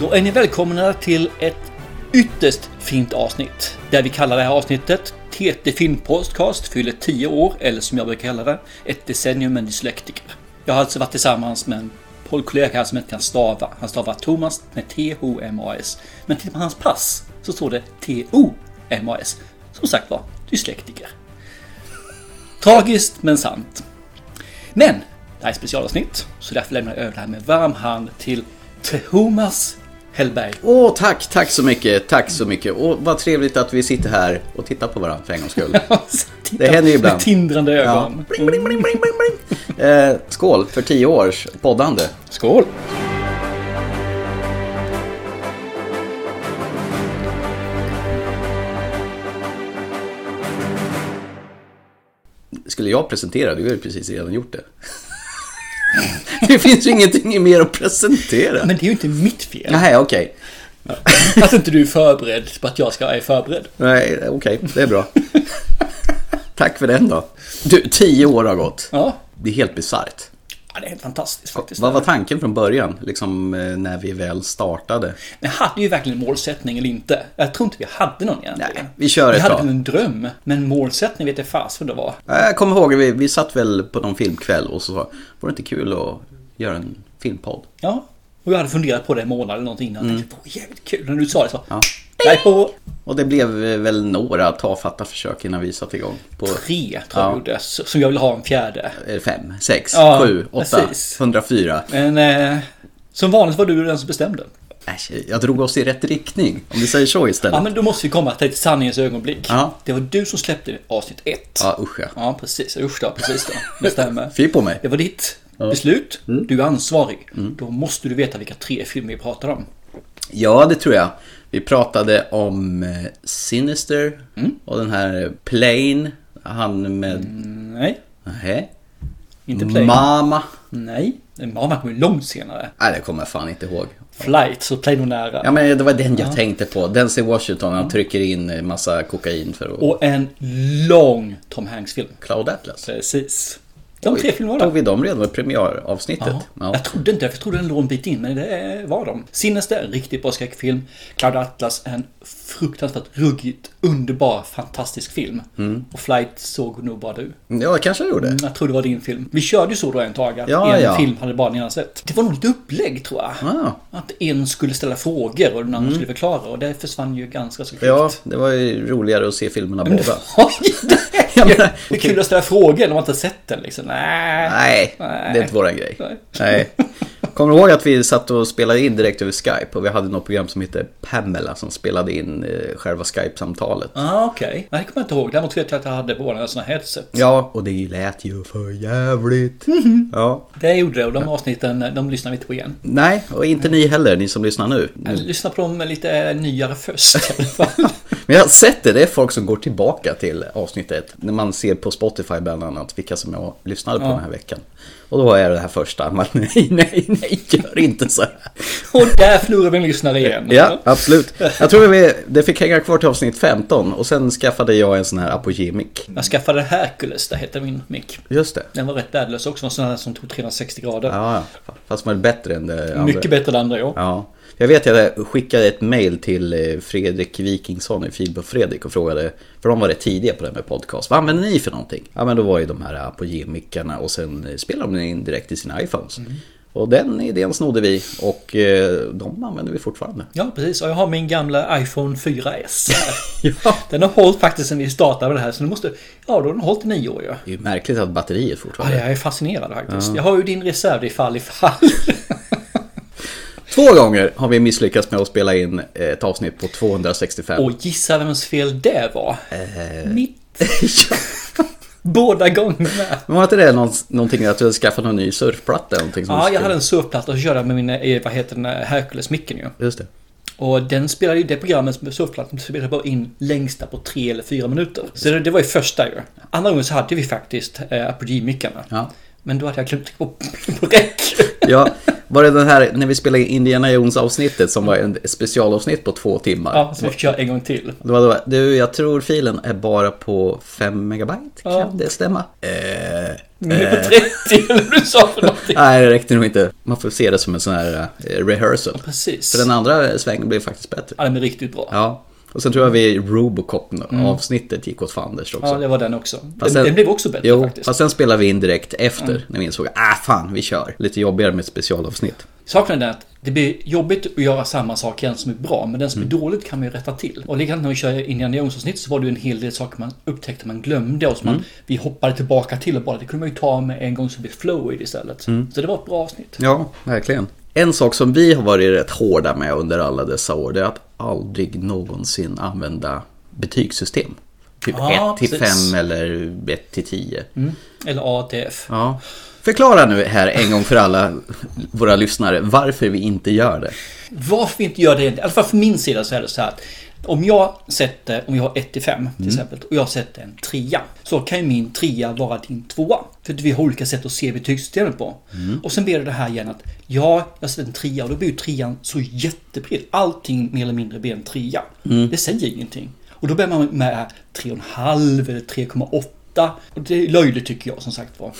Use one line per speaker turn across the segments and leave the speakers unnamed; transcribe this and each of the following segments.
Då är ni välkomna till ett ytterst fint avsnitt. Där vi kallar det här avsnittet TT Film Podcast fyller 10 år, eller som jag brukar kalla det, ett decennium med en dyslektiker. Jag har alltså varit tillsammans med en poddkollega här som inte kan stava. Han stavar Thomas med T-H-M-A-S. Men tittar man på hans pass så står det T-O-M-A-S. Som sagt var, dyslektiker. Tragiskt men sant. Men det här är ett specialavsnitt, så därför lämnar jag över det här med varm hand till Thomas Hellberg.
Åh, tack, tack så mycket, tack så mycket. Och vad trevligt att vi sitter här och tittar på varandra för en gångs skull.
Titta
händer ju ibland.
Med tindrande
Ja.
ögon.
Bling, bling, bling, bling, bling, bling. Eh, skål för tio års poddande.
Skål!
Skulle jag presentera, du har ju precis redan gjort det. det finns ju ingenting mer att presentera.
Men det är ju inte mitt fel.
Nej, okej.
Att inte du är förberedd på att jag ska är förberedd.
Nej, okej, det är bra. tack för den då. Du, tio år har gått.
Ja.
Det är helt bisarrt.
ja, det är helt fantastiskt faktiskt.
Vad var tanken från början, liksom eh, när vi väl startade?
Men hade ju verkligen målsättning eller inte. Jag tror inte vi hade någon egentligen.
Nej, vi kör
Vi
ett
hade
tag.
väl en dröm, men målsättning vet jag fast vad det var.
Ja, Jag kommer ihåg, vi, vi satt väl på någon filmkväll och så sa var det inte kul att göra en filmpodd?
Ja. Och jag hade funderat på det en månad eller någonting innan. Mm. Tänkte, "Åh, jävligt kul. När du sa det så. Jag är på
Och det blev väl några tafatta försök innan vi satte igång. På
tre, tror jag
Ja.
gjordes. Som jag vill ha en fjärde.
eh, fem, sex,
Ja,
sju, åtta,
precis.
104.
Men eh, som vanligt var du den som bestämde.
Äsch, jag drog oss i rätt riktning, om vi säger så
Ja,
istället.
men då måste vi komma till ett sanningens ögonblick.
Ja.
Det var du som släppte avsnitt ett.
Ja, usch ja.
Ja, precis. Usch då, precis då. Det stämmer.
Fy på mig.
Det var ditt beslut.
Mm.
Du är ansvarig. Då måste du veta vilka tre filmer vi pratar om.
Ja, det tror jag. Vi pratade om eh, Sinister
Mm.
och den här Plane, han med...
Nej,
Nähä?
Mm. inte Play.
Mama.
Nej, Mamma kommer långt senare.
Nej, det kommer jag fan inte ihåg.
Flight, så Play nog nära.
Ja Mm. men det var den jag tänkte på. Denzel Washington, han trycker in en massa kokain för att...
Och en lång Tom Hanks-film.
Cloud Atlas.
Precis. De tre filmerna var
Tog
det.
vi dem redan i premiäravsnittet? Ja.
Jag trodde inte det, för jag trodde den låg en bit in, men det var de. Sinister, en riktigt bra skräckfilm. Cloud Atlas, en fruktansvärt ruggigt, underbar, fantastisk film.
Mm.
Och Flight såg nog bara du.
ja, det kanske jag gjorde.
Jag tror det var din film. Vi körde ju så då en tag, att
Ja,
en
ja.
film hade bara ena sett. Det var nog lite upplägg tror jag.
Ah.
Att en skulle ställa frågor och den andra skulle förklara och det försvann ju ganska så kvickt.
Mm. Ja, det var ju roligare att se filmerna båda.
Oj, det
Jag menar,
är ju kul att ställa frågor när man inte sett den liksom. Nej.
Nej, det är inte våran grej.
Nej.
Nej. Kommer du ihåg att vi satt och spelade in direkt över Skype och vi hade något program som hette Pamela som spelade in eh, själva Skype-samtalet.
Ah, okej. Nej, det kommer jag inte ihåg. Däremot vet jag att jag hade båda sådana headset.
Ja, och det lät ju för jävligt. Ja.
Det gjorde det och de avsnitten, de lyssnar vi inte på igen.
Nej, och inte ni heller, ni som lyssnar nu. Nu
Lyssna på dem lite eh, nyare först i alla fall.
Men jag har sett det, det är folk som går tillbaka till avsnittet. När man ser på Spotify bland annat vilka som jag lyssnade på den här veckan. Och då är det här första, man nej, nej, nej, gör inte så här.
Och där förlorar vi en lyssnare igen.
Ja, absolut. Jag tror vi, det fick hänga kvar till avsnitt 15 och sen skaffade jag en sån här apogemic.
Jag skaffade Hercules, det hette min mick.
Just det.
Den var rätt värdelös också, en sån här som tog 360 grader.
Ja, ja. fast man är bättre än det andra.
Mycket bättre än andra ja.
Ja. Jag vet att jag skickade ett mail till eh, Fredrik Wikingsson i Filbo Fredrik och frågade, för de var rätt tidiga på det här med podcast, vad använder ni för någonting? Ja men då var ju de här apogemikarna och sen eh, spelade de in direkt i sina iPhones.
Mm.
Och den idén snodde vi och eh, de använder vi fortfarande.
Ja, precis. Och jag har min gamla iPhone 4S.
Ja.
Den har hållit faktiskt sen vi startade med det här, så nu måste... Ja, då har den hållit i nio år ja.
Det är ju märkligt att batteriet
Ja,
fortfarande...
jag är fascinerad faktiskt. Jag har ju din reserv ifall ifall.
Två gånger har vi misslyckats med att spela in eh, ett avsnitt på 265.
Och gissa vems fel det var? Mitt.
Eh, Ja.
Båda gångerna.
Men var inte det någon, någonting att du hade skaffat någon ny surfplatta? eller Någonting som
Ja, jag
skulle-
hade en surfplatta och så körde jag med min, eh, vad heter den, Hercules-micken ju.
Just det.
Och den spelade ju, det programmet med surfplattan spelade bara in längsta på tre eller fyra minuter. Så det, det var ju första ju. Andra gången så hade vi faktiskt eh, apogee-mickarna.
Ja.
Men då hade jag glömt trycka på, på räck.
Ja, var det den här när vi spelade in Indiana Jones avsnittet som var en specialavsnitt på två timmar?
Ja, så vi fick köra en gång till.
Det var då, du, jag tror filen är bara på 5 megabyte,
Ja.
kan det stämma? Eh,
Men nu på 30 eller vad du sa för något. någonting.
Nej, det räckte nog inte. Man får se det som en sån här eh, rehearsal.
Precis.
För den andra svängen blev faktiskt bättre.
Ja, den är riktigt bra. Ja,
Ja. Och sen tror jag vi i Robocop-avsnittet gick åt fanders också.
det var den också. Den,
sen-
den blev också bättre
Jo,
faktiskt. Mm.
fast sen spelade vi in direkt efter när vi insåg ah fan, vi kör. Lite jobbigare med ett specialavsnitt.
Saken är den att det blir jobbigt att göra samma sak igen som är bra, men den som är dåligt kan man ju rätta till. Och likadant när vi kör Indiana Jones-avsnitt så var det ju en hel del saker man upptäckte man glömde och som man, vi hoppade tillbaka till och bara det kunde man ju ta med en gång så det blev flow i det istället. Så det var ett bra avsnitt.
Ja, verkligen. En sak som vi har varit rätt hårda med under alla dessa år, det är att aldrig någonsin använda betygssystem. Typ
Ja,
1 till
precis.
5 eller 1 till 10.
Eller ATF.
Ja. Förklara nu här en gång för alla våra lyssnare varför vi inte gör det.
Varför vi inte gör det, i alla fall från min sida så är det så här att om jag sätter, om jag har 1 till 5 till exempel och jag sätter en trea så kan ju min trea vara din tvåa. För att vi har olika sätt att se betygssystemet på. Och sen blir det det här igen att ja, jag sätter en trea och då blir ju trean så jättebred. Allting mer eller mindre blir en trea. Det säger ingenting. Och då börjar man med 3,5 eller 3,8. Och det är löjligt tycker jag som sagt var.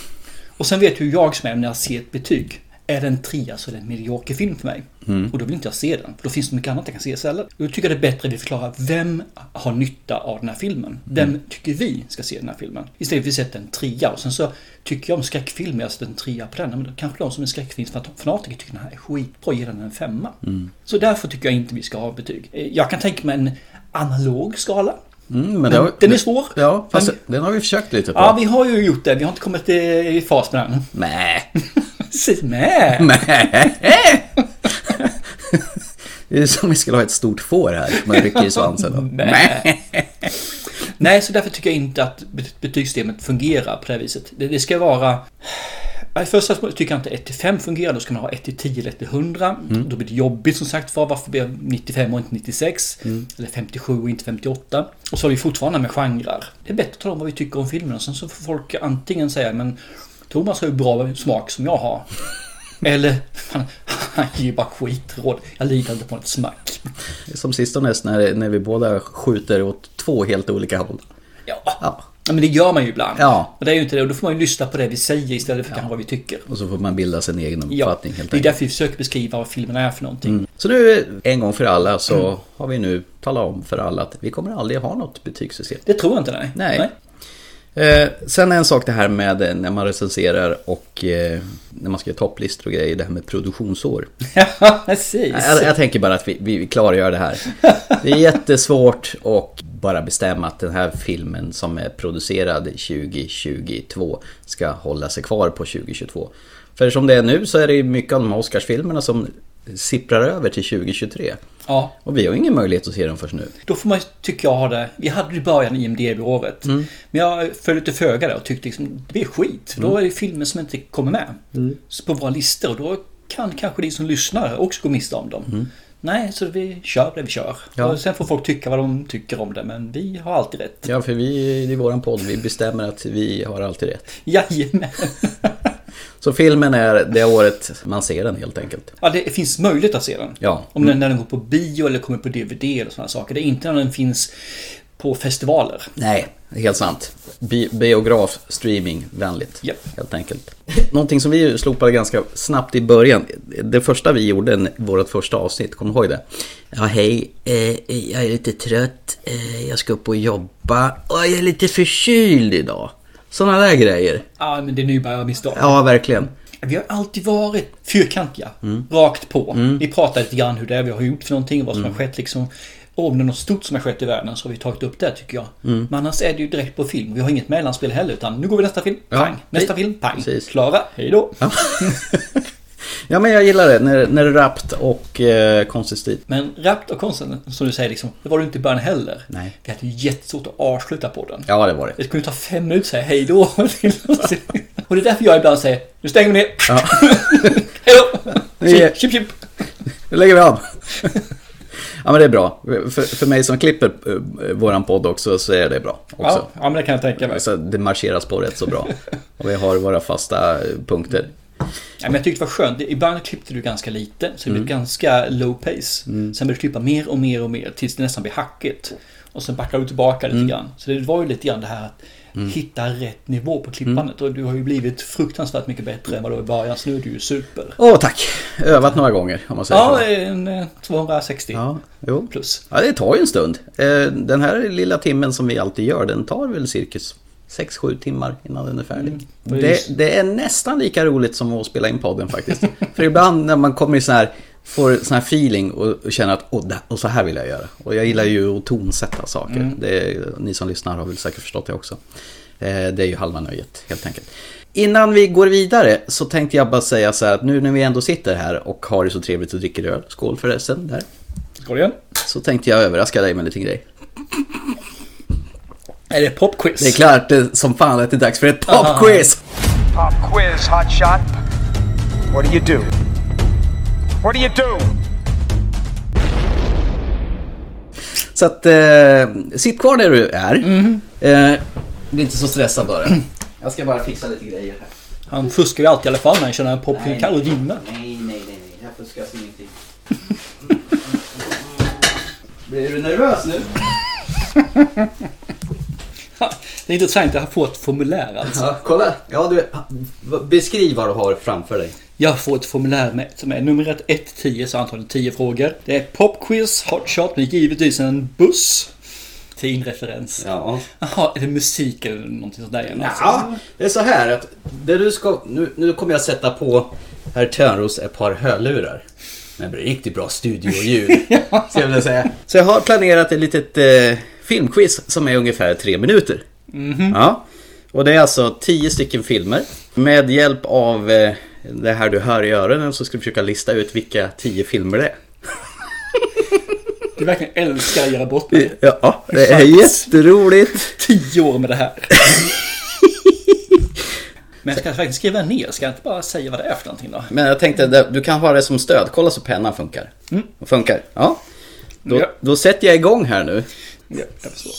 Och sen vet ju jag som är när jag ser ett betyg. Är det en trea så är det en medioker film för mig.
Mm.
Och då vill inte jag se den. För då finns det mycket annat jag kan se istället. Då tycker jag det är bättre att vi förklarar vem har nytta av den här filmen.
Mm.
Vem tycker vi ska se den här filmen? Istället för att vi sätter en trea och sen så tycker jag om skräckfilmer, jag sätter en trea på den. Men då kanske de som är skräckfilmsfanatiker tycker den här är skitbra, ger den en femma.
Mm.
Så därför tycker jag inte vi ska ha betyg. Eh, Jag kan tänka mig en analog skala.
Mm, men det har-
den är svår.
Ja, fast
Men-
den har vi försökt lite på.
Ja, vi har ju gjort det. Vi har inte kommit eh, i fas med den.
Nej.
Precis, nej.
Nej. Det är som om vi skulle ha ett stort får här. Man rycker i svansen. Nej.
Nej, så därför tycker jag inte att bet- betygssystemet fungerar på det här viset. Det, det ska vara... I första hand tycker jag inte 1 till 5 fungerar, då ska man ha 1 till 10 eller 1 till 100. Då blir det jobbigt som sagt var, varför blir jag 95 och inte 96? Eller 57 och inte 58? Och så har vi fortfarande med genrer. Det är bättre att tala om vad vi tycker om filmerna, sen så får folk antingen säga men Thomas har ju bra smak som jag har. Eller, fan, han ger ju bara skitråd. Jag litar inte på ett smack.
Som sist och näst när, när vi båda skjuter åt två helt olika håll.
Ja.
Ja.
Ja, men det gör man ju ibland.
Ja.
Och det är ju inte det. Och då får man ju lyssna på det vi säger istället för kanske vad vi tycker.
Och så får man bilda sin egen
Ja,
uppfattning helt
det är
enkelt. Mm.
därför vi försöker beskriva vad filmen är för någonting.
Så nu en gång för alla så
Mm.
har vi nu talat om för alla att vi kommer aldrig ha något betygssystem.
Det tror jag inte, nej.
Nej. Eh, sen en sak det här med eh, när man recenserar och eh, när man ska göra topplistor och grejer, det här med produktionsår.
Ja, precis.
Jag, jag tänker bara att vi, vi klargör det här. Det är jättesvårt att bara bestämma att den här filmen som är producerad 2022 ska hålla sig kvar på 2022. För som det är nu så är det ju mycket av de här Oscarsfilmerna som sipprar över till 2023.
Ja,
Och vi har ju ingen möjlighet att se dem först nu.
då får man tycka jag ha det. Vi hade det i början IMDB-året.
Mm.
Men jag föll lite föga där och tyckte liksom, det blir skit. För
Mm.
då är det filmer som inte kommer med på våra listor. Och då kan kanske ni som lyssnar också gå miste om dem. Nej, så vi kör det vi kör.
Mm. Ja.
Och sen får folk tycka vad de tycker om det, men vi har alltid rätt.
Ja, för vi i våran podd, vi bestämmer att vi har alltid rätt.
Jajamän.
Så filmen är det året man ser den helt enkelt.
Ja, det finns möjlighet att se den.
Ja. Mm.
Om den, när den går på bio eller kommer på DVD eller sådana saker. Det är inte när den finns på festivaler.
Nej, helt sant. Bi- biograf, streaming, vänligt.
Japp.
Helt enkelt. Någonting som vi ju slopade ganska snabbt i början. Det första vi gjorde, vårt första avsnitt, kom ihåg det? Ja, hej. Eh, jag är lite trött. Eh, jag ska upp och jobba. Och jag är lite förkyld idag. Sådana där grejer.
Ja, men det är nybörjarmisstag.
Ja, verkligen.
Vi har alltid varit fyrkantiga.
Mm.
Rakt på. Vi pratar lite grann hur det är vi har gjort för någonting och
Mm.
vad som har skett liksom. Och om det är något stort som har skett i världen så har vi tagit upp det tycker jag.
Mm.
Men annars är det ju direkt på film. Vi har inget mellanspel heller utan nu går vi nästa film,
Ja.
pang. Nästa
Hej.
film, pang.
Precis.
Klara, hej då.
Ja, men jag gillar det. När, när det är rappt och eh, konsistent.
Men rapt och konsten, som du säger, liksom, det var det inte i början heller.
Nej.
Vi hade ju jättesvårt att avsluta på den.
Ja, det var det.
Det kunde ta fem minuter att säga hej då. och det är därför jag ibland säger nu stänger vi ner.
Ja.
hej då.
Vi är-
Chip, chip, chip.
Nu lägger vi av. Ja men det är bra. För, för mig som klipper eh, våran podd också så är det bra. Också.
Ja, ja, men det kan jag tänka mig.
Så det marscheras på rätt så bra. Och vi har våra fasta eh, punkter.
Ja, men jag tyckte det var skönt. Ibland klippte du ganska lite, så det blev
Mm.
ganska low pace. Sen började du klippa mer
Mm.
och mer och mer tills det nästan blev hackigt. Och sen backade du tillbaka lite grann. Så det var ju lite grann det här att hitta rätt nivå på klippandet.
Mm.
Och du har ju blivit fruktansvärt mycket bättre än vad du var i början. Så nu är du ju super.
Åh tack! Övat några gånger om man säger
Ja,
så.
en eh, 260
Ja, jo.
plus.
Ja, det tar ju en stund. Eh, Den här lilla timmen som vi alltid gör, den tar väl cirkus 6-7 timmar innan den är färdig.
precis.
det, det är nästan lika roligt som att spela in podden faktiskt. För ibland när man kommer i sån här, får sån här feeling och, och känner att åh, det- och så här vill jag göra. Och jag gillar ju att tonsätta saker. Det, ni som lyssnar har väl säkert förstått det också. Eh, Det är ju halva nöjet helt enkelt. Innan vi går vidare så tänkte jag bara säga så här att nu när vi ändå sitter här och har det så trevligt och dricker öl, skål förresten där.
Skål igen.
Så tänkte jag överraska dig med en liten grej.
Är det popquiz?
Det är klart eh, som fan att det är dags för ett popquiz!
Pop quiz, hotshot. What do you do? What do you do?
Så att, eh, sitt kvar där du är. Eh, bli inte så stressad bara. Jag ska bara fixa lite grejer här.
Han fuskar ju alltid i alla fall när han känner en popquiz. Han kan aldrig vinna.
Nej, nej, nej, nej. Här fuskas ingenting. Blir du nervös nu?
Ha, Det är intressant att han får ett formulär alltså.
Ja, kolla. Ja, du, beskriv vad du har framför dig.
Jag får ett formulär med som är numret 1 till 10 så antalet 10 frågor. Det är popquiz, hotshot med givetvis en buss. Finreferens.
Ja.
Jaha, är det musik eller någonting sånt där igen? alltså?
Ja, det är så här att det du ska, nu, nu kommer jag sätta på herr Törnros ett par hörlurar. Men det blir riktigt bra studioljud. så, jag vill säga. så jag har planerat ett litet eh, filmquiz som är ungefär tre minuter. Ja. Och det är alltså tio stycken filmer. Med hjälp av eh, det här du hör i öronen så ska du försöka lista ut vilka tio filmer det är.
Du verkligen älskar att göra bort mig.
Ja, det är jätteroligt.
10 år med det här. Men jag ska faktiskt skriva ner, ska jag inte bara säga vad det är för någonting då?
Men jag tänkte, det- du kan ha det som stöd. Kolla så pennan funkar. Funkar, ja. Då,
Ja.
då sätter jag igång här nu.
Ja, jag förstår.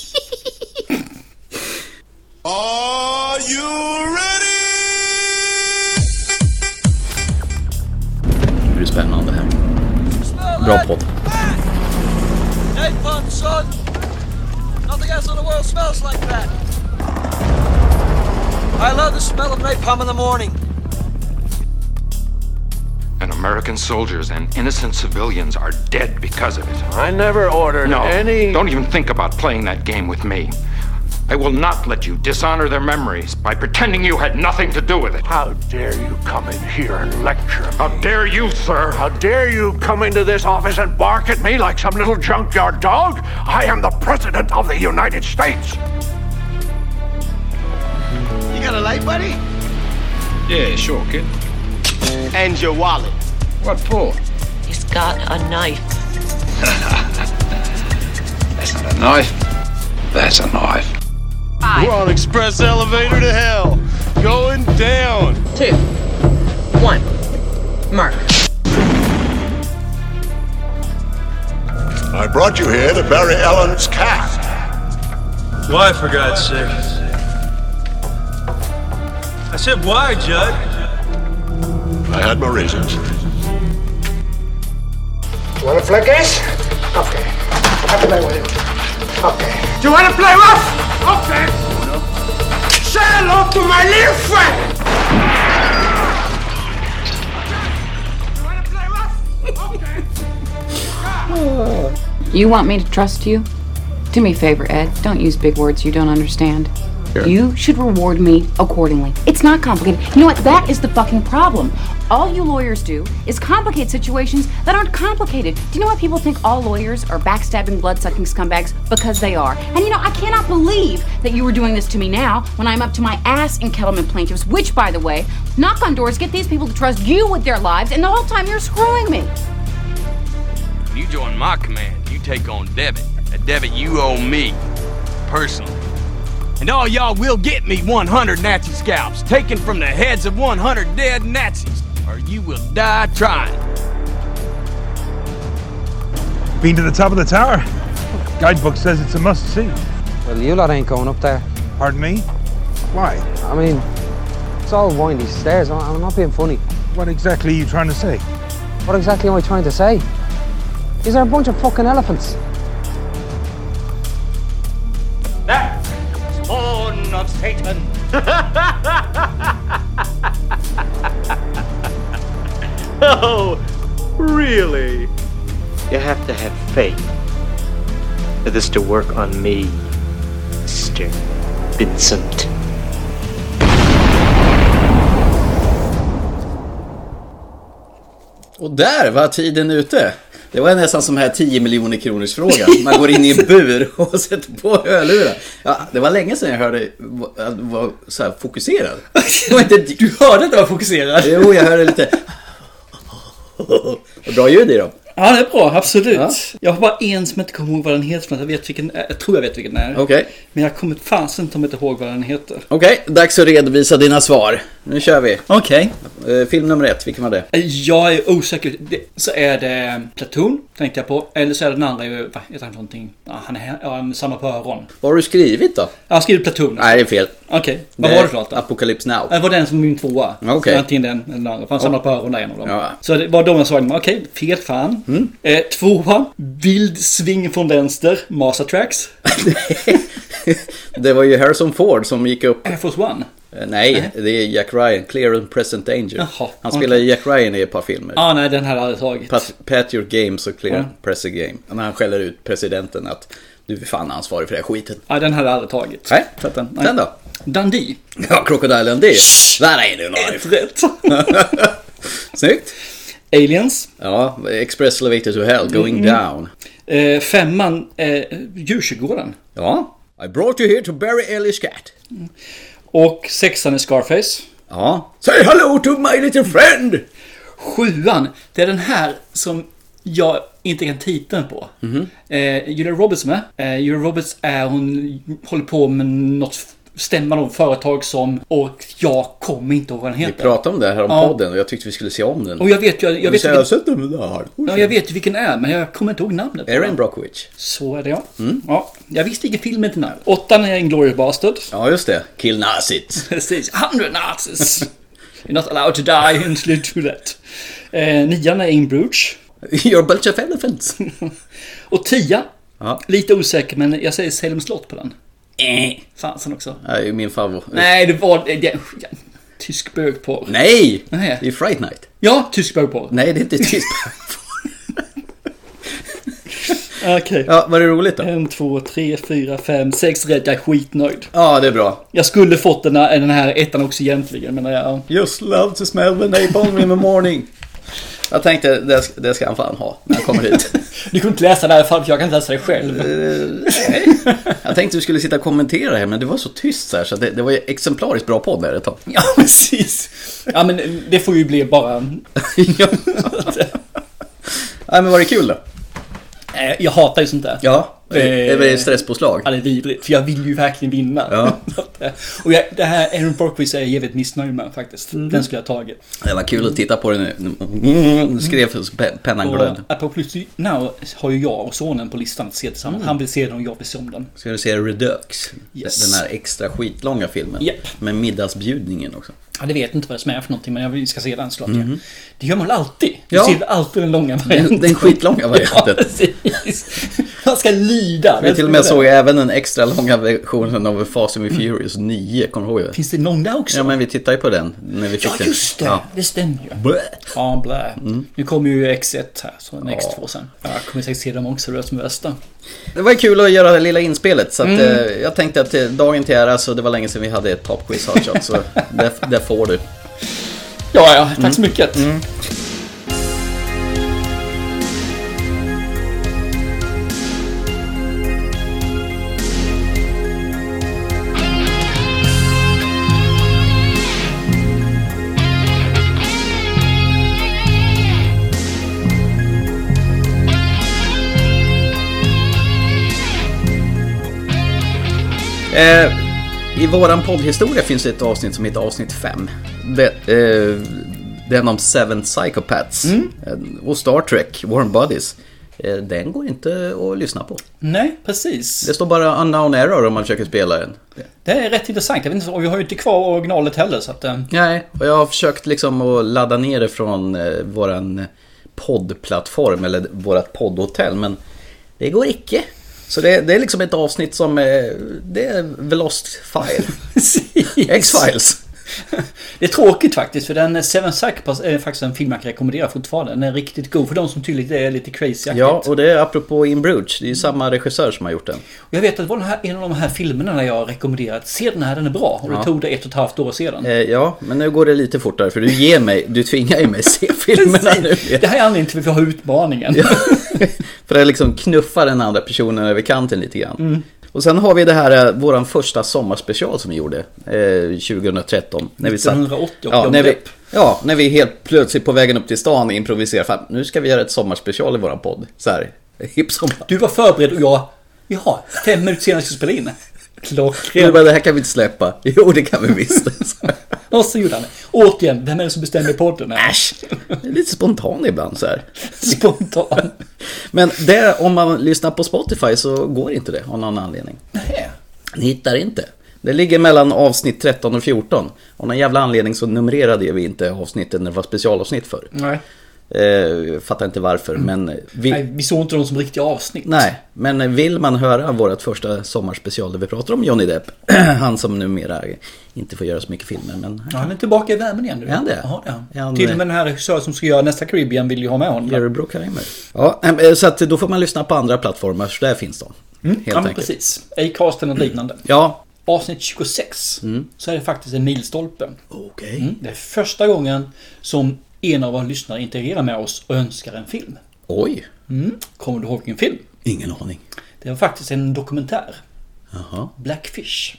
Are you ready?
Det blir spännande här. Bra podd.
Hey, fun, son. Nothing else in the world smells like that. I love the smell of napalm in the morning.
and American soldiers and innocent civilians are dead because of it.
I never ordered
No,
any.
don't even think about playing that game with me. I will not let you dishonor their memories by pretending you had nothing to do with it.
How dare you come in here and lecture me?
How dare you, sir?
How dare you come into this office and bark at me like some little junkyard dog? I am the President of the United States.
You got a light, buddy? Yeah, sure, kid. And your wallet.
He's got a knife.
We're on express elevator to hell. Going down.
Two. One. Mark.
I brought you here to bury Ellen's cat.
Why, for God's sake? I said, why, Judd?
I had my reasons.
Wanna play games? Okay. I play with it. Okay. Do you wanna play rough? Okay. Say hello to my little friend. You wanna play rough? Okay.
You want me to trust you? Do me a favor, Ed. Don't use big words you don't understand. You should reward me accordingly. It's not complicated. You know what? That is the fucking problem. All you lawyers do is complicate situations that aren't complicated. Do you know why people think all lawyers are backstabbing, blood sucking scumbags? Because they are. And you know, I cannot believe that you were doing this to me now when I'm up to my ass in Kettleman plaintiffs, which, by the way, knock on doors, get these people to trust you with their lives, and the whole time you're screwing me.
You join my command. You take on Devitt. And Devitt, you owe me, personally. And all y'all will get me 100 Nazi scalps taken from the heads of 100 dead Nazis, or you will die trying.
Been to the top of the tower. Guidebook says it's a must see.
Well, you lot ain't going up there.
Pardon me? Why?
I mean, it's all windy stairs. I- I'm not being funny.
What exactly are you trying to say?
What exactly am I trying to say? These are a bunch of fucking elephants.
Born of
Satan.
Oh, really? You have to have faith for this to work on me, Mr. Vincent.
Och där var tiden ute. Det var nästan som här 10 miljoner kronors fråga. Man går in i en bur och sätter på hörlurar. Ja, det var länge sedan jag hörde att var så här fokuserad.
Du hörde inte vara fokuserad.
Jo, jag hörde lite... Bra ljud i dem.
Ja, det är bra. Absolut. Jag har bara en som jag inte kommer ihåg vad den heter. men Jag, vet vilken, eh, jag tror jag vet vilken det är.
Okej.
Men jag kommer fasen inte ihåg vad den heter.
Okej, dags att redovisa dina svar. Nu kör vi. Eh,
Okej.
Film nummer ett, vilken var det?
Eh, Jag är osäker. Det- Så är det Platoon, tänkte jag på. Eller så är det den andra, ju- vad heter han för någonting? Ja, han är ja, samma på öron.
Vad har du skrivit då?
Jag har skrivit Platoon.
Nej, det är fel.
Okej, vad var det för något då?
Apocalypse Now.
Det var den som min tvåa.
Okej.
Så Antingen den eller den andra. För han samlade på öron där en av dem.
Ja. Mm.
Så det var de jag såg. Okej, fel fan. Eh, tvåa, vild sving från vänster, Master Tracks.
Det var ju Harrison Ford som gick upp...
Air Force One?
Eh, Nej, det är Jack Ryan. Clear and Present Danger.
Jaha,
Han
okej.
spelar Jack Ryan i ett par filmer.
Ah, nej, den här hade jag tagit.
Pat, pat your games och clear
Ja.
and press a game. När han skäller ut presidenten att du är fan ansvarig för den här skiten.
Ja, den hade jag aldrig tagit.
Nej, så att den,
Nej.
den då?
Dundee.
Ja, Crocodile Dundee. Där är du knife.
Rätt.
Snyggt.
Aliens.
Ja, Express Elevator to Hell, Going
Mm.
Down.
Eh, femman, eh, Djurkyrkogården.
Ja. I brought you here to bury Elish Cat.
Och sexan är Scarface.
Ja. Say hello to my little friend!
Sjuan, det är den här som jag inte kan titeln på.
Mhm.
mm Eh, Julia Roberts är med. Eh, Julia Roberts är, hon håller på med något stämma av företag som och jag kommer inte ihåg vad den
Vi
heter.
pratade om det här om
Ja.
podden och jag tyckte vi skulle se om den.
Och jag vet ju- jag
Vi
vet
säger,
vilken-
Jag har sett den där.
Ja, jag vet ju vilken det är, men jag kommer inte ihåg namnet. på
Erin
den.
Brockovich.
Så är det ja. ja. Jag visste vilken film inte namn. Åttan är Inglourious Bastard.
Ja, just det. Kill Nazit.
Precis. Hundred Nazis! You're not allowed to die until you do that. Eh, nian är In Bruges.
You're a bunch of elephants.
Och tia.
Ja.
Lite osäker, men jag säger Salem slott på den. Eh, Fansen också.
Det är ju min favorit.
Nej, det var... Det, det, tysk bögporr.
Nej!
Nej.
Det är Fright Night.
Ja, tysk bögporr.
Nej, det är inte tysk.
Okej.
ja, var det roligt då?
En, två, tre, fyra, fem, sex rätt. Jag är skitnöjd.
Ja, det är bra.
Jag skulle fått den här, den här ettan också egentligen, men jag...
Just love to smell the napalm in the morning. Jag tänkte, det, ska- det ska han fan ha när han kommer hit. Eh,
Du kunde inte läsa det här för jag kan inte läsa det själv.
Jag tänkte du skulle sitta och kommentera det här, men det var så tyst så här, så det, det var ju exemplariskt bra podd där ett tag.
Ja, precis. Ja, men det får ju bli bara...
Nej, men var det kul då?
Eh, Jag hatar ju sånt där.
Ja, det är väl stresspåslag.
Ja, det är vidrigt. För jag vill ju verkligen vinna.
Ja.
Så att, eh, Och jag, det här Aaron Brockwist är jag jävligt missnöjd med faktiskt.
Mm.
Den skulle jag ha tagit.
Det var kul att titta på det nu. Mm, skrev så pe- pennan glöd.
Och Apocalypse Now har ju jag och sonen på listan att se tillsammans.
Mm.
Han vill se den och jag vill se om den.
Ska du se Redux?
Yes.
Den här extra skitlånga filmen.
Japp.
Med middagsbjudningen också.
Ja, det vet inte vad som är för någonting men jag vill- ska se den såklart. ja. Det gör man väl alltid? Du
Mm-hmm. Ja.
ser alltid den långa varianten.
Den, den skitlånga
Ja,
varianten.
precis. Man ska lida.
Vi till och med såg även den extra långa versionen av Fast and the Furious 9, kommer du ihåg det?
Finns det någon där också?
Ja men vi tittade ju på den när vi fick
Ja,
den.
just det.
Ja.
Det stämmer ju.
Blä.
Ja, blä. Nu kommer ju X1 här, så en
Mm. Ja.
X2 sen. Ja, Jag kommer säkert se dem också, det är som bästa.
Det var ju kul att göra det lilla inspelet så att,
Mm.
eh, jag tänkte att eh, dagen till ära så det var länge sedan vi hade ett toppquiz Hardshot så det, det får du.
Ja, ja, tack så mycket.
Eh, I våran poddhistoria finns det ett avsnitt som heter avsnitt 5. Det, eh, den om Seven Psychopaths eh, och Star Trek, Warm Bodies. Eh, den går inte att lyssna på.
Nej, precis.
Det står bara unknown error om man försöker spela den.
Det är rätt intressant. Jag vet inte, och vi har ju inte kvar originalet heller, så att... eh,
Nej, och jag har försökt liksom att ladda ner det från eh, våran poddplattform eller vårat poddhotell men det går icke. Så det, det är liksom ett avsnitt som är, det är The Lost File. X-Files.
Det är tråkigt faktiskt för den eh, Seven Psychopaths är faktiskt en film jag kan rekommendera fortfarande. Den är riktigt god för de som tydligt är lite crazy
Ja, och det är apropå In Bruges. Det är ju samma regissör som har gjort den.
Jag vet att det var den här, en av de här filmerna när jag rekommenderat. Se den här, den är bra. Och
Ja.
det tog det ett och ett halvt år sedan.
Eh, ja, men nu går det lite fortare för du ger mig, du tvingar ju mig se filmerna nu.
Det här är anledningen till att vi har utmaningen.
För att liksom knuffa den andra personen över kanten lite grann.
Mm.
Och sen har vi det här, eh, våran första sommarspecial som vi gjorde eh, 2013. När vi satt-
1980 och
ja,
Johnny
när vi,
Depp.
ja, när vi helt plötsligt på vägen upp till stan improviserade. Fan, nu ska vi göra ett sommarspecial i våran podd. Så här, hipp som
Du var förberedd och jag... Jaha, fem minuter senare ska jag spela in.
Du
Klockrent.
bara, det här kan vi inte släppa. Jo, det kan vi visst. Så här.
Och så gjorde han det. Återigen, vem är det som bestämmer i podden? Äsch!
Det är lite spontan ibland så här.
Spontan.
Men det, om man lyssnar på Spotify så går inte det av någon anledning.
Nej.
Ni hittar inte. Det ligger mellan avsnitt 13 och 14. Av någon jävla anledning så numrerade vi inte avsnitten när det var specialavsnitt för.
Nej.
Eh, fattar inte varför, men... Vi...
Nej, vi såg inte dem som riktiga avsnitt.
Nej, men vill man höra vårt första sommarspecial där vi pratar om Johnny Depp, han som numera inte får göra så mycket filmer, men
Ja, han är tillbaka i värmen igen nu.
Är han det?
Ja, ja.
Är han-
Till och med den här regissören som ska göra nästa Caribbean vill ju ha med honom.
Jerry Bruckheimer. Ja, eh, så att då får man lyssna på andra plattformar, så där finns de. Helt
Mm. ja, men precis. Acast eller liknande.
Ja.
Avsnitt 26
Mm.
så är det faktiskt en milstolpe.
Okej.
Mm, det är första gången som en av våra lyssnare interagerar med oss och önskar en film.
Oj,
Mm. Kommer du ihåg vilken film?
ingen aning.
Det var faktiskt en dokumentär.
Jaha.
Blackfish.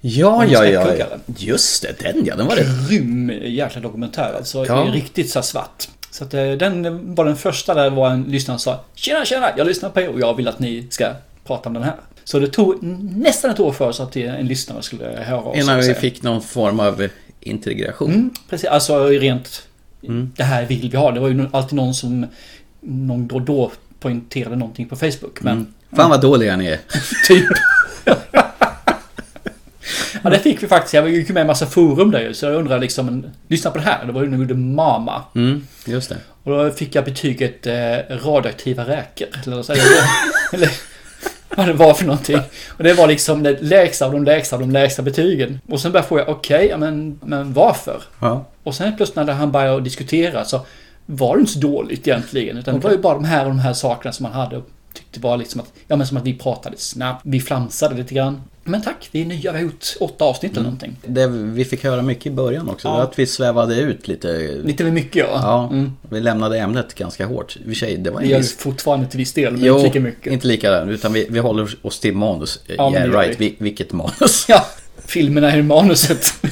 Ja,
Om
ja, ja, ja.
släktkuggaren.
Just det, den ja, den var det.
Grym jäkla dokumentär alltså.
Ja.
Riktigt så här svart. Så att eh, den var den första där det var en lyssnare som sa Tjena tjena, jag lyssnar på er och jag vill att ni ska prata om den här. Så det tog nästan ett år för oss att eh, en lyssnare skulle höra av sig
Innan
och
vi
säga.
fick någon form av integration.
Precis, alltså rent
Mm.
Det här vill vi ha. Det var ju no- alltid någon som Någon då och då poängterade någonting på Facebook. Men
Fan vad dåliga ni är.
typ. ja, det fick vi faktiskt. Jag gick ju med i en massa forum där ju. Så jag undrar liksom, en- lyssna på det här. Det var ju när vi gjorde Mama.
Mm, just det.
Och då fick jag betyget eh, radioaktiva räkor. Eller, vad säger jag? eller vad det var för någonting. Och det var liksom det lägsta av de lägsta av de lägsta betygen. Och sen började jag fråga, okej, ja, men, men varför?
Ja.
Och sen plötsligt när han började diskutera så var det inte så dåligt egentligen. Utan det var ju bara de här och de här sakerna som man hade och tyckte var liksom att, ja men som att vi pratade snabbt, vi flamsade lite grann. Men tack, vi är nya, vi har gjort åtta avsnitt
Mm.
eller någonting.
Det vi fick höra mycket i början också,
Ja.
att vi svävade ut lite.
Lite för mycket ja.
Ja, vi lämnade ämnet ganska hårt. I och för sig, det var
Vi gör ju
en viss...
fortfarande till viss del, men
Jo,
inte lika mycket.
inte lika, utan vi, vi håller oss till manus.
Ja, men det
yeah,
gör
right,
vi.
vi. vilket manus.
Ja, filmerna är i manuset.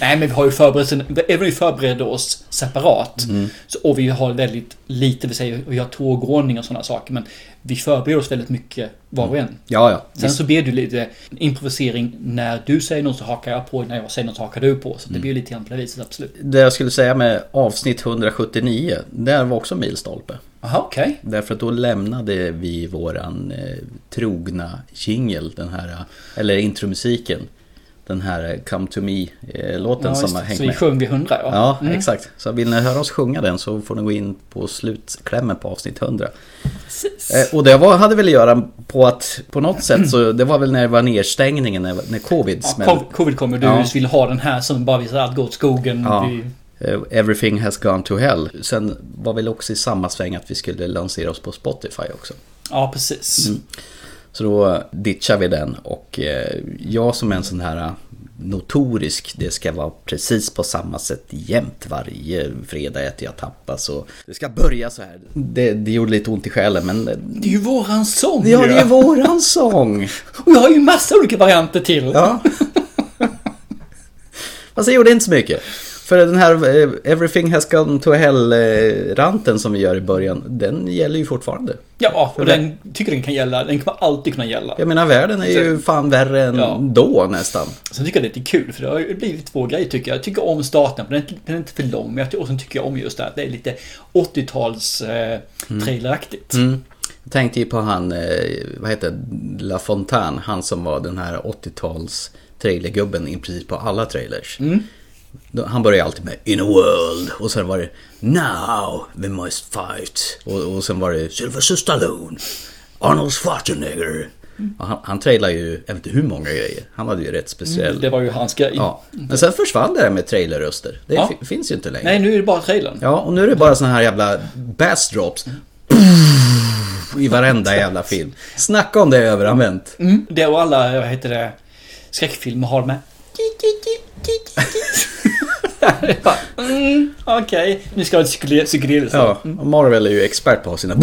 Nej, men vi har ju förberett, även om vi förberedde oss separat.
Mm.
Så, och vi har väldigt lite, vi säger, vi har tågordning och sådana saker. Men vi förbereder oss väldigt mycket var och en.
Ja, Mm. ja.
Sen så blir det ju lite improvisering. När du säger något så hakar jag på, när jag säger något så hakar du på. Så det
Mm.
blir ju lite grann på det viset, absolut.
Det jag skulle säga med avsnitt 179, där var också en milstolpe.
Jaha, okej.
Därför att då lämnade vi våran eh, trogna jingel, den här, eh, eller intromusiken. Den här eh, Come To Me-låten
Ja,
som
just
har
det.
hängt
Så vi
med.
sjöng vid 100, ja.
Ja,
Mm.
exakt. Så vill ni höra oss sjunga den så får ni gå in på slutklämmen på avsnitt 100. Eh, och det var, hade väl att göra på att på något sätt så det var väl när det var nedstängningen när, när covid
Ja,
smällde.
co- Covid kommer, du
Ja.
vill ha den här som bara visar allt går åt skogen.
Ja.
Vi,
Eh, Everything has gone to hell. Sen var väl också i samma sväng att vi skulle lansera oss på Spotify också.
ja precis.
Mm. Så då ditchar vi den och eh, jag som är en sån här eh, notorisk, det ska vara precis på samma sätt jämt varje fredag äter jag tapas och det ska börja så här. Det, det gjorde lite ont i själen men eh,
Det är ju våran sång
ja, det
ju.
är våran sång.
Och jag har ju massa olika varianter till.
Ja. Fast det gjorde inte så mycket. För den här eh, Everything has gone to hell-ranten som vi gör i början, den gäller ju fortfarande.
Ja, och den tycker den kan gälla. Den kommer alltid kunna gälla.
Jag menar världen är ju fan värre än
Ja.
då nästan.
Sen tycker jag det är lite kul för det har ju blivit två grejer tycker jag. Jag tycker om starten, men den är- den är inte för lång. Men jag, ty- och sen tycker jag om just det här. Det är lite 80-tals eh, traileraktigt.
Mm. Jag tänkte ju på han, eh, vad heter det? La Fontaine, han som var den här 80-tals trailergubben i princip på alla trailers.
Mm.
Då- Han började alltid med In a world och sen var det Now we must fight och, och sen var det Sylvester Stallone. Arnold Schwarzenegger.
Mm.
Och han, han trailade ju, jag vet inte hur många grejer. Han hade ju rätt speciell...
Mm, det var ju hans grej.
Ja. Men sen försvann det här med trailerröster. Det
Ja.
fi- finns ju inte längre.
Nej, nu är det bara trailern.
Ja, och nu är det bara såna här jävla bass drops. I varenda jävla film. Snacka om det överanvänt.
Mm. Det och alla, vad heter det, skräckfilmer har med. Mm, Okej, nu ska jag ha ett psykedel- psykedeliskt.
Ja, och Marvel är ju expert på att ha sina...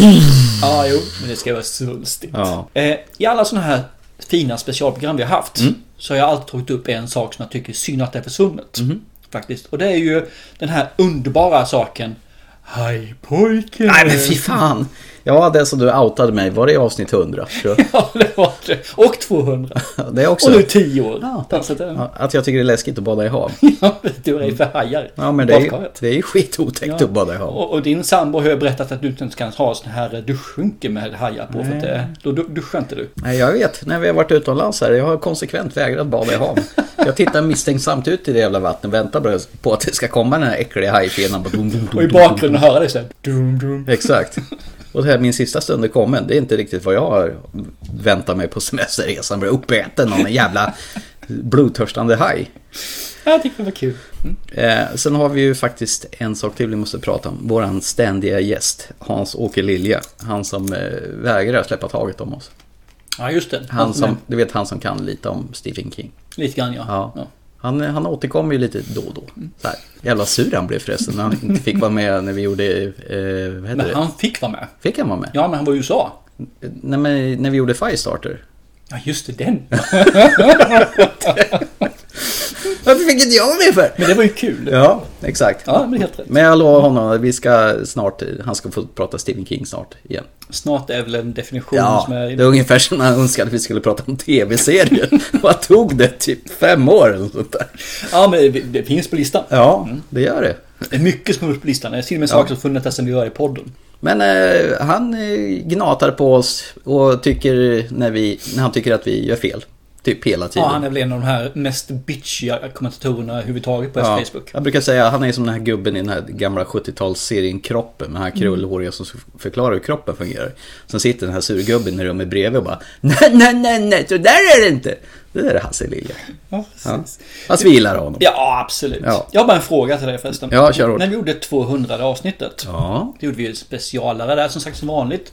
Ja, jo, Ah, men det ska vara svulstigt.
Ja.
Eh, I alla sådana här fina specialprogram vi har haft
Mm.
så har jag alltid tagit upp en sak som jag tycker är synd att det är försvunnet.
Mm.
Faktiskt. Och det är ju den här underbara saken. Hej pojken!
Nej men fy fan! Ja, det som du outade mig, var det i avsnitt 100? Tror jag.
Ja, det var det. Och 200.
Det är också...
Och nu 10 år.
Ja,
tack. Så det,
Ja, Att jag tycker det är läskigt att bada i hav.
Du är för hajar.
Ja men det är, ju-
Badkaret.
det är ju skitotäckt
Ja.
att bada i hav.
Och, och din sambo har ju berättat att du inte ens kan ha sån här duschskynke med hajar på. För att det, då du- duschar inte du.
Nej jag vet, när vi har varit utomlands här, jag har konsekvent vägrat bada i hav. Jag tittar misstänksamt ut i det jävla vattnet, väntar bara på att det ska komma den här äckliga hajfenan. bara dum, dum, dum,
Och i
dum, dum,
bakgrunden höra det så här. Dum, dum.
Exakt. Och det här, min sista stund är kommen. Det är inte riktigt vad jag har väntat mig på semesterresan. Blir uppäten av en jävla blodtörstande haj.
Jag tyckte det var kul.
Eh, sen har vi ju faktiskt en sak till vi måste prata om. Våran ständiga gäst, Hans-Åke Lilja. Han som eh, vägrar släppa taget om oss.
Ja, just det.
Han som, du vet han som kan lite om Stephen King.
Lite grann ja. Mm.
Ja. Han, eh, han återkommer ju lite då och då. Så här. Jävla sur han blev förresten när han inte fick vara med när vi gjorde... Eh, vad heter
Men
det?
han fick vara med.
Fick han vara med?
Ja, men han var i USA.
Nej, men när vi gjorde Firestarter.
Ja, just det. Den.
Varför fick inte jag vara med för?
Men det var ju kul.
Ja, exakt.
Ja, men helt rätt.
Men jag lovar honom att vi ska snart, han ska få prata Stephen King snart igen.
Snart är väl en definition
Ja,
som är...
det är ungefär som han önskade att vi skulle prata om tv-serier. Vad tog det? Typ fem år eller sånt där.
Ja, men det, det finns på listan.
Ja, det gör det.
Det är mycket som är på listan. Det är till och med saker som funnits där sedan vi var i podden.
Men eh, han eh, gnatar på oss och tycker när, vi, när han tycker att vi gör fel. Typ hela
Ja,
tiden.
han är väl en av de här mest bitchiga kommentatorerna överhuvudtaget på
Ja,
Facebook.
jag brukar säga han är som den här gubben i den här gamla 70-talsserien Kroppen med den här
Mm.
krullhåriga som förklarar hur kroppen fungerar. Sen sitter den här surgubben i rummet bredvid och bara Nej, nej, nej, nej, så där är det inte! Det där är Hasse Lilja.
Ja,
Ja. Fast vi gillar honom.
Ja, absolut.
Ja.
Jag har bara en fråga till dig förresten.
Ja, kör hårt.
När vi gjorde 200 avsnittet.
Ja. Mm.
Det gjorde vi ju specialare där som sagt som vanligt.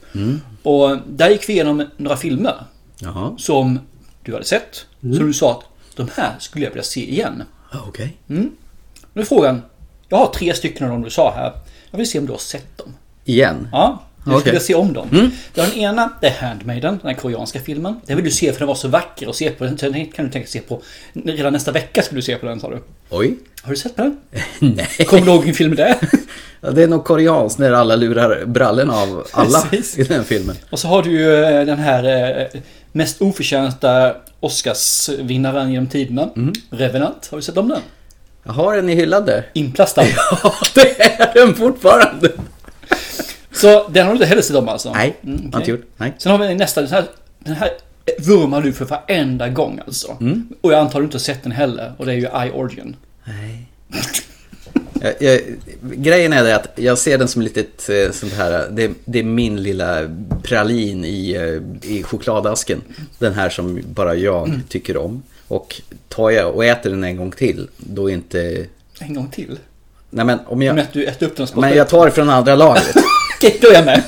Och där gick vi igenom några filmer.
Jaha, Mm.
Som du hade sett. Som du sa att de här skulle jag vilja se igen.
okej.
Nu är frågan. Jag har tre stycken av dem du sa här. Jag vill se om du har sett dem.
Igen.
Ja, du
Okej. Mm.
skulle vilja se om dem. Den ena, det är Handmaiden, den här koreanska filmen. Den vill du se för den var så vacker att se på. Den den kan du tänka se på. Redan nästa vecka skulle du se på den sa du.
Oj.
Har du sett på den?
Nej.
Kommer du ihåg vilken film det är?
Ja, Det är nog koreanskt när alla lurar brallen av alla
Precis.
i den filmen.
Och så har du ju eh, den här eh, mest oförtjänta Oscarsvinnaren genom tiderna.
Mm.
Revenant, har du sett om den?
Jag har den i hyllan där.
Inplastad.
Ja, det är den fortfarande.
Så den har du inte heller sett om alltså?
Nej,
Mm, okej.
har inte gjort. Nej.
Sen har vi nästa, den här, den här vurmar du för varenda gång alltså.
Mm.
Och jag antar du inte har sett den heller. Och det är ju I Origin.
Jag, jag, grejen är det att jag ser den som litet eh, sånt här, det, det är min lilla pralin i, eh, i chokladasken. Den här som bara jag
Mm.
tycker om. Och tar jag och äter den en gång till, då är inte...
En gång till.
Nej men om
Men
jag...
att du äter upp den spottar
Men jag tar det från andra lagret.
Okej, då är jag med.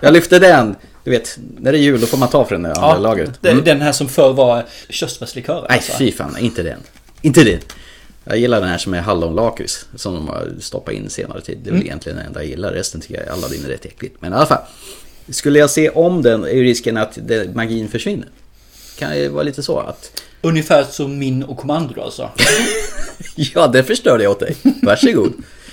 Jag lyfter den, du vet, när det är jul då får man ta från det andra lagret.
det är
Mm.
Den här som förr var körsbärslikören.
Nej
alltså.
fy fan, inte den. Inte den. Jag gillar den här som är hallonlakrits som de har stoppat in senare tid. Det är väl egentligen den enda jag gillar. Resten tycker jag Aladdin är rätt äckligt. Men i alla fall. Skulle jag se om den är ju risken att det, magin försvinner. Kan ju vara lite så att
Ungefär som min och kommando alltså.
ja, det förstörde jag åt dig. Varsågod.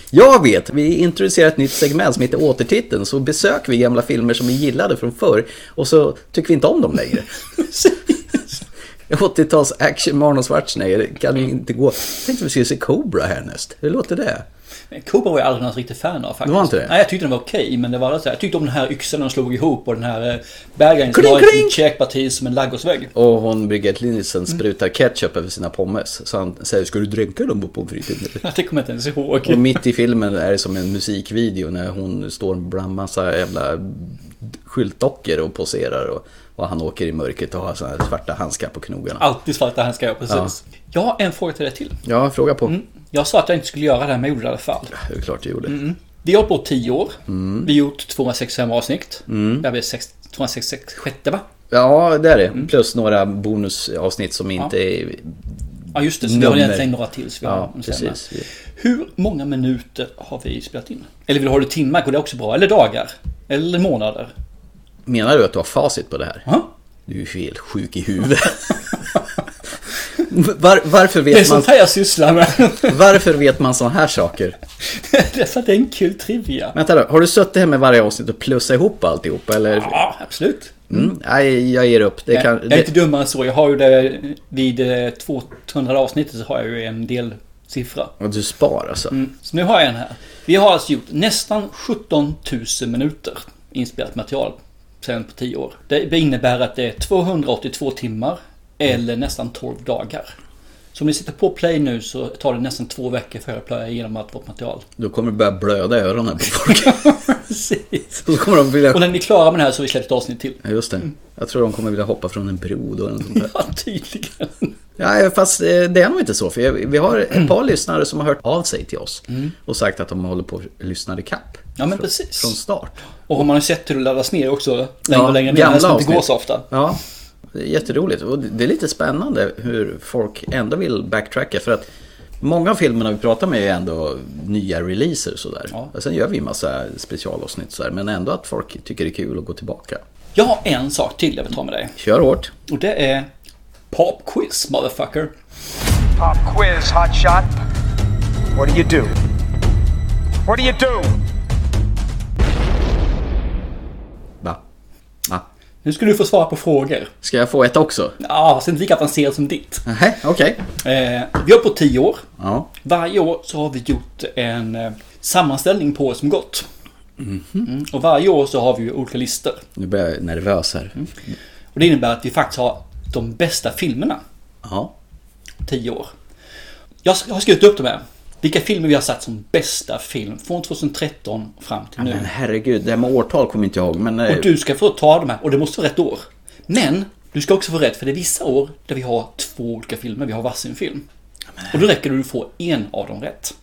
Jag vet, vi introducerar ett nytt segment som heter Återtiteln. Så besöker vi gamla filmer som vi gillade från förr och så tycker vi inte om dem längre. 80-tals action med Arnold Schwarzenegger, det kan ju inte gå. Jag tänkte vi skulle se Cobra härnäst. Hur låter det?
Men Cobra var jag aldrig någon riktig fan av faktiskt.
Det var inte det?
Nej, jag tyckte den var okej, men det var aldrig så här. Jag tyckte om den här yxan de slog ihop och den här eh, bad guyen som
Kling,
var ett
kling!
litet käkparti som en laggårdsvägg.
Och hon Bridget Linsen sprutar ketchup över sina pommes. Så han säger, ska du dränka dem på pommes fritesen?
Det kommer jag inte ens ihåg.
Och mitt i filmen är det som en musikvideo när hon står bland massa jävla skyltdockor och poserar och, och han åker i mörkret och har sådana här svarta handskar på knogarna.
Alltid svarta handskar, ja, precis. Jag har en fråga till dig till.
Ja, fråga på.
Jag sa att jag inte skulle göra det här, men jag gjorde det i alla fall.
Det är klart du gjorde.
Mm. Vi har hållit på 10 år.
Mm.
Vi har gjort 265 avsnitt.
Mm.
Där vi är sex- 266 sjätte, va?
Ja, det är det.
Mm.
Plus några bonusavsnitt som inte är...
Ja, just det. Så vi har
Nummer.
egentligen några till. Så vi har
Ja,
dem sen, va?
precis.
Hur många minuter har vi spelat in? Eller vill du ha det i timmar? Går det också bra? Eller dagar? Eller månader?
Menar du att du har facit på det här? Du är ju helt sjuk i huvudet. Var, varför vet
Det är
man...
sånt här jag sysslar med.
Varför vet man såna här saker?
Därför att det är en kul trivia.
Vänta då, har du suttit här med varje avsnitt och plussat ihop alltihop eller?
Ja, absolut.
Mm, nej, jag ger upp. Det kan,
jag, jag är inte
det,
dummare än så. Jag har ju det vid eh, 200 avsnittet så har jag ju en del siffra.
Ja, du spar alltså.
Mm. Så nu har jag en här. Vi har alltså gjort nästan 17 000 minuter inspelat material sen på 10 år. Det innebär att det är 282 timmar eller nästan 12 dagar. Så om ni sitter på play nu så tar det nästan två veckor för er att plöja igenom allt vårt material.
Då kommer det börja blöda i öronen på folk.
Precis.
Då kommer de vilja...
Och Mm. när ni är klara med det här så har vi släppt ett avsnitt till.
Ja, Just det. Jag tror de kommer vilja hoppa från en bro då. Eller något sånt där.
Ja, tydligen.
Nej, fast eh, det är nog inte så. För jag- vi har ett par lyssnare som har hört av sig till oss
Mm.
och sagt att de håller på att lyssna ikapp.
Ja, men
från,
precis.
Från start.
Och har man ju sett hur det laddas ner också längre
Ja,
och längre ner.
gamla
Det inte
avsnitt.
går så ofta.
Ja, det är jätteroligt. Och det är lite spännande hur folk ändå vill backtracka. För att många av filmerna vi pratar med är ändå nya releaser. Sådär. Och sen gör vi en massa specialavsnitt. Sådär. Men ändå att folk tycker det är kul att gå tillbaka.
Jag har en sak till jag vill ta med dig.
Kör hårt.
Och det är Pop Quiz, motherfucker.
Pop quiz, hotshot. What do you do? What do you do?
Va? Va?
Nu ska du få svara på frågor.
Ska jag få ett också?
Ja, så inte lika avancerat som ditt.
Nej, okej.
Eh, vi har på tio år.
Ja.
Varje år så har vi gjort en eh, sammanställning på året som gått.
Mhm.
Mm, och varje år så har vi ju olika listor.
Nu blir jag nervös här.
Mm. Och det innebär att vi faktiskt har de bästa filmerna.
Ja.
Tio år. Jag sk- jag har skrivit upp dem här. Vilka filmer vi har satt som bästa film från 2013 fram till nu.
Men herregud, det här med årtal kommer inte jag ihåg. Men eh,
Och du ska få ta de här och det måste vara rätt år. Men du ska också få rätt för det är vissa år där vi har två olika filmer. Vi har varsin film. Och då räcker det att du får en av dem rätt. Mm,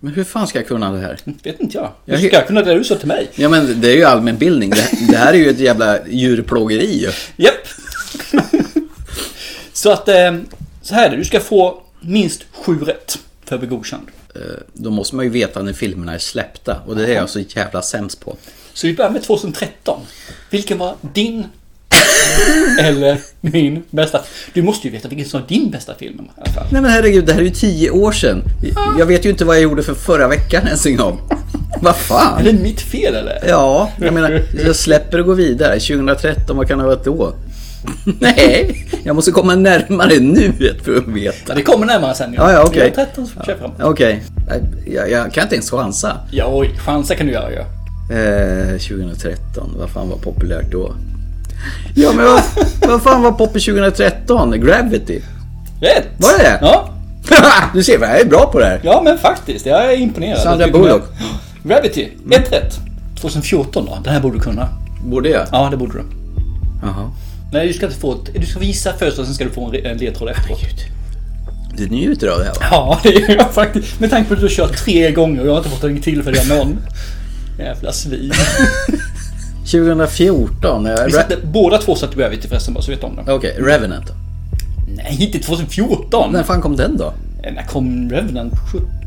men hur fan ska jag kunna det här?
Vet inte jag. Hur
Jag-
ska jag kunna det du sa till mig?
Ja men det är ju allmänbildning. Det, det här är ju ett jävla djurplågeri ju.
Japp. så att, eh, så här är det. Du ska få minst sju rätt för att bli godkänd.
Eh, Då måste man ju veta när filmerna är släppta och det är jag så jävla sämst på.
Så vi börjar med 2013. Vilken var din eller min bästa? Du måste ju veta vilken som var din bästa film i alla fall.
Nej men herregud, det här är ju tio år sedan. Jag vet ju inte vad jag gjorde för förra veckan ens en gång. Vad
Är
fan?
det mitt fel eller?
Ja, jag menar, jag släpper och går vidare. 2013, vad kan det ha varit då? Nej, jag måste komma närmare nuet för att veta.
Ja, det kommer närmare sen.
Ja, ja, okej.
Jag har 13 så kör fram.
Okej, jag, jag kan inte ens chansa.
Ja, oj, chanser kan du göra ju.
Eh, 2013, vad fan var populärt då? Ja men vad, vad fan var poppis 2013? Gravity?
Rätt!
Var det det?
Ja,
du ser, jag är bra på det här.
ja, men faktiskt. Jag är imponerad.
Sandra
Jag tycker
Bullock. Mm.
det. Gravity, ett rätt. 2014 då? Den här borde du kunna.
Borde jag?
Ja, det borde du.
Jaha.
Nej, du ska inte få ett, Du ska visa först och sen ska du få en, en ledtråd efteråt.
Du njuter av det här va?
Ja, det gör jag faktiskt. Med tanke på att du har kört tre gånger och jag har inte fått en till för det någon. Jävla svin.
2014? eh,
Vi
Re-
satte, båda två satte Gravity förresten, bara så vet du om det.
Okej, Revenant då?
Nej, inte 2014!
När fan kom den då?
Eh, När kom Revenant?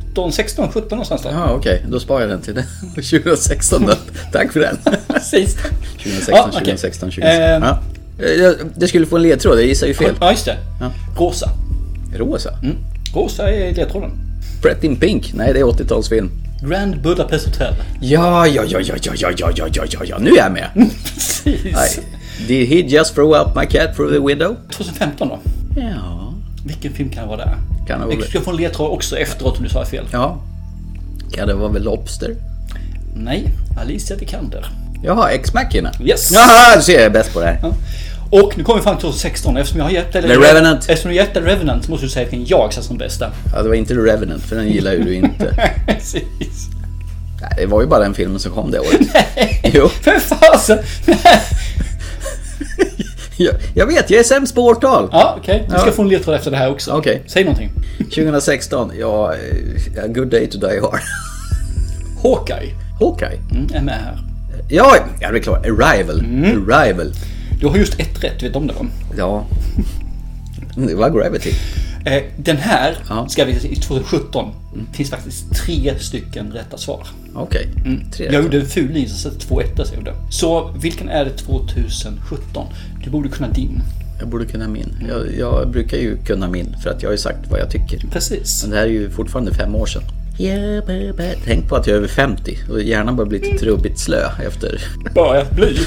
17, 16, 17 någonstans då?
Ja, okej. Då sparar jag den till den. 2016 då. Tack för den.
Precis.
2016,
Ja, okej.
2016, 2016.
Ehm.
Ja. Eh, jag- Det skulle få en ledtråd, jag gissar ju fel.
Ja, Mm. just det. Rosa.
Rosa?
Rosa är ledtråden.
Pretty in Pink? Nej, det är 80-talsfilm.
Grand Budapest Hotel.
Ja, ja, ja, ja, ja, ja, ja, ja, ja, ja, ja, nu är jag
Mm.
med.
Precis.
Nej. Did he just throw out my cat through the window?
2015 då?
Ja.
Vilken film kan det vara där?
Kan det vara
Du ska få en ledtråd också efteråt om du sa fel.
Ja. Kan det vara väl Lobster?
Nej, Alicia Vikander.
Jaha, X-Machina.
Yes!
Jaha, du ser jag är bäst på det här.
Och nu kommer vi fram till 2016 eftersom jag har gett dig...
The Revenant.
Eftersom jag gett dig Revenant så måste du säga vilken jag ser som bästa.
Ja, det var inte The Revenant, för den gillar ju du inte.
Precis.
Nej, det var ju bara den filmen som kom det året. jo.
För fasen!
jag, jag vet, jag är sämst på årtal.
Ja, okej. Du ska få en ledtråd efter det här också.
Okej.
Säg någonting.
2016, ja... eh, A good day to die hard.
Hawkeye.
Hawkeye?
Mm, är med här.
Ja, jag är klar. Arrival.
Mm.
Arrival.
Du har just ett rätt, vet du om det va?
Ja. Det var Gravity.
Eh, Den här, ska vi i 2017, finns faktiskt tre stycken rätta svar.
Okej. Tre
Jag gjorde en ful linje, så satte två ettor. så jag gjorde. Så vilken är det 2017? Du borde kunna din.
Jag borde kunna min. Jag, jag brukar ju kunna min för att jag har ju sagt vad jag tycker.
Precis.
Men det här är ju fortfarande fem år sedan. Tänk på att jag är över 50 och hjärnan börjar bli lite trubbigt slö efter...
Börjat bli?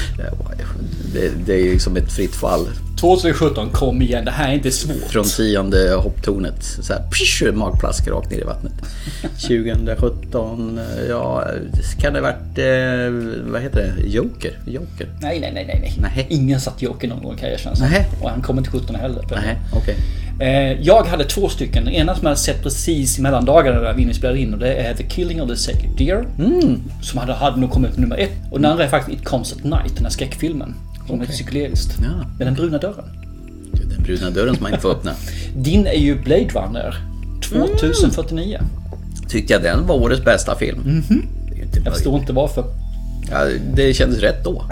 Det, det är ju liksom ett fritt fall.
2017, kom igen, det här är inte svårt.
Från tionde hopptornet. Så här, psh, magplask rakt ner i vattnet. 2017, ja, kan det ha varit, eh, vad heter det, Joker? Joker?
Nej, nej, nej, nej. nej. Ingen satt Joker någon gång kan jag erkänna.
Nej.
Och han kommer inte 17 heller.
Nej, okej.
Eh, jag hade två stycken. Den ena som jag sett precis i mellandagarna där vi inspelade in och det är The Killing of the Sacred Deer.
Mm.
Som hade, hade nog kommit på nummer ett. Och den andra är faktiskt It Comes at Night, den här skräckfilmen. Som är
Okej.
psykedeliskt.
Ja.
Med den bruna dörren.
Den bruna dörren som man inte får öppna.
Din är ju Blade Runner 2049.
Mm. Tyckte jag den var årets bästa film.
Mhm.
Det är ju inte
Jag förstår inte varför.
Ja, det kändes rätt då.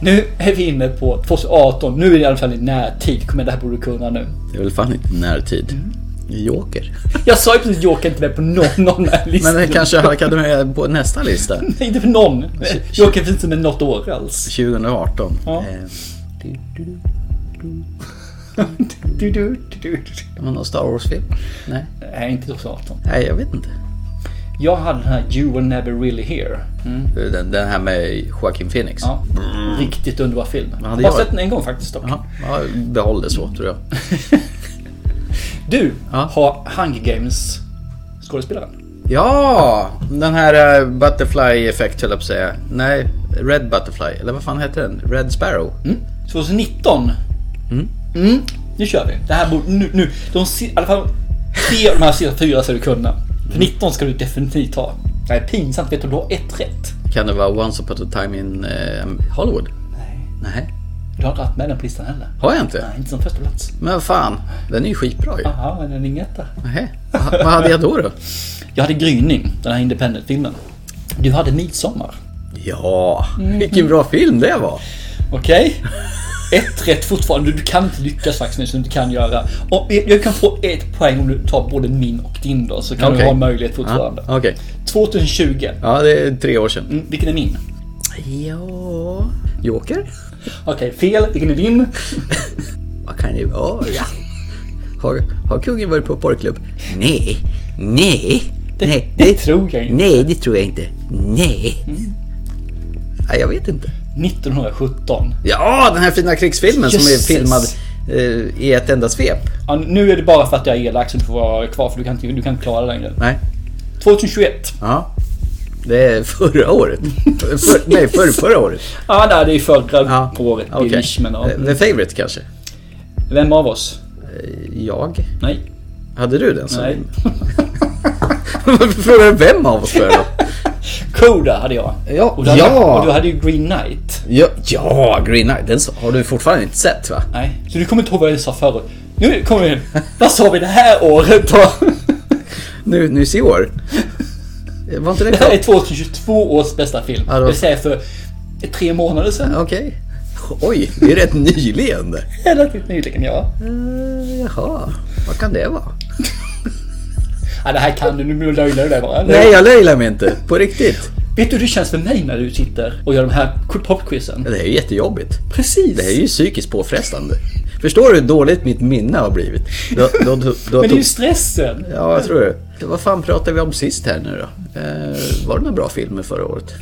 Nu är vi inne på 2018. Nu är det i alla fall i närtid. Kom igen, det här borde du kunna nu.
Det är väl fan inte närtid.
Mm.
Joker.
Jag sa ju precis Joker är inte med på någon av de här listorna.
Men den kanske halkade med på nästa lista.
Nej, inte för någon. Joker finns inte med något år alls.
2018.
Ja.
Eh,
Du, du, du, du.
det var någon Star Wars-film? Nej.
Nej, inte 2018.
Nej, jag vet inte.
Jag hade den här You were never really here. Mm.
Den, den här med Joaquin Phoenix.
Ja. Riktigt underbar film. Jag har
hade
bara
jag-
sett den en gång faktiskt dock.
Ja, behåll det så tror jag.
Du har Hunger Games skådespelaren.
Ja, den här eh, Butterfly Effect höll jag på att säga. Nej, Red Butterfly. Eller vad fan heter den? Red Sparrow?
Mm. 2019.
Mm.
Mm, nu kör vi. Det här borde, nu, nu. De, si- i alla fall tre av de här sista fyra ska du kunna.
Mm.
För 19 ska du definitivt ha. Det här är pinsamt, vet du, du har ett rätt.
Kan det vara Once upon a time in eh, Hollywood? Nej.
Du har inte haft med den på listan heller.
Har jag inte?
Nej, inte som första plats.
Men vad fan, den är ju skitbra ju.
Jaha, men den är inget där.
Nej. Vad hade jag då då?
Jag hade Gryning, den här independent-filmen. Du hade Midsommar.
Ja,
Mm.
vilken bra film det var.
Okej? Ett rätt fortfarande. Du kan inte lyckas faktiskt nu som du kan göra. Och jag kan få ett poäng om du tar både min och din då. Så kan du
Okej.
ha en möjlighet fortfarande.
Ja, Okej.
2020.
Ja, det är tre år sedan.
Mm, vilken är min?
Ja... Joker?
Okej, fel. Vilken är din?
Vad kan det vara? Har, har kungen varit på porrklubb? Nej. Nej. Det, nej. det
tror jag inte. Mm.
Nej, det tror jag inte. Nej. Nej, jag vet inte.
1917.
Ja, den här fina krigsfilmen som
Jösses.
är filmad eh, i ett enda svep.
Ja, nu är det bara för att jag är elak som du får vara kvar för du kan inte, du kan inte klara det längre.
Nej.
2021.
Ja. Det är förra året. För- för, nej, för, förra året.
Ja, nej, det är förra året.
Okej.
Billish, men, ja.
Eh, The Favourite kanske?
Vem av oss?
Jag?
Nej.
Hade du den? som-
Nej.
Varför frågar du vem av oss för då?
Koda hade jag.
Ja,
och, du hade,
ja.
och du hade ju Green Knight.
Ja, ja Green Knight. Den har du fortfarande inte sett va?
Nej, så du kommer inte ihåg vad jag sa förut. Nu kommer vi in. Vad sa vi det här året då?
Nu, nu i år. Eh, Var inte det
Det här är
klart?
2022 års bästa film.
Ja, det
det
var-
vill säga för tre månader sedan.
Okej. Oj, det är rätt nyligen. det.
Relativt nyligen, ja.
Eh, jaha, vad kan det vara?
ja. Det här kan du, nu löjlar du dig bara. eller?
Nej, jag löjlar mig inte. På riktigt.
Vet du hur det känns för mig när du sitter och gör de här popquizen?
Det är ju jättejobbigt.
Precis!
Det är ju psykiskt påfrestande. Förstår du hur dåligt mitt minne har blivit? Då, då, då, då,
Men det är ju stressen!
Ja, jag tror det. Vad fan pratade vi om sist här nu då? Eh, var det några bra filmer förra året?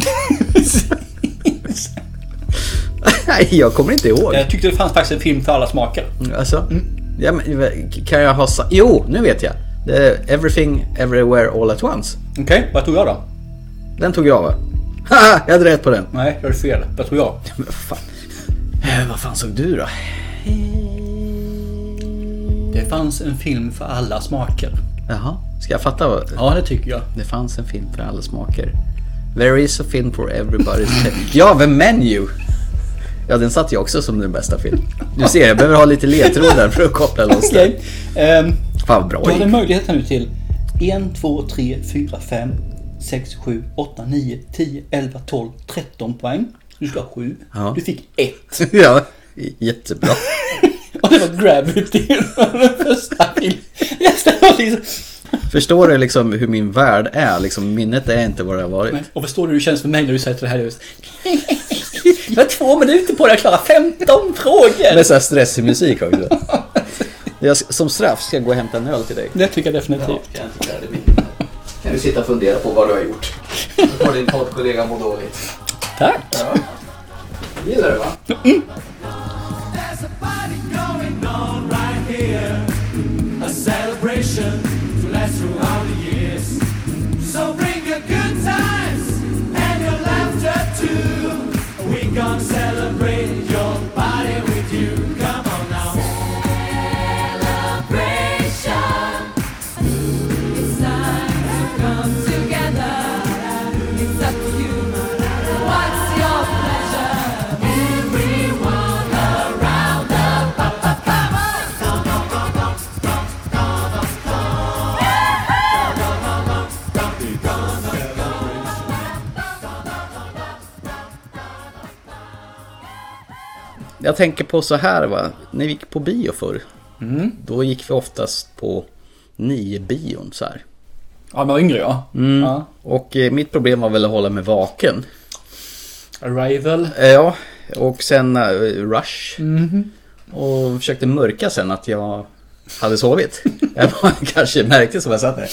Nej, jag kommer inte ihåg.
Jag tyckte det fanns faktiskt en film för alla smaker.
Alltså, ja, men, kan jag ha sa- Jo, nu vet jag. Det är Everything, Everywhere, All At Once.
Okej, vad tog jag då?
Den tog jag va? Haha, jag hade rätt på den.
Nej, jag är fel. Vad tog jag?
Men vad fan. Eh, vad fan såg du då?
Det fanns en film för alla smaker.
Jaha, ska jag fatta? Vad...
Ja, det tycker jag.
Det fanns en film för alla smaker. There is a film for everybody's Ja, The Menu! Ja, den satt jag också som den bästa film. Du ser, jag behöver ha lite ledtrådar för att koppla loss den.
Okej. ehm,
Fan vad bra
Du har
gick.
en möjlighet här nu till 1, 2, 3, 4, 5, 6, 7, 8, 9, 10, 11, 12, 13 poäng. Du ska ha 7.
Ja.
Du fick 1.
Ja, jättebra.
Och det var Gravity. Den första filmen. Resten var liksom...
Förstår du liksom hur min värld är? Liksom, minnet är inte vad det har varit.
Och förstår du hur det känns för mig när du säger till det här just? Du har två minuter på dig att klara 15 frågor!
Med så här stressig musik också. Jag, ska- som straff ska jag gå och hämta en öl till dig.
Det tycker jag definitivt.
Kan du sitta och fundera på vad du har gjort? Då får din poddkollega må dåligt.
Tack!
Gillar du va?
A celebration to last throughout the years. So bring your good times and your laughter too. We gonna celebrate your party with you. Come on now. Celebration. It's time to come together. It's up to you. What's your pleasure? Everyone around the
Jag tänker på så här va, när vi gick på bio förr. Då gick vi oftast på nio bion så här.
Ja, men jag var yngre ja.
Mm.
Ja.
Och eh, mitt problem var väl att hålla mig vaken.
Arrival.
Eh, Ja, och sen eh, Rush.
Mhm.
Och försökte mörka sen att jag hade sovit. Jag bara kanske märkte som jag satt där.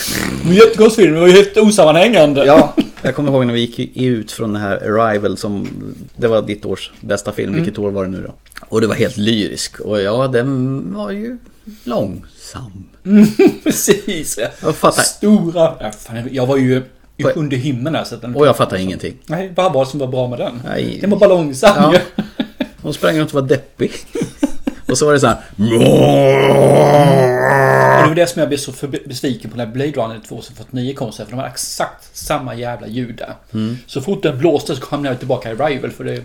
Men jättekonstig film, det var ju helt osammanhängande.
Ja, jag kommer ihåg när vi gick ut från den här Arrival som Det var ditt års bästa film, vilket år var det nu då? Och det var helt lyrisk och ja, den var ju långsam
Precis.
Jag fattar.
Stora... Ja, fan, jag var ju i sjunde himlen här. Så att den...
Och jag fattar ingenting
Nej, vad var det som var bra med den?
Nej.
Den var bara långsam
Ja.
ju.
Hon sprang runt och var deppig Och så var det så här
Och det var det som jag blev så förb- besviken på när Blade Runner 2049 kom sen, för de hade exakt samma jävla ljud där.
Mm.
Så fort den blåste så kom jag tillbaka i Rival, för det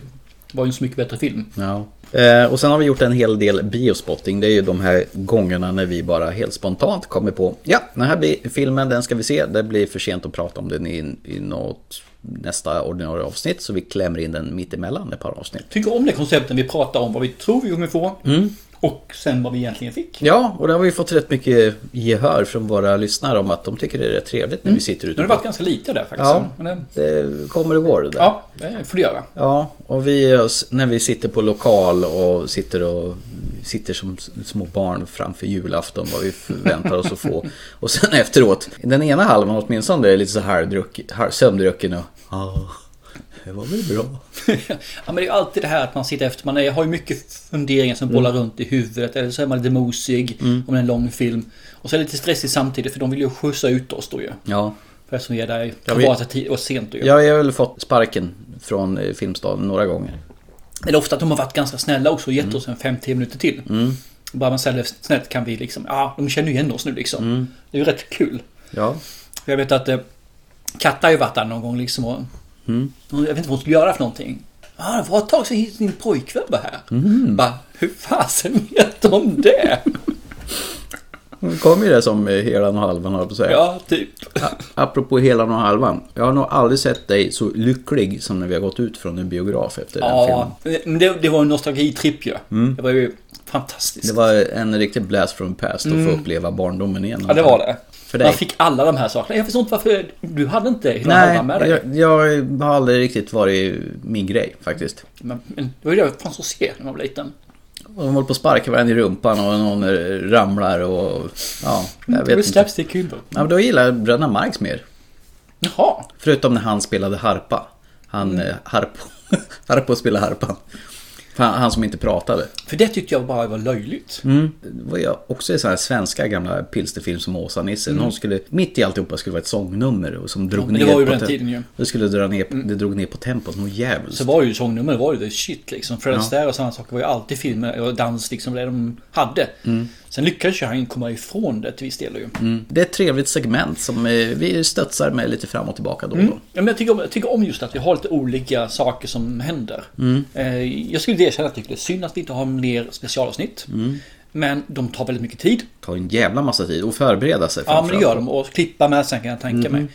var ju en så mycket bättre film.
Ja. Eh, och sen har vi gjort en hel del biospotting. Det är ju de här gångerna när vi bara helt spontant kommer på ja, den här bi- filmen den ska vi se. Det blir för sent att prata om den i, i något nästa ordinarie avsnitt så vi klämmer in den mitt emellan ett par avsnitt.
Tycker om det konceptet vi pratar om, vad vi tror vi kommer få.
Mm.
Och sen vad vi egentligen fick.
Ja, och där har vi fått rätt mycket gehör från våra lyssnare om att de tycker det är rätt trevligt när vi sitter
Nu
ute.
har det varit ganska lite där faktiskt.
Ja.
Men det,
Det kommer och går det där.
ja, det får du göra.
Ja, och vi när vi sitter på lokal och sitter, och sitter som små barn framför julafton vad vi förväntar oss att få. Och sen efteråt, den ena halvan åtminstone är lite så här druck, här, sömndrucken och ja, det var väl bra.
Ja, men det är ju alltid det här att man sitter efter. Man är, har ju mycket funderingar som bollar runt i huvudet. Eller så är man lite mosig
Mm.
om det är en lång film. Och så är det lite stressigt samtidigt för de vill ju skjutsa ut oss då ju.
Ja.
För eftersom vi är där
Ja,
ja,
vi-
vi... tid och sent då ju.
Jag har väl fått sparken från eh, Filmstaden några gånger.
Eller ofta att de har varit ganska snälla också och gett oss en 5-10 minuter till.
Mm.
Bara man säljer snett kan vi liksom, ja de känner ju igen oss nu liksom.
Mm.
Det är ju rätt kul.
Ja.
Jag vet att eh, Katta har ju varit där någon gång liksom och
Mm.
och jag vet inte vad hon skulle göra för någonting. Ja, det var ett tag sedan hit- min pojkvän var här.
Mm.
Bara, hur fasen vet de det?
Nu kom ju det som eh, helan och halvan har på att säga.
Ja, typ.
Apropå helan och halvan. Jag har nog aldrig sett dig så lycklig som när vi har gått ut från en biograf efter den filmen.
Ja, men det, det var en nostalgitripp ju.
Mm.
Det var ju fantastiskt.
Det var en riktig blast from the past att
Mm.
få uppleva barndomen igen.
Ja, det var det.
För dig.
Man fick alla de här sakerna. Jag förstår inte varför du hade inte hela
Nej,
halvan med dig.
jag, jag har aldrig riktigt varit min grej faktiskt.
Men, men det var ju det jag fanns att se när man var liten.
Och De håller på att sparka varandra i rumpan och någon eh, ramlar och... Ja, jag
Mm, det var
vet inte.
slapstick humor.
Ja, men då gillar jag Bröderna Marx mer.
Jaha.
Förutom när han spelade harpa. Han...
Mm.
Mm. Harpo. harpo spelade harpan. Han, han som inte pratade.
För det tyckte jag bara var löjligt.
Mm. Det var ju också i sådana här svenska gamla pilsterfilm som Åsa-Nisse.
Mm.
Någon skulle, mitt i alltihopa skulle vara ett sångnummer och som drog
Ja, men
ner
det var ju
på
den
tem-
tiden ju. Mm.
Det, skulle dra ner, det drog ner på tempot något jävligt.
Så var ju sångnummer var ju det shit liksom. Fred
Ja.
Astaire och sådana saker var ju alltid filmer och dans liksom det de hade.
Mm.
Sen lyckades ju han komma ifrån det till viss del ju.
Mm. Det är ett trevligt segment som eh, vi stötsar med lite fram och tillbaka då och
Mm.
då.
Ja, men jag, tycker om, jag tycker om just att vi har lite olika saker som händer.
Mm.
Eh, jag skulle erkänna att jag tycker det är synd att vi inte har mer specialavsnitt.
Mm.
Men de tar väldigt mycket tid.
tar en jävla massa tid att förbereda sig
Ja, men det
framförallt.
gör de. Och klippa med sen kan jag tänka
Mhm.
mig.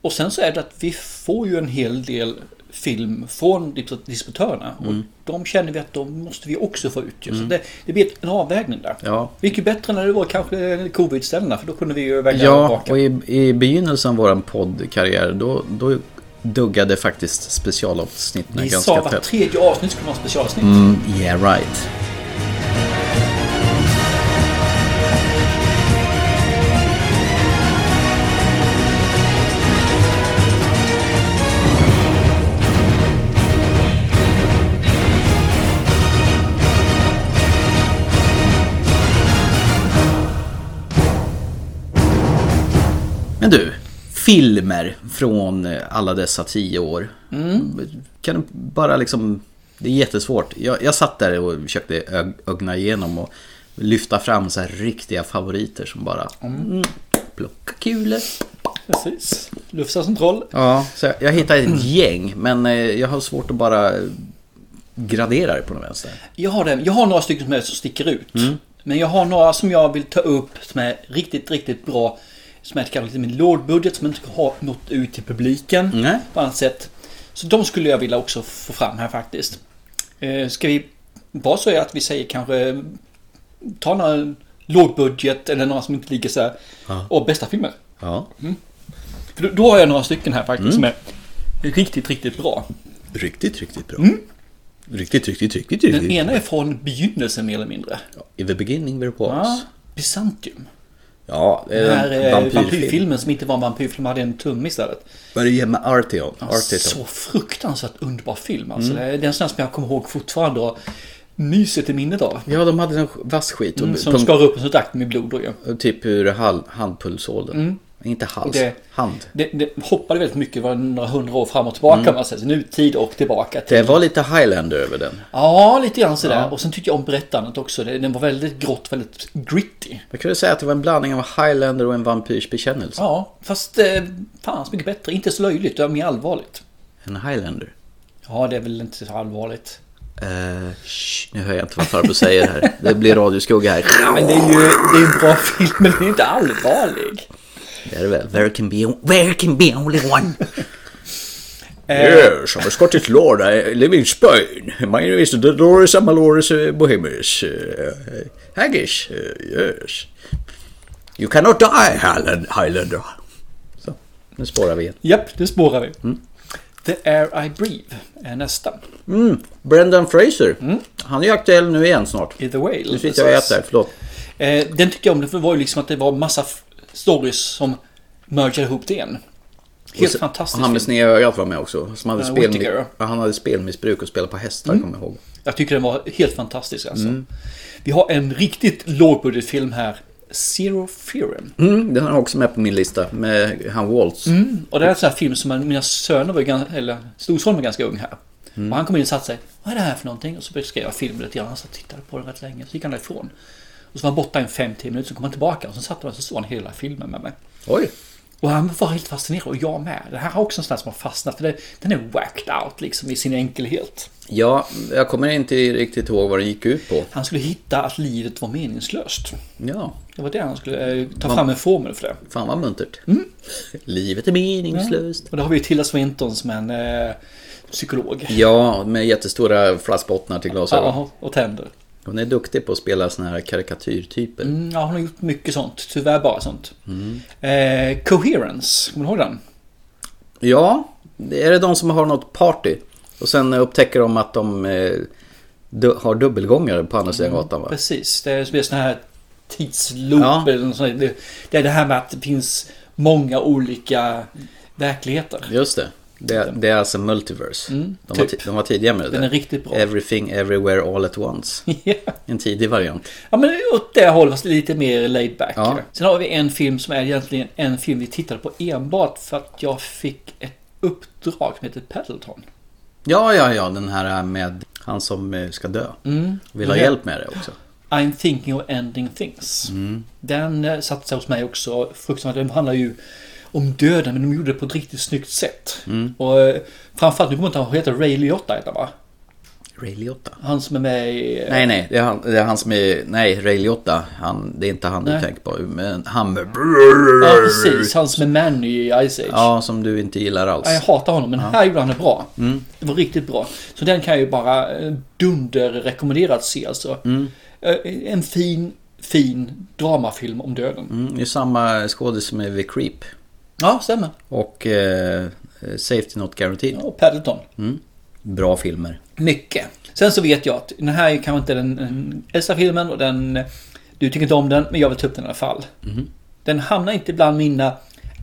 Och sen så är det att vi får ju en hel del film från dis- distributörerna.
Mm.
Och de känner vi att de måste vi också få ut. Ju. Så
Mm.
det, det blir en avvägning där.
Ja.
Vilket är bättre när det var kanske covid-ställena för då kunde vi ju välja
Ja,
raka.
och i, i begynnelsen av vår poddkarriär då, då duggade faktiskt specialavsnitten
Vi sa
ganska
att
tätt.
tredje avsnitt skulle vara ett specialavsnitt.
Mm, yeah right. Men du, filmer från eh, alla dessa tio år. Kan du bara liksom... Det är jättesvårt. Jag, jag satt där och försökte ög- ögna igenom och lyfta fram så här riktiga favoriter som bara... Mm. Plocka kulor.
Precis. Lufsa som troll.
Ja, så jag, jag hittade ett gäng men eh, jag har svårt att bara gradera det på något vänster.
Jag har, den. jag har några stycken som, är, som sticker ut.
Mm.
Men jag har några som jag vill ta upp som är riktigt, riktigt bra. Som är kanske lite min lågbudget som inte har nått ut till publiken på annat sätt. Så de skulle jag vilja också få fram här faktiskt. Eh, ska vi bara säga att vi säger kanske eh, ta några lågbudget eller några som inte ligger så här.
Ja.
Och bästa filmer.
Ja.
Mm. För då, då har jag några stycken här faktiskt
Mm.
som är riktigt, riktigt bra.
Riktigt, riktigt bra.
Mm.
Riktigt, riktigt, riktigt, riktigt.
Den ena är från begynnelsen mer eller mindre.
I the beginning there was.
Ja, Bysantium.
Ja, eh,
Den här eh,
vampyrfilm.
vampyrfilmen som inte var en vampyrfilm hade en tumme istället.
Vad är det med Arteon?
Ja,
Arteon.
Så fruktansvärt underbar film alltså.
Mm.
Det är en sån här som jag kommer ihåg fortfarande och myser till minnet av.
Ja, de hade en vass skit.
Mm, som skar upp en sån akt med blod då ju.
Typ ur hal- handpulsådern.
Mm.
Inte hals,
Och det-
hand.
Det, det hoppade väldigt mycket, det var några hundra år fram och tillbaka
Mm.
om man säger. Så Nutid och tillbaka.
Det var lite highlander över den.
Ja, lite grann sådär.
Ja.
Och sen tyckte jag om berättandet också. Det- Den var väldigt grått, väldigt gritty.
Jag kunde säga att det var en blandning av highlander och en vampyrs bekännelse.
Ja, fast eh, fan så mycket bättre. Inte så löjligt, det var mer allvarligt.
En highlander.
Ja, det är väl inte så allvarligt.
Eh, shh, nu hör jag inte vad farbror säger här. Det blir radioskugga här.
Ja, men det är ju det är en bra film, men den är inte allvarlig.
Det är det väl. There can be, there can be only one.
Eh,
Yes, I'm a Scottish lord. I live in Spain. My name is Dolores Amalores uh, Bohemus. Uh, Haggis, uh, yes. You cannot die, Highland- Highlander. Så, nu spårar vi igen.
Japp, det spårar vi. The Air I Breathe är nästa.
Mm, Brendan Fraser. Han är ju aktuell nu igen snart.
I The Whale.
Nu sitter jag och
Mm. precis.
äter, förlåt.
Eh, den tycker jag om, det för det var ju liksom att det var massa f- stories som mergade ihop till en.
Och
Helt
så-
fantastisk
och Han med
film.
sneda ögat var med också. Som hade
Ja,
spel,
Whittaker, ja.
ja, han hade spelmissbruk och spelade på hästar,
Mm.
kommer jag ihåg.
Jag tycker den var helt fantastisk alltså.
Mm.
Vi har en riktigt lågbudgetfilm här. Zero Theorem.
Mm, den har jag också med på min lista, med han Waltz.
Mm, och det här är en sån här film som mina söner var ganska, eller storsonen var ganska ung här.
Mm.
Och han kom in och satte sig. Vad är det här för någonting? Och så beskrev jag filmen lite grann. Han satt och tittade på den rätt länge. Så gick han därifrån. Och så var han borta i en fem, tio minuter. Så kom han tillbaka. Och så satt han och så såg han hela filmen med mig.
Oj!
Och han var helt fascinerad. Och jag med. Det här är också en sån här som har fastnat. För det, den är whacked out liksom i sin enkelhet.
Ja, jag kommer inte riktigt ihåg vad den gick ut på.
Han skulle hitta att livet var meningslöst.
Ja.
Det var det han skulle eh, ta
Man-
fram en formel för det.
Fan vad muntert.
Mm.
Livet är meningslöst.
Ja. Och då har vi ju Tilda Swinton som är en eh, psykolog.
Ja, med jättestora flaskbottnar till glasögon.
Ja, och tänder.
Hon är duktig på att spela såna här karikatyrtyper.
Mm, ja, hon har gjort mycket sånt. Tyvärr bara sånt.
Mm.
Eh, Coherence, kommer du ihåg den?
Ja, är det de som har något party? Och sen upptäcker de att de eh, du- har dubbelgångare på andra sidan gatan va?
Mm. Precis, det är som en sån här tidsloop.
Ja.
Eller något sånt. Det, det är det här med att det finns många olika verkligheter.
Just det. Det, det är alltså multiverse.
Mm,
de, var
typ.
ti- de var tidigare med det
Den
där.
är riktigt bra.
Everything, everywhere, all at once. En tidig variant.
Ja, men åt det hållet, fast lite mer laid back.
Ja.
Sen har vi en film som är egentligen en film vi tittade på enbart för att jag fick ett uppdrag som heter Paddleton.
Ja, ja, ja, den här med han som eh, ska dö.
Mm.
Vill ha
Den här-
hjälp med det också.
I'm thinking of ending things.
Mm.
Den eh, satte sig hos mig också. Fruktansvärt. Den handlar ju om döden men de gjorde det på ett riktigt snyggt sätt.
Mm.
Och eh, framförallt, nu kommer jag inte ihåg, han heter Ray Liotta heter han va?
Ray Liotta?
Han som är med i... eh,
Nej, nej, det är han, det är han som är... Nej, Ray Liotta. Han, det är inte han
Nej.
du tänker på. Men han...
Ja precis, han som är Manny i Ice Age.
Ja, som du inte gillar alls.
Ja, jag hatar honom men
Ja.
här gjorde han det bra.
Mm.
Det var riktigt bra. Så den kan jag ju bara eh, dunderrekommendera att se alltså.
Mm.
Eh, En fin, fin dramafilm om döden.
Mm, det är samma skådis som är vid Creep.
Ja, stämmer.
Och eh, Safety Not Guaranteed.
Och Paddleton.
Mm. Bra filmer.
Mycket. Sen så vet jag att den här är kanske inte den, den äldsta filmen och den... Du tycker inte om den, men jag vill ta upp den i alla fall.
Mhm.
Den hamnar inte bland mina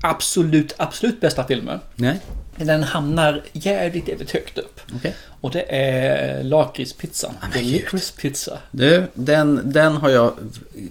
absolut, absolut bästa filmer.
Nej.
Men Den hamnar jävligt, jävligt högt upp.
Okej.
Och det är lakritspizzan. The Licorice Pizza.
Du, den, den har jag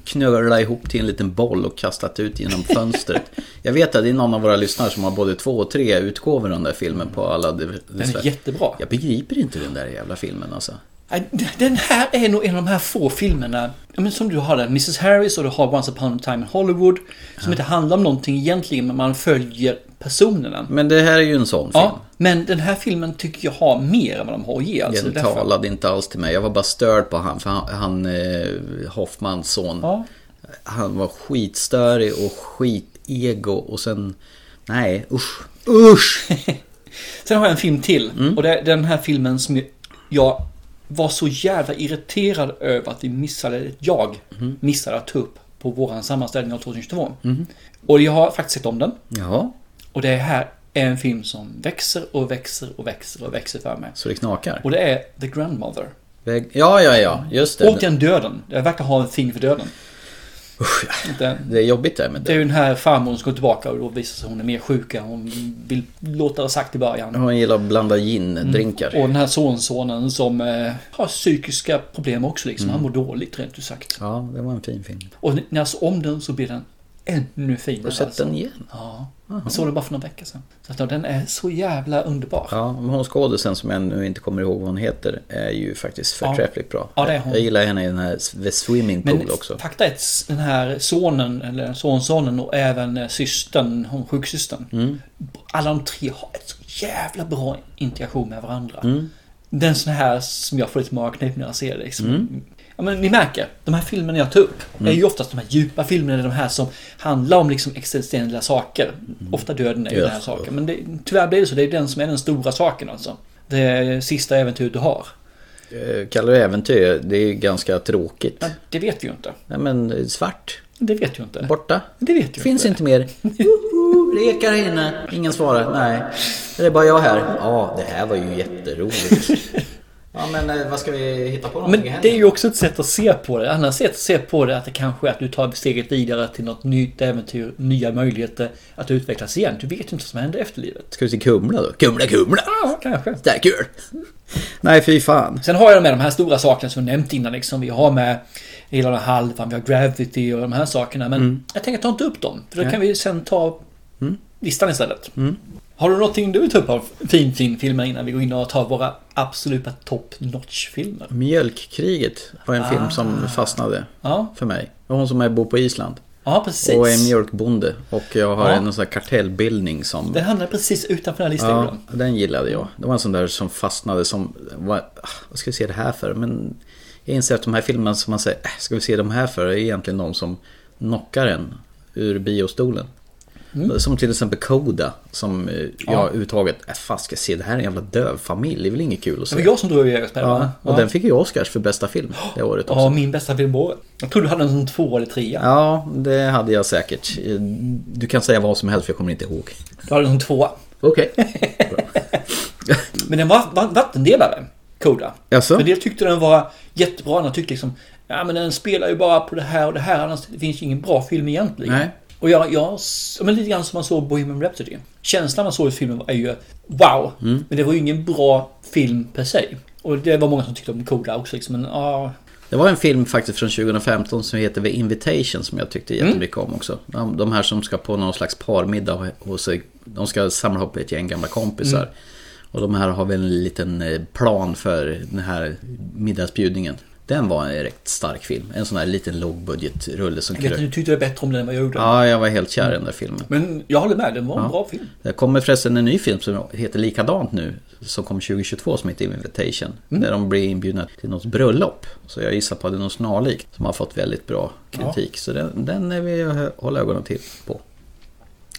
knölat ihop till en liten boll och kastat ut genom fönstret. jag vet att det är någon av våra lyssnare som har både två och tre utgåvor av den där filmen på alla... Den
Den är jättebra.
Jag begriper inte den där jävla filmen alltså.
Nej, Äh, Den här är nog en av de här få filmerna ja, men som du har där. Mrs Harris och du har Once upon a time in Hollywood. Som inte handlar om någonting egentligen men man följer personerna.
Men det här är ju en sån film.
Ja, men den här filmen tycker jag har mer än vad de har att ge. Alltså,
den
därför-
talade inte alls till mig. Jag var bara störd på han, för han, han eh, Hoffmans son.
Ja.
Han var skitstörig och skitego och sen... Nej, usch. Usch!
Sen har jag en film till.
Mm.
Och det är den här filmen som jag- jag var så jävla irriterad över att vi missade, jag
Mm.
missade att ta upp på våran sammanställning av 2022.
Mhm.
Och jag har faktiskt sett om den.
Ja,
Och det här är en film som växer och växer och växer och växer för mig.
så det knakar.
Och det är The Grandmother.
Väg- Ja, ja, ja, just det.
Och den döden. Jag verkar ha en thing för döden. Den,
Det är jobbigt det här med
det är ju den här farmor som går tillbaka och då visar sig hon är mer sjuk än hon vill låta det sagt i början.
Hon gillar att blanda gin-drinkar.
Mm. Och den här sonsonen som eh, har psykiska problem också liksom. Han
Mm.
mår dåligt rent ut sagt.
Ja, det var en fin film.
Och när jag såg om den så blir den ännu finare. alltså.
Har du sett den igen?
Ja. Jag såg den bara för några veckor sedan. Så att, ja, den är så jävla underbar.
Ja, men hon skådisen som jag nu inte kommer ihåg vad hon heter är ju faktiskt
Ja.
förträffligt bra.
Ja, det är hon.
Jag gillar henne i den här The Swimming Pool
Men
också.
fakta är att den här sonen, eller sonsonen och även eh, systern, hon sjuksystern.
Mm.
Alla de tre har ett så jävla bra integration med varandra.
Mm.
Det är en sån här som jag får lite magknip när jag ser det. Liksom.
Mm.
Ja, men ni märker, de här filmerna jag tar upp är ju oftast de här djupa filmerna, de här som handlar om liksom existentiella saker.
Mm.
Ofta döden är ju
Yes.
den här saken. Men det, tyvärr blir det så, det är den som är den stora saken alltså. Det sista äventyret du har.
Eh, Kallar du äventyr, det är ju ganska tråkigt.
Ja, det vet vi ju inte.
Nej men eh, svart.
Det vet ju inte.
Borta.
Det vet ju
Finns inte mer. Woho, Lekar här inne. Ingen svarar. Nej. Det är bara jag här. Ja, det här var ju jätteroligt. Ja men eh, vad ska vi hitta på
Men
någonting här?
det är ju också ett sätt att se på det. Annars sätt att se på det att det kanske är att du tar steget vidare till något nytt äventyr, nya möjligheter att utvecklas igen. Du vet ju inte vad som händer efter livet.
Ska vi till Kumla då? Kumla, Kumla!
Ja, kanske.
Det är kul! Nej, fy fan.
Sen har jag med de här stora sakerna som jag nämnt innan liksom. Vi har med hela den här halvan, vi har Gravity och de här sakerna. Men
Mm.
jag tänker ta inte upp dem. För då
Nej.
kan vi sen ta
Mm.
listan istället.
Mm.
Har du någonting du vill ta upp av fin, fin filmer innan vi går in och tar våra absoluta top notch filmer?
Mm. Mjölkkriget var en film som fastnade
Ja.
för mig. Det var Hon som är bor på Island.
Ja, precis.
Och är mjölkbonde. Och jag har
Ja.
en sån här kartellbildning som...
Den hamnar precis utanför den här listan.
Ja,
ibland.
den gillade jag. Det var en sån där som fastnade som... Vad, ah, vad ska vi se det här för? Men jag inser att de här filmerna som man säger, äh, ska vi se de här för? Är egentligen de som knockar en ur biostolen.
Mm.
Som till exempel Koda. Som eh, jag
Ja.
överhuvudtaget, äh, fan ska jag se det här? är En jävla döv familj. Det är väl inget kul att
Det
se.
var jag som drog iväg oss med den,
Ja,
va?
och den fick ju Oscars för bästa film det året också.
Ja, min bästa film på året. Jag tror du hade en som två eller trea.
Ja, det hade jag säkert. Du kan säga vad som helst, för jag kommer inte ihåg.
Du hade en som tvåa.
Okej.
Men den var var vattendelare, Koda.
Jaså?
För det tyckte den var jättebra. Den tyckte liksom, ja men den spelar ju bara på det här och det här. Annars finns ju ingen bra film egentligen.
Nej.
Och jag, jag, s- men lite grann som man såg Bohemian Rhapsody. Känslan man såg i filmen är ju wow.
Mm.
Men det var ju ingen bra film per se. Och det var många som tyckte om Koda också liksom. Men ja,
Det var en film faktiskt från 2015 som heter The Invitation som jag tyckte
Mm.
jättemycket om också. De, de här som ska på någon slags parmiddag hos... De ska samla ihop ett gäng gamla kompisar.
Mm.
Och de här har väl en liten eh, plan för den här middagsbjudningen. Den var en rätt stark film. En sån här liten lågbudgetrulle som
Jag vet inte, du tyckte det var bättre om den än vad jag gjorde.
Ja, jag var helt kär i den där filmen.
Men jag håller med, den var en
Ja.
bra film.
Det kommer förresten en ny film som heter likadant nu. Som kom 2022 som heter Invitation. Där de blir inbjudna till något bröllop. Så jag gissar på att det är något snarlikt. Som har fått väldigt bra kritik. Så den, den vill jag hålla ögonen till på.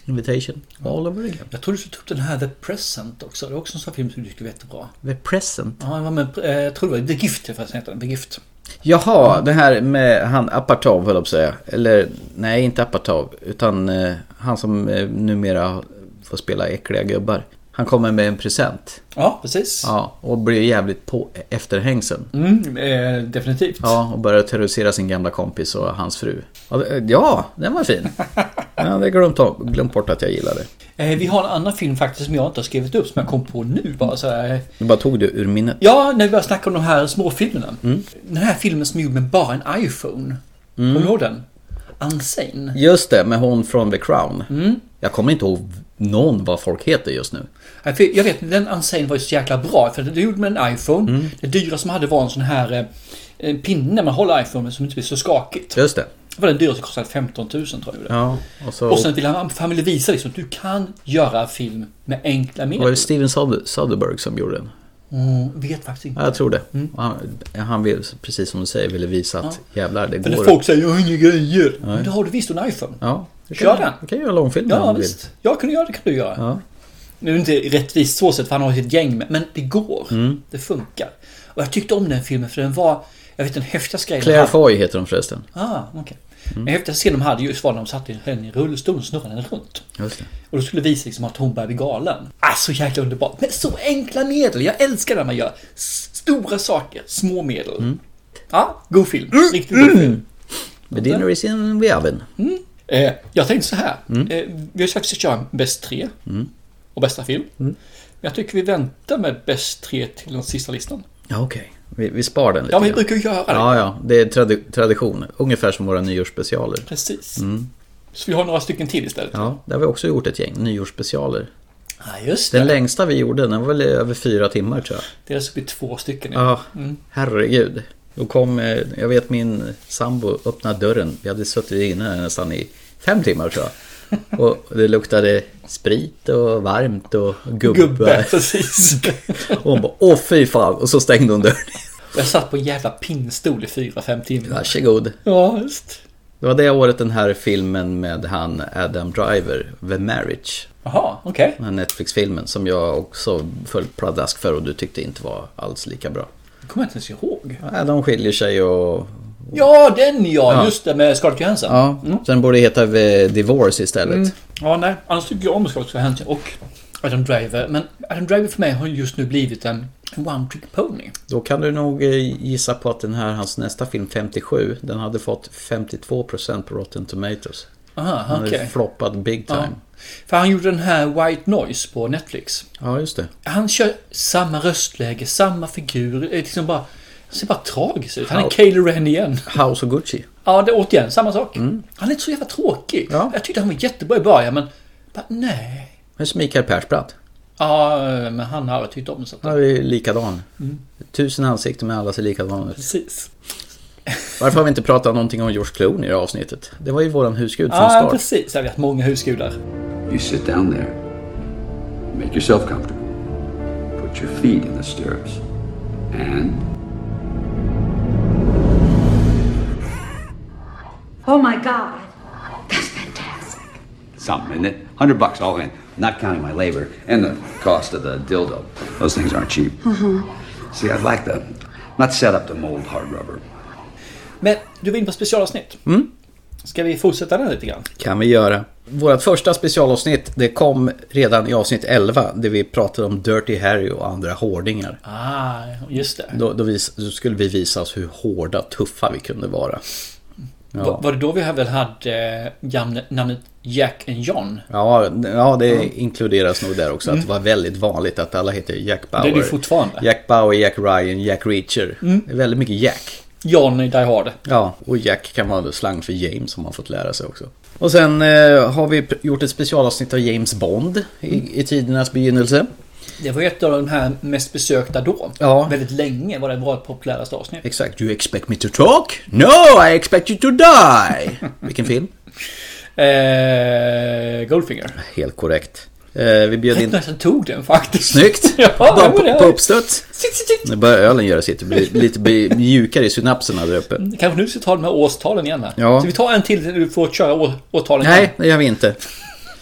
Invitation all over again.
Jag tror du tog upp den här The Present också. Det är också en sån film som du tycker är jättebra.
The Present?
Ja, men, men, eh, jag tror det var The Gift förresten heter den. The Gift.
Jaha, det här med han Apatov höll jag på att säga. Eller nej, inte Apatov. Utan eh, han som eh, numera får spela äckliga gubbar. Han kommer med en present.
Ja, precis.
Ja, och blir jävligt på efterhängsen.
Mm, eh, definitivt.
Ja, och börjar terrorisera sin gamla kompis och hans fru. Ja, det- Ja, den var fin. Jag hade glömt, av- glömt bort att jag gillade.
Eh, vi har en annan film faktiskt som jag inte har skrivit upp som jag kom på nu bara så här.
Du bara tog det ur minnet.
Ja, när vi började snacka om de här småfilmerna.
Mm.
Den här filmen som är gjord med bara en iPhone.
Mm.
Kommer du ihåg den? Unsane.
Just det, med hon från The Crown.
Mm.
Jag kommer inte ihåg någon vad folk heter just nu.
Ja, för Jag vet, den Unsane var ju så jäkla bra. För det gjorde med en iPhone.
Mm.
Det dyra som hade var en sån här eh, en pinne man håller iPhone som inte blir så skakigt.
Just det.
Det var den dyraste, kostade 15 000 tror jag. det var.
Ja, och så...
Och sen ville han familjen visa liksom att du kan göra film med enkla
var det
medel.
Steven Soder- Soderbergh som gjorde den?
Mm, vet faktiskt inte.
Ja, jag tror det. Han, han vill, precis som du säger, ville visa att jävlar, det
För när
går.
folk säger jag har inga grejer.
Nej.
Men då har du visst en iPhone.
Ja, du kan-
Kör den.
Du kan göra långfilm
Ja,
om du vill.
visst. Jag kunde göra det, kan du göra.
Ja.
Nu är det inte rättvist så sätt, för han har ju ett gäng med. Men det går.
Mm.
Det funkar. Och jag tyckte om den filmen för den var, jag vet den häftigaste grejen.
Claire Mm. Foy heter hon förresten.
Ah, okej. Den häftigaste scenen de hade just var när de satte henne i rullstol och snurrade henne runt.
Just det.
Och då skulle det visa liksom att hon börjar bli galen. Ah, så jäkla underbart. Men så enkla medel. Jag älskar när man gör s- stora saker, små medel.
Mm.
Ja, god film. Riktigt god film.
The dinner is in the oven.
Eh, jag tänkte så här.
Mm.
Eh, vi har sagt att vi ska köra en bäst tre och bästa film.
Mm.
Men jag tycker vi väntar med bäst tre till den sista listan.
Ja, okej. Vi, vi spar den lite
Ja, men vi
grann.
brukar ju göra det.
Ja, ja. Det är tradi- tradition. Ungefär som våra nyårsspecialer.
Precis.
Mm.
Så vi har några stycken till istället.
Ja, där har vi också gjort ett gäng nyårsspecialer.
Ja, just
Den längsta vi gjorde, den var väl över fyra timmar tror jag.
Det är alltså blir två stycken. nu.
Ja,
Mm.
herregud. Då kom, eh, jag vet min sambo öppnade dörren. Vi hade suttit inne här nästan i fem timmar tror jag. Och det luktade sprit och varmt och gubbe.
Gubbe, precis.
och hon bara, åh fy fan. Och så stängde hon dörren.
Och Jag satt på en jävla pinnstol i fyra, fem timmar.
Varsågod.
Ja, just.
Det var det året den här filmen med han Adam Driver, The Marriage.
Jaha, okej.
Den här Netflix-filmen som jag också föll pladask för och du tyckte inte var alls lika bra.
Det kommer jag inte ens ihåg.
Ja, de skiljer sig och...
Ja, den ja!
Ja.
Just det, med Scarlett Johansson.
Ja, den Mm. borde heta The Divorce istället.
Mm. Ja, nej. Annars tycker jag om Scarlett Johansson och Adam Driver. Men Adam Driver för mig har just nu blivit en one-trick pony.
Då kan du nog eh, gissa på att den här, hans nästa film 57, den hade fått 52% på Rotten Tomatoes.
Aha,
Den hade
okej.
floppat big time.
För han gjorde den här White Noise på Netflix.
Ja. just det.
Han kör samma röstläge, samma figur. eh, Liksom bara, han ser bara tragisk ut. Han är
How-
Kaeli Ren igen.
House of Gucci.
Ja, det, återigen, samma sak. Han är inte så jävla tråkig. Jag tyckte han var jättebra i början, men... Bara, nej.
Men som Mikael Persbrandt.
Ja, men han har jag tyckt om. Så att,
Han är ju likadan.
Mm.
Tusen ansikten men alla ser likadana ut.
precis.
Varför har vi inte pratat någonting om George Clooney i det här avsnittet? Det var ju våran husgud från
Ja,
start.
precis. Jag vet, många husgudar.
You sit down there. Make yourself comfortable. Put your feet in the stirrups. And
Oh my God.
something, isn't it? Hundred bucks all in, not counting my labor and the cost of the dildo. Those things aren't cheap. See, I'd like to not set up to mold hard rubber.
Men du var inne på specialavsnitt.
Mm.
Ska vi fortsätta den lite grann?
Kan vi göra. Vårt första specialavsnitt, det kom redan i avsnitt 11, där vi pratade om Dirty Harry och andra hårdingar.
Ah, just det.
Då, då, vis, då skulle vi visa oss hur hårda och tuffa vi kunde vara.
Var,
Ja,
var det då vi väl hade eh, jamne- namnet Jack and John?
ja, ja det
Ja.
inkluderas nog där också. Att det
Mm.
var väldigt vanligt att alla heter Jack Bauer.
Det är det fortfarande.
Jack Bauer, Jack Ryan, Jack Reacher.
Mm.
Det är väldigt mycket Jack.
John i Die Hard.
Ja, och Jack kan vara slang för James som man fått lära sig också. Och sen eh, har vi pr- gjort ett specialavsnitt av James Bond i, i tidernas begynnelse.
Det var ett av de här mest besökta då.
Ja.
Väldigt länge var det vårt populäraste avsnitt.
Exakt. You expect me to talk? No, I expect you to die! Vilken film?
Eh, Goldfinger.
Helt korrekt. Eh, vi bjöd
Jag
in...
nästan tog den faktiskt.
Snyggt!
Ja,
Bara
det var det.
på, på uppstuds.
Sitt, sitt, sitt.
Nu börjar ölen göra sitt. Det blir lite bli- mjukare i synapserna där uppe.
Kanske nu ska vi ta de här årstalen igen här.
Ja.
Så vi tar en till där du får köra år, årtalen
Nej,
igen.
det gör vi inte.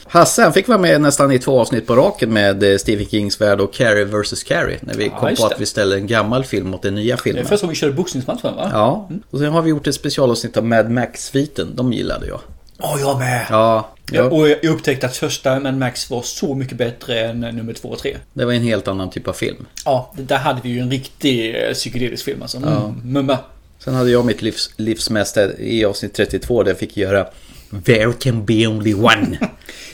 Hasse han fick vara med nästan i två avsnitt på raken med eh, Stephen Kings värld och Carrie vs. Carrie. När vi kom
just
på
det.
att vi ställde en gammal film mot den nya
Det är
filmen.
första gången vi körde boxningsmatchen va?
Ja, och sen har vi gjort ett specialavsnitt av Mad Max-sviten. De gillade jag.
Åh, jag med!
Ja,
Ja.
ja,
Eh, Och jag upptäckte att första Mad Max var så mycket bättre än nummer två och tre.
det var en helt annan typ av film.
Ja, det- där hade vi ju en riktig eh, psykedelisk film alltså.
Ja.
Mm, Mumma.
Sen hade jag mitt livs, livsmäste i avsnitt 32 där jag fick göra There can be only one.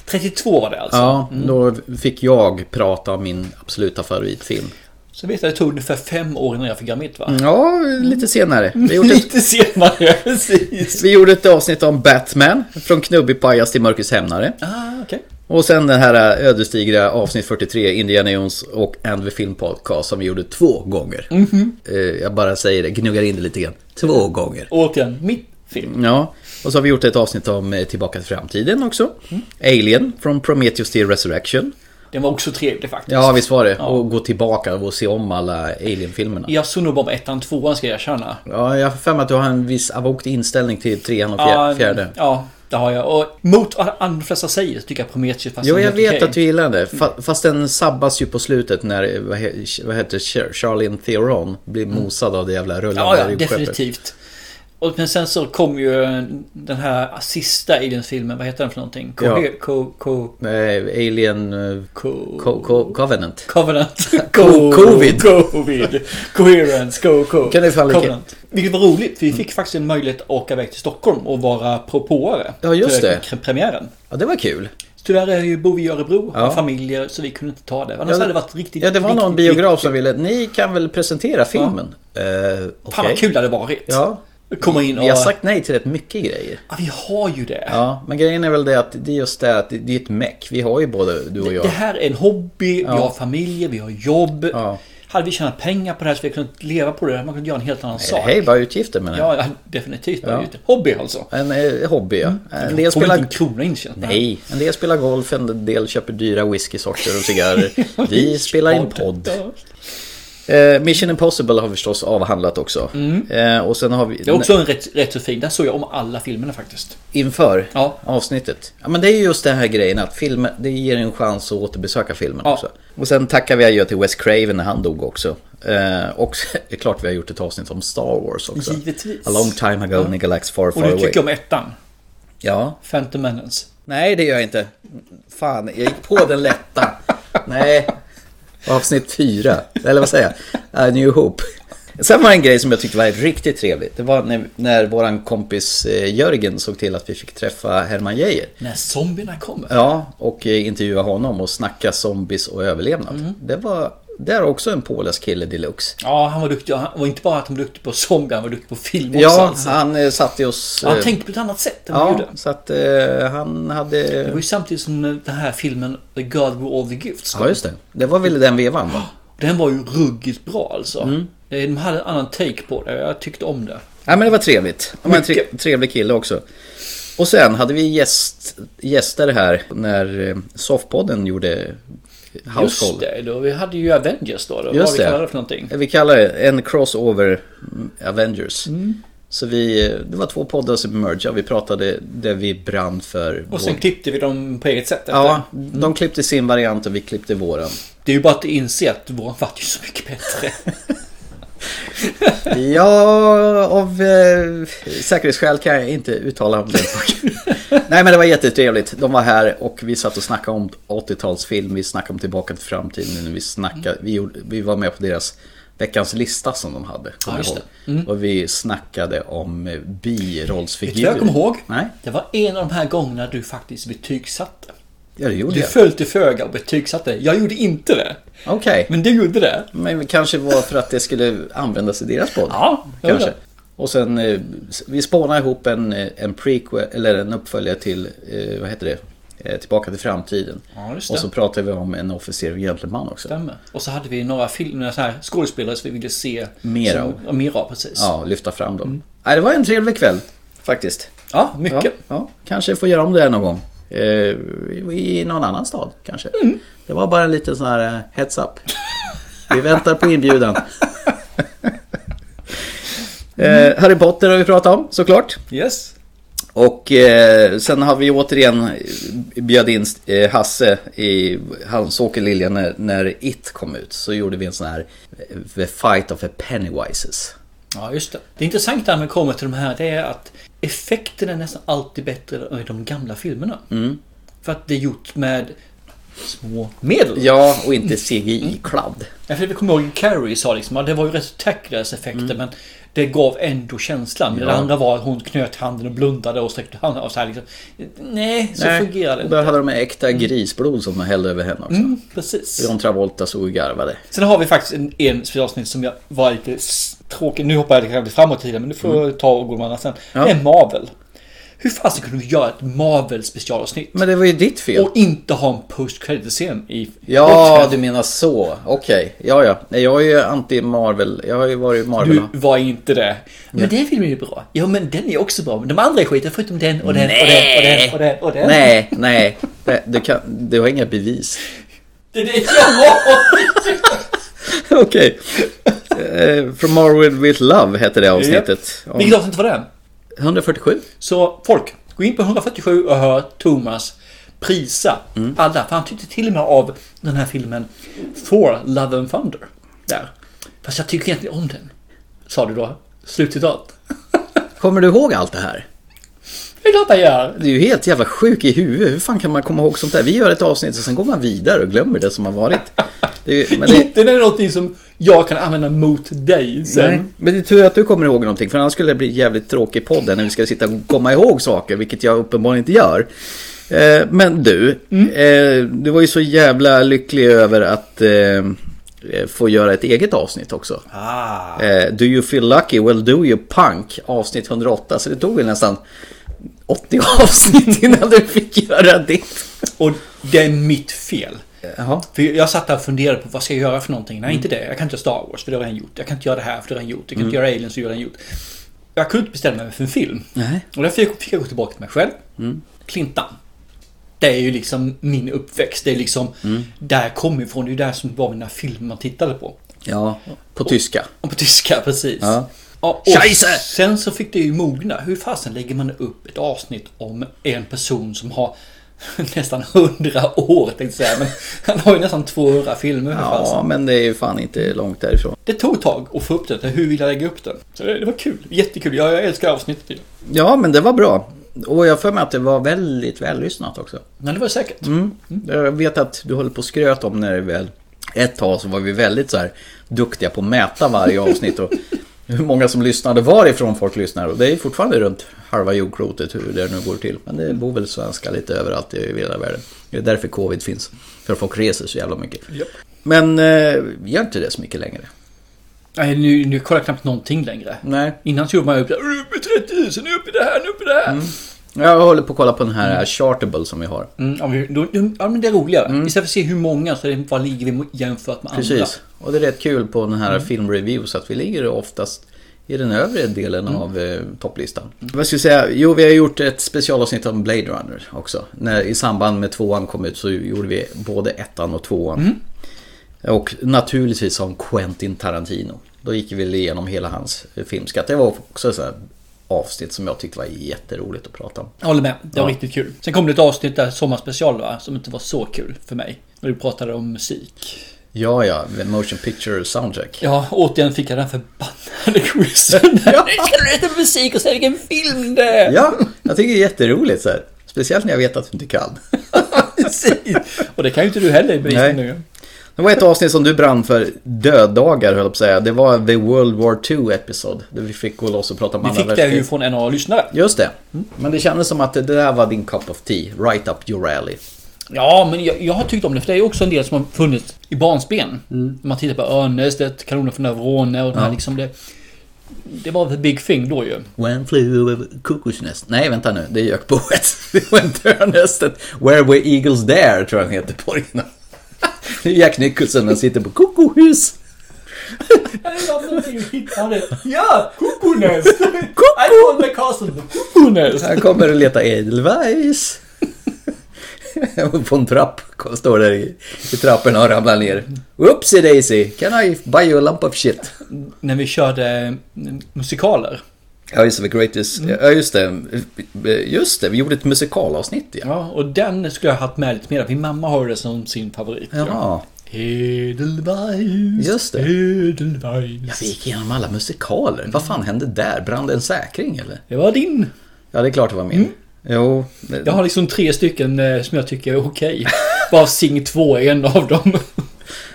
32 var det alltså.
Ja, då fick jag prata om min absoluta favoritfilm.
Så vet jag, det tog ungefär fem år innan jag fick göra mitt
Mm.
va?
Ja, lite senare. Vi gjorde ett,
Lite senare, precis.
vi gjorde ett avsnitt om Batman. Från knubbig pajas till mörkrets hämnare.
Ah, okej.
Och sen den här ödesdigra avsnitt 43, Indiana Jones och And the Film Podcast som vi gjorde två gånger. Eh, Jag bara säger det, gnuggar in det lite grann. Två gånger.
Återigen, mitt film.
Ja, och så har vi gjort ett avsnitt om eh, Tillbaka till framtiden också. Alien, från Prometheus till Resurrection.
Den var också trevlig faktiskt.
Ja, visst var det. Och gå tillbaka och se om alla Alien-filmerna.
Jag såg nog bara på ettan, tvåan ska jag erkänna.
Ja, jag har för mig att du har en viss avokt inställning till trean och fjär-
Ja,
fjärde.
Ja, det har jag. Och mot vad andra flesta säger så tycker jag Prometheus fast
Jo,
den är
jag
Alltså, helt
vet
okej.
att du gillar det. Fa- Fast den sabbas ju på slutet när, eh, vad, he- vad heter Char- Charlene Theron blir mosad av det jävla rullande
Mm. Ja, ja,
rymdskeppet.
definitivt. Och, men sen så kom ju eh, den här sista Aliens-filmen, vad heter den för någonting? Co-
Ja.
Co- Co-
Eh, Alien... eh, Co- Co- Covenant.
Covenant.
Co- Covid.
Covid. Coherence. Co- Co-
Kan du fan lika- Mm.
Covenant. Vilket var roligt, för vi fick faktiskt en möjlighet att åka iväg till Stockholm och vara propåare.
Ja, just
till
det.
kre- Premiären.
Ja, det var kul.
Tyvärr är ju, bor vi i Örebro,
Ja.
har familjer, så vi kunde inte ta det. Annars
Ja,
hade det varit riktigt...
Ja, det var någon
riktigt-
biograf som ville, ni kan väl presentera filmen? Ja.
Fan vad kul det hade varit.
Ja.
Komma in och...
Vi har sagt nej till rätt mycket grejer.
Ja, vi har ju det.
Ja, men grejen är väl det att det är just det att det- det är ett meck. Vi har ju både du och jag.
Det här är en hobby, vi
Ja.
har familjer, vi har jobb.
Ja.
Hade vi tjänat pengar på det här så vi kunnat leva på det, hade man kunnat göra en helt annan sak.
Hej, bara utgifter menar jag.
Ja, ja, definitivt.
Ja.
Hobby alltså.
En eh, hobby ja. En
Jag
del
får Mm. inte en
spelar...
krona intjänat.
Nej, en del spelar golf, en del köper dyra whiskysorter och cigarrer. Vi spelar in podd. Eh, Mission Impossible har vi förstås avhandlat också. Eh, och sen har vi...
Mm. Det är också en rätt, rätt så fin. Där såg jag om alla filmerna faktiskt.
Inför
Ja.
avsnittet. Ja, men det är ju just den här grejen att filmen, det ger en chans att återbesöka filmen
Ja.
också. Och sen tackar vi adjö till Wes Craven när han dog också. Eh, och det är klart vi har gjort ett avsnitt om Star Wars också.
Givetvis.
A long time ago in a galaxy far
Och
far
du
away.
tycker om ettan?
Ja.
Phantom Menace.
Nej det gör jag inte. Fan, jag gick på den lätta. Nej. Avsnitt fyra. Eller vad säger jag? A New Hope. Sen var det en grej som jag tyckte var riktigt trevligt. Det var när, när våran kompis eh, Jörgen såg till att vi fick träffa Herman Geijer.
När zombierna kommer.
Ja, och eh, intervjua honom och snacka zombies och överlevnad.
Mhm.
Det var... Det är också en påläst kille deluxe.
Ja, han var duktig. Han var inte bara att han var duktig på zombie, han var duktig på film också.
Ja,
alltså.
han eh, satte oss...
han
eh,
tänkte på ett annat sätt än vi
Ja,
gjorde.
så att eh, han hade...
Det var ju samtidigt som den här filmen The God Who All The Gifts kom.
Ja, just det. Det var väl den vevan va?
Den var ju ruggigt bra alltså.
Mm.
Eh, De hade en annan take på det. Jag tyckte om det.
Ja, men det var trevligt. Han var en tre- trevlig kille också. Och sen hade vi gäst, gäster här när eh, Soffpodden gjorde House
Just det, då, vi hade ju Avengers då. då.
Just
vad vi
det.
kallade det för någonting.
Eh, Vi kallar det en crossover mm, Avengers.
Mm.
Så vi, eh, det var två poddar som mergade. Vi pratade där vi brann för
Och sen
vår-
klippte vi dem på eget sätt. efter.
Ja, de klippte sin variant och vi klippte våran.
Det är ju bara att inse att våran vart ju så mycket bättre.
Ja, av eh, säkerhetsskäl kan jag inte uttala om den saken. Nej, men det var jättetrevligt. De var här och vi satt och snackade om 80-talsfilm. Vi snackade om Tillbaka till framtiden. Vi, snackade, vi, gjorde, vi var med på deras veckans lista som de hade. kommer jag
just Mm.
ihåg. Och vi snackade om eh, birollsfigurer.
Vet du vad jag kommer ihåg?
Nej,
Det var en av de här gångerna du faktiskt betygsatte.
ja, det gjorde
Du
jag.
föll till föga och betygsatte. Jag gjorde inte det.
Okej,
Men du gjorde det.
men det kanske var för att det skulle användas i deras podd.
Ja, jag gjorde
Kanske. Och sen, eh, vi spånar ihop en, eh, en prequel, eller en uppföljare till, eh, vad heter det? eh, Tillbaka till framtiden.
Ja, just det.
och så pratade vi om en officer och gentleman också.
Stämmer. Och så hade vi några filmer, så här skådespelare som vi ville se.
Mer
som-
av.
Ja, mer av, precis.
Ja, lyfta fram dem.
Mm.
Nej, det var en trevlig kväll faktiskt.
Ja, mycket.
Ja, ja. Kanske får göra om det här någon gång. Eh, I någon annan stad kanske. Det var bara en liten sån här eh, heads up. Vi väntar på inbjudan. eh, Harry Potter har vi pratat om såklart.
Yes.
Och eh, sen har vi återigen eh, bjöd in eh, Hasse i hans-Åke Lilja när, när It kom ut. Så gjorde vi en sån här eh, The Fight of the Pennywises.
Ja, just det. Det intressanta när man kommer till de här, det är att effekten är nästan alltid bättre i de gamla filmerna.
Mm.
För att det är gjort med små medel.
Ja, och inte CGI-kladd.
Ja, för vi kommer ihåg Carrie sa liksom att det var ju rätt tackless effekter men det gav ändå känslan. Men Det
Mm. Ja.
andra var att hon knöt handen och blundade och sträckte handen och så här liksom. Nej, så fungerar det
Och där hade de äkta grisblod som de hällde över henne också.
Mm, precis.
John Travolta såg ju garvade.
Sen har vi faktiskt en, en specialavsnitt som jag var lite s- tråkig. Nu hoppar jag lite grann framåt i tiden men du får
Mm.
ta och gå med annat sen.
Ja.
Det är Marvel. Hur fasen kunde vi göra ett Marvel specialavsnitt?
Men det var ju ditt fel.
Och inte ha en post credit-scen i...
Ja, du menar så. Okej, ja ja. Nej, jag är ju anti-Marvel. Jag har ju varit Marvel.
Du var inte det. Men den filmen är ju bra. Ja, men den är också bra. Men de andra är skiten förutom den och den och den och den och den och den.
Nej, nej. Det- Du, kan, du har inga bevis.
Det är det jag har!
Okej. Eh, From Marvel with Love hette det avsnittet.
Japp. Vilket avsnitt var det?
147.
Så folk, gå in på 147 och hör Thomas prisa
Mm.
alla. För han tyckte till och med av den här filmen For Love and Thunder. Där. Fast jag tycker egentligen om den. Sa du då. Slutcitat.
Kommer du ihåg allt det här?
Det är klart jag gör.
Du är ju helt jävla sjuk i huvudet. Hur fan kan man komma ihåg sånt där? Vi gör ett avsnitt och sen går man vidare och glömmer det som har varit. Det är, ju- men det,
Inte när det är någonting som jag kan använda mot dig sen.
Nej, men det är tur att du kommer ihåg någonting för annars skulle det bli jävligt tråkig podden när vi ska sitta och komma ihåg saker, vilket jag uppenbarligen inte gör. Eh, Men du, eh, du var ju så jävla lycklig över att eh, få göra ett eget avsnitt också.
Ah.
Eh, Do you feel lucky? Well do you punk? Avsnitt 108, så det tog väl nästan 80 avsnitt innan du fick göra ditt.
Och det är mitt fel. För jag satt där och funderade på vad ska jag göra för någonting? Nej,
Mm.
inte det. Jag kan inte göra Star Wars, för det har jag redan gjort. Jag kan inte göra det här, för det har jag redan gjort. Jag kan inte
Mm.
göra Aliens, för det har jag redan gjort. Jag kunde inte bestämma mig för en film.
Nej.
Och därför fick jag- fick jag gå tillbaka till mig själv.
Mm.
Clintan. Det är ju liksom min uppväxt. Det är liksom
Mm.
där jag kom ifrån. Det är ju där som var mina filmer man tittade på.
Ja, på tyska.
Och på tyska, precis.
Ja.
Ja, och
Scheisse!
sen så fick det ju mogna. Hur fasen lägger man upp ett avsnitt om en person som har nästan 100 år tänkte jag säga. Men han har ju nästan 200 filmer. hur
Ja,
fasen.
men det är ju fan inte långt därifrån.
Det tog ett tag att få upp det. Hur vill jag lägga upp den? Så det, det var kul. Jättekul. Jag, jag älskar avsnittet. ju.
Ja, men det var bra. Och jag har för mig att det var väldigt vällyssnat också.
Men det var säkert.
Mm. Jag vet att du håller på och skröt om när det väl... Ett tag så var vi väldigt så här duktiga på att mäta varje avsnitt och hur många som lyssnade, varifrån folk lyssnar. Och det är fortfarande runt halva jordklotet hur det nu går till. Men det bor väl svenskar lite överallt i hela världen. Det är därför covid finns. För folk reser så jävla mycket.
Japp.
Men eh, gör inte det så mycket längre.
Nej, nu, nu kollar jag knappt någonting längre.
Nej.
Innan så gjorde man ju upp det. "Är du uppe i 30 000, nu uppe i det här, nu uppe i det
Mm.
här.
Jag håller på att kolla på den här Chartable som vi har.
Mm, ja, men då, då- ja, men det är roligare. Istället för att se hur många så är det vad ligger vi jämfört med andra.
Mm. Precis. Och det är rätt kul på den här
Mm.
filmreviews att vi ligger oftast i den övre delen
Mm.
av eh, topplistan. Vad ska jag säga? Jo, vi har gjort ett specialavsnitt om Blade Runner också. När, I samband med tvåan kom ut så gjorde vi både ettan och tvåan.
Mm.
Och naturligtvis om Quentin Tarantino. Då gick vi igenom hela hans eh, filmskatt. Det var också ett sånt här avsnitt som jag tyckte var jätteroligt att prata om.
Jag håller med. Det var
Ja.
riktigt kul. Sen kom det ett avsnitt där, sommarspecial va, som inte var så kul för mig. När du pratade om musik.
Ja, ja, The Motion Picture Soundtrack.
Ja, återigen fick jag den förbannade quizen. Ja. Nu ska du leta musik och säga vilken film det är!
Ja, jag tycker det är jätteroligt så här. Speciellt när jag vet att du inte kan.
Och det kan ju inte du heller bevisa
Nej.
nu.
Det var ett avsnitt som du brann för, döddagar höll jag på att säga. Det var The World War 2 episod. Där vi fick gå loss och prata om
Vi
andra
fick det ju Mm. från en av lyssnare.
Just det. Men det kändes som att det där var din cup of tea. Right up your alley.
Ja, men jag, jag har tyckt om det, för det är ju också en del som har Mm. funnits i barnsben. När Man tittar på Örnästet, Kanonen från Övrone och den här
Ja.
liksom det... Det var The Big Thing då ju.
When flew over the cuckoo's nest. Nej, vänta nu. Det är Jökboet. When Turnestet. Where were eagles there, tror jag han heter på original. Det är Jack Nicholson han sitter på kokohus.
Ja, Kukunäs! I call the castle the Kukunäs!
Han kommer och letar Edelweiss. På en trapp. Står där i, i trapporna och ramlar ner. Oopsie daisy! Can I buy you a lump of shit?
När vi körde eh, musikaler.
Ja, just det. The greatest.
Mm.
Ja, just det. Just det, vi gjorde ett musikalavsnitt ja.
Ja, och den skulle jag haft med lite mer. Min mamma har ju det som sin favorit.
Jaha.
Edelweiss.
Just det.
Edelweiss.
Ja, vi gick igenom alla musikaler. Vad fan hände där? Brann det en säkring eller?
Det var din.
Ja, det är klart det var min.
Mm.
Jo. det-
Jag har liksom tre stycken eh, som jag tycker är okej. Bara Sing 2 är en av dem.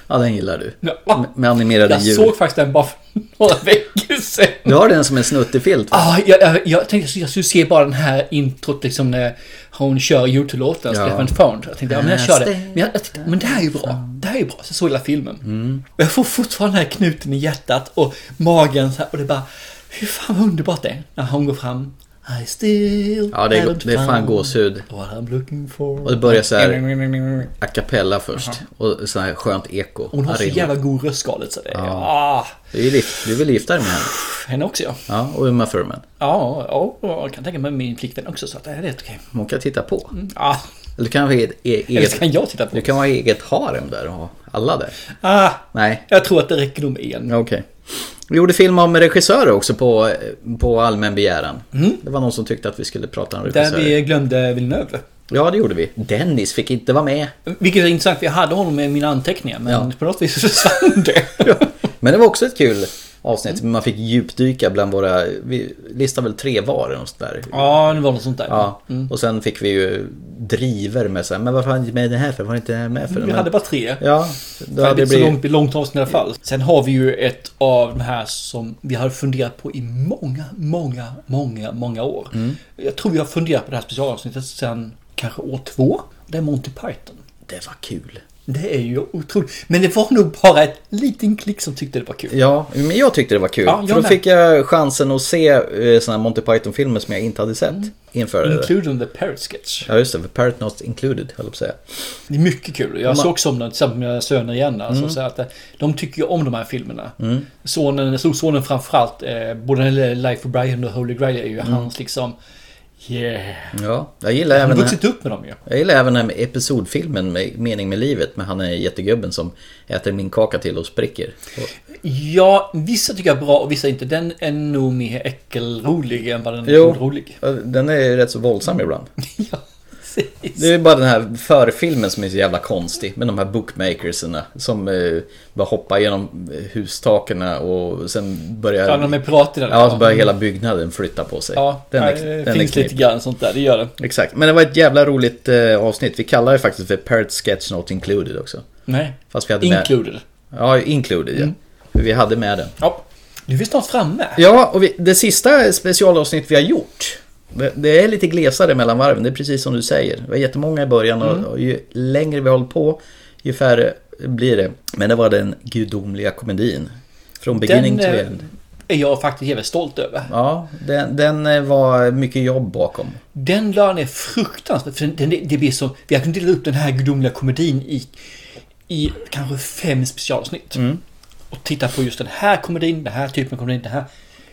Ja, den gillar du.
Ja.
Med- Med animerade
Jag
djur.
såg faktiskt den bara för några veckor sedan.
Du har den som en snuttefilt va?
Ah, jag, jag, jag tänkte att jag skulle se bara den här introt liksom när hon kör YouTube-låten,
Ja.
Stefan Found. Jag tänkte, ja men jag kör det. Men, jag, jag tänkte, men det här är ju bra. Det här är ju bra. Så jag såg hela filmen.
Mm.
Och jag får fortfarande den här knuten i hjärtat och magen så här, och det är bara, hur fan vad underbart det är. När hon går fram. I still
Ja, det är,
haven't
det är fan
found
gåshud.
What I'm looking for.
Och det börjar så här a cappella först. Och så här skönt eko.
Hon har så
Arena.
jävla god röstskalet så det är... Ah,
Ja. Du är ju gift- du vill gifta dig med henne.
henne också ja.
Ja, och Uma Thurman.
Ja, ja, och jag kan tänka mig min flickvän också så att det här är rätt okej.
Hon kan titta på.
Ah,
Eller du kan ha eget... e-
eller
eget-
så kan jag titta på.
Du kan ha eget harem där och ha alla där.
Ah,
Nej,
jag tror att det räcker nog med en.
okej. Vi gjorde film om regissörer också på, på allmän begäran. Det var någon som tyckte att vi skulle prata om
Mm. Där
regissörer.
vi glömde Villeneuve.
Ja, det gjorde vi. Dennis fick inte vara med.
Vilket är intressant, för jag hade honom med i mina anteckningar men
Ja.
på något vis försvann det.
Men det var också ett kul avsnitt.
Mm.
Man fick djupdyka bland våra... Vi listade väl tre var eller något sånt där.
Ja, Mm. det var något sånt där.
Ja, och sen fick vi ju driver med så här, men varför har ni inte med det här för? Var ni inte det här med för?
Vi
Men-
hade bara tre.
Ja,
Det
då
är
hade det
inte så
blivit...
långt, långt avsnitt i alla fall. Sen har vi ju ett av de här som vi har funderat på i många, många, många, många år.
Mm.
Jag tror vi har funderat på det här specialavsnittet sen kanske år två. Det är Monty Python.
Det var kul.
Det är ju otroligt. Men det var nog bara ett liten klick som tyckte det var kul.
Ja, men jag tyckte det var kul.
Ja, jag
för då
med.
fick jag chansen att se eh, såna här Monty Python-filmer som jag inte hade sett
Mm.
inför det. där.
Including the Parrot Sketch.
Ja, just det. för Parrot Not Included, höll jag på att säga.
Det är mycket kul. Jag
Man-
såg också om den tillsammans med mina söner igen. Alltså,
Mm.
så att, eh, de tycker ju om de här filmerna. Mm. Sonen, storsonen framförallt, eh, både den lilla Life of Brian och Holy Grail är ju hans liksom... Yeah.
Mm. Ja, jag gillar
Han har
även... den här-
vuxit upp med dem ju.
Jag gillar även den här episodfilmen med Mening med livet med han är jättegubben som äter min kaka till och spricker. Och,
Ja, vissa tycker jag är bra och vissa inte. Den är nog mer äckelrolig än vad den är
Jo.
rolig.
Ja, den är ju rätt så våldsam ibland.
Precis.
Det är bara den här förfilmen som är så jävla konstig med de här bookmakerserna som eh, bara hoppar genom eh, hustaken och sen börjar...
Ja, de är piraterna.
Ja, så börjar hela byggnaden flytta på sig.
Ja,
den är,
det
den
finns
är
lite
knepig.
grann sånt där, det gör det.
Exakt, men det var ett jävla roligt eh, avsnitt. Vi kallar det faktiskt för Parrot Sketch Not Included också.
Nej.
Fast vi hade
Included. Mm.
med... Ja, Included ja. För Vi hade med den.
Ja. Nu är vi snart framme.
Ja, och vi, det sista specialavsnitt vi har gjort. det- Det är lite glesare mellan varven, det är precis som du säger. Det var jättemånga i början och,
Mm.
och ju längre vi håller på, ju färre blir det. Men det var den gudomliga komedin. Från beginning
Den,
to
eh,
end.
Är jag faktiskt jävligt stolt över.
Ja, den, den eh, var mycket jobb bakom.
Den la ner fruktansvärt. För den, det blir som, vi har kunnat dela upp den här gudomliga komedin i, i kanske fem specialavsnitt. Och titta på just den här komedin, den här typen av komedin, den här.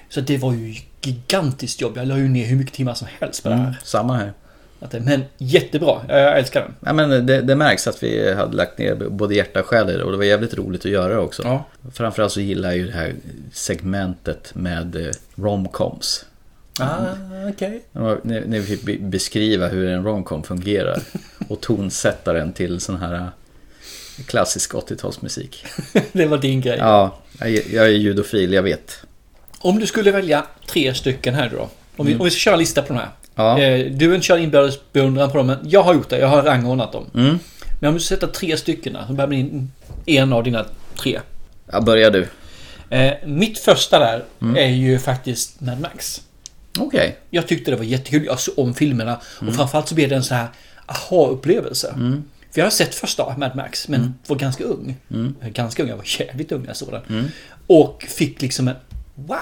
Så det var ju gigantiskt jobb. Jag la ju ner hur mycket timmar som helst på det här.
Samma här.
Att det- Men jättebra. Jag älskar den.
Ja, men det, det märks att vi hade lagt ner både hjärta och själ i det och det var jävligt roligt att göra också.
Ja.
Framförallt så gillar jag ju det här segmentet med eh, romcoms.
Ah, okej.
Ja, När när vi fick be- beskriva hur en romcom fungerar och tonsätta den till sån här äh, klassisk 80-talsmusik.
det var din grej.
Ja, jag är- jag är judofil, jag vet.
Om du skulle välja tre stycken här då. Om vi, om vi ska köra en lista på de här.
Ja.
Eh, Du kör inbördes beundran på dem, men jag har gjort det. Jag har rangordnat dem. Men om du ska sätta tre stycken här, så börjar med en av dina tre.
Ja, börjar du.
Eh, mitt första där är ju faktiskt Mad Max.
Okej.
Jag tyckte det var jättekul. Jag såg om filmerna och framförallt så blev det en sån här aha-upplevelse. För jag har sett första Mad Max, men var ganska ung. Ganska ung, jag var jävligt ung när jag såg den. Och fick liksom en wow!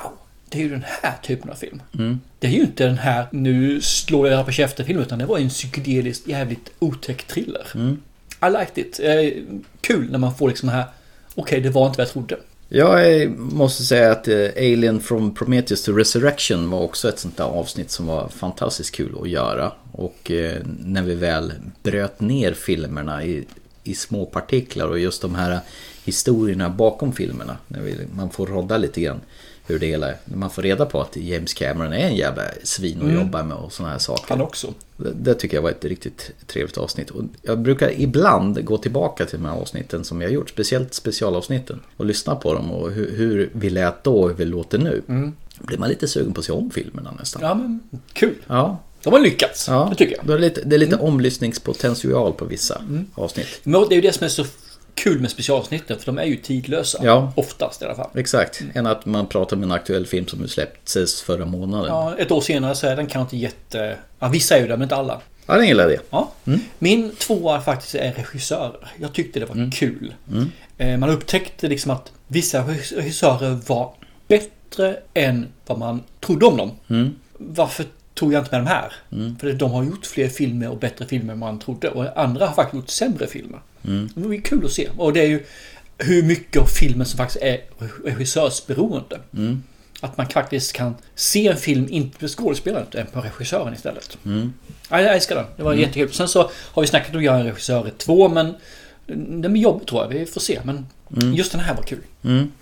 Det är ju den här typen av film.
Mm.
Det är ju inte den här nu slår jag på käften-film utan det var ju en psykedelisk jävligt otäck thriller. I liked it. Eh, kul när man får liksom den här, okej det var inte vad jag trodde.
Jag eh, måste säga att eh, Alien from Prometheus to Resurrection var också ett sånt där avsnitt som var fantastiskt kul att göra. Och eh, när vi väl bröt ner filmerna i, i små partiklar och just de här historierna bakom filmerna. När vi, man får rodda lite grann hur det hela är. När man får reda på att James Cameron är en jävla svin att
Mm.
jobba med och såna här saker.
Han också.
Det, det tycker jag var ett riktigt trevligt avsnitt. Och jag brukar ibland gå tillbaka till de här avsnitten som jag gjort, speciellt specialavsnitten. Och lyssna på dem och hur, hur vi lät då och hur vi låter nu. Blir man lite sugen på att se om filmerna nästan.
Mm. Ja men kul.
Ja.
De har lyckats, det tycker jag. Mm.
Då är det lite, det är lite omlyssningspotential på vissa avsnitt.
Men det är ju det som är så kul med specialavsnitten för de är ju tidlösa.
Ja.
Oftast i alla fall.
Exakt, än att man pratar om en aktuell film som släpptes förra månaden. Ja,
Ja, ett år senare så är den kanske inte jätte... Ja, vissa är ju det, men inte alla.
den gillar det.
Ja. Min tvåa faktiskt är regissörer. Jag tyckte det var kul.
Mm.
Eh, Man upptäckte liksom att vissa regissörer var bättre än vad man trodde om dem.
Mm.
Varför tog jag inte med de här?
Mm.
För de har gjort fler filmer och bättre filmer än man trodde. Och andra har faktiskt gjort sämre filmer.
Mm.
Det var ju kul att se. Och det är ju hur mycket av filmen som faktiskt är regissörsberoende.
Mm.
Att man faktiskt kan se en film inte på skådespelaren utan på regissören istället.
Mm.
Ja, Jag älskar den. Det var
Mm.
jättekul. Sen så har vi snackat om att göra en regissör i två, men mm, den blir jobbig tror jag. Vi får se. Men
Mm.
just den här var kul.
Mm.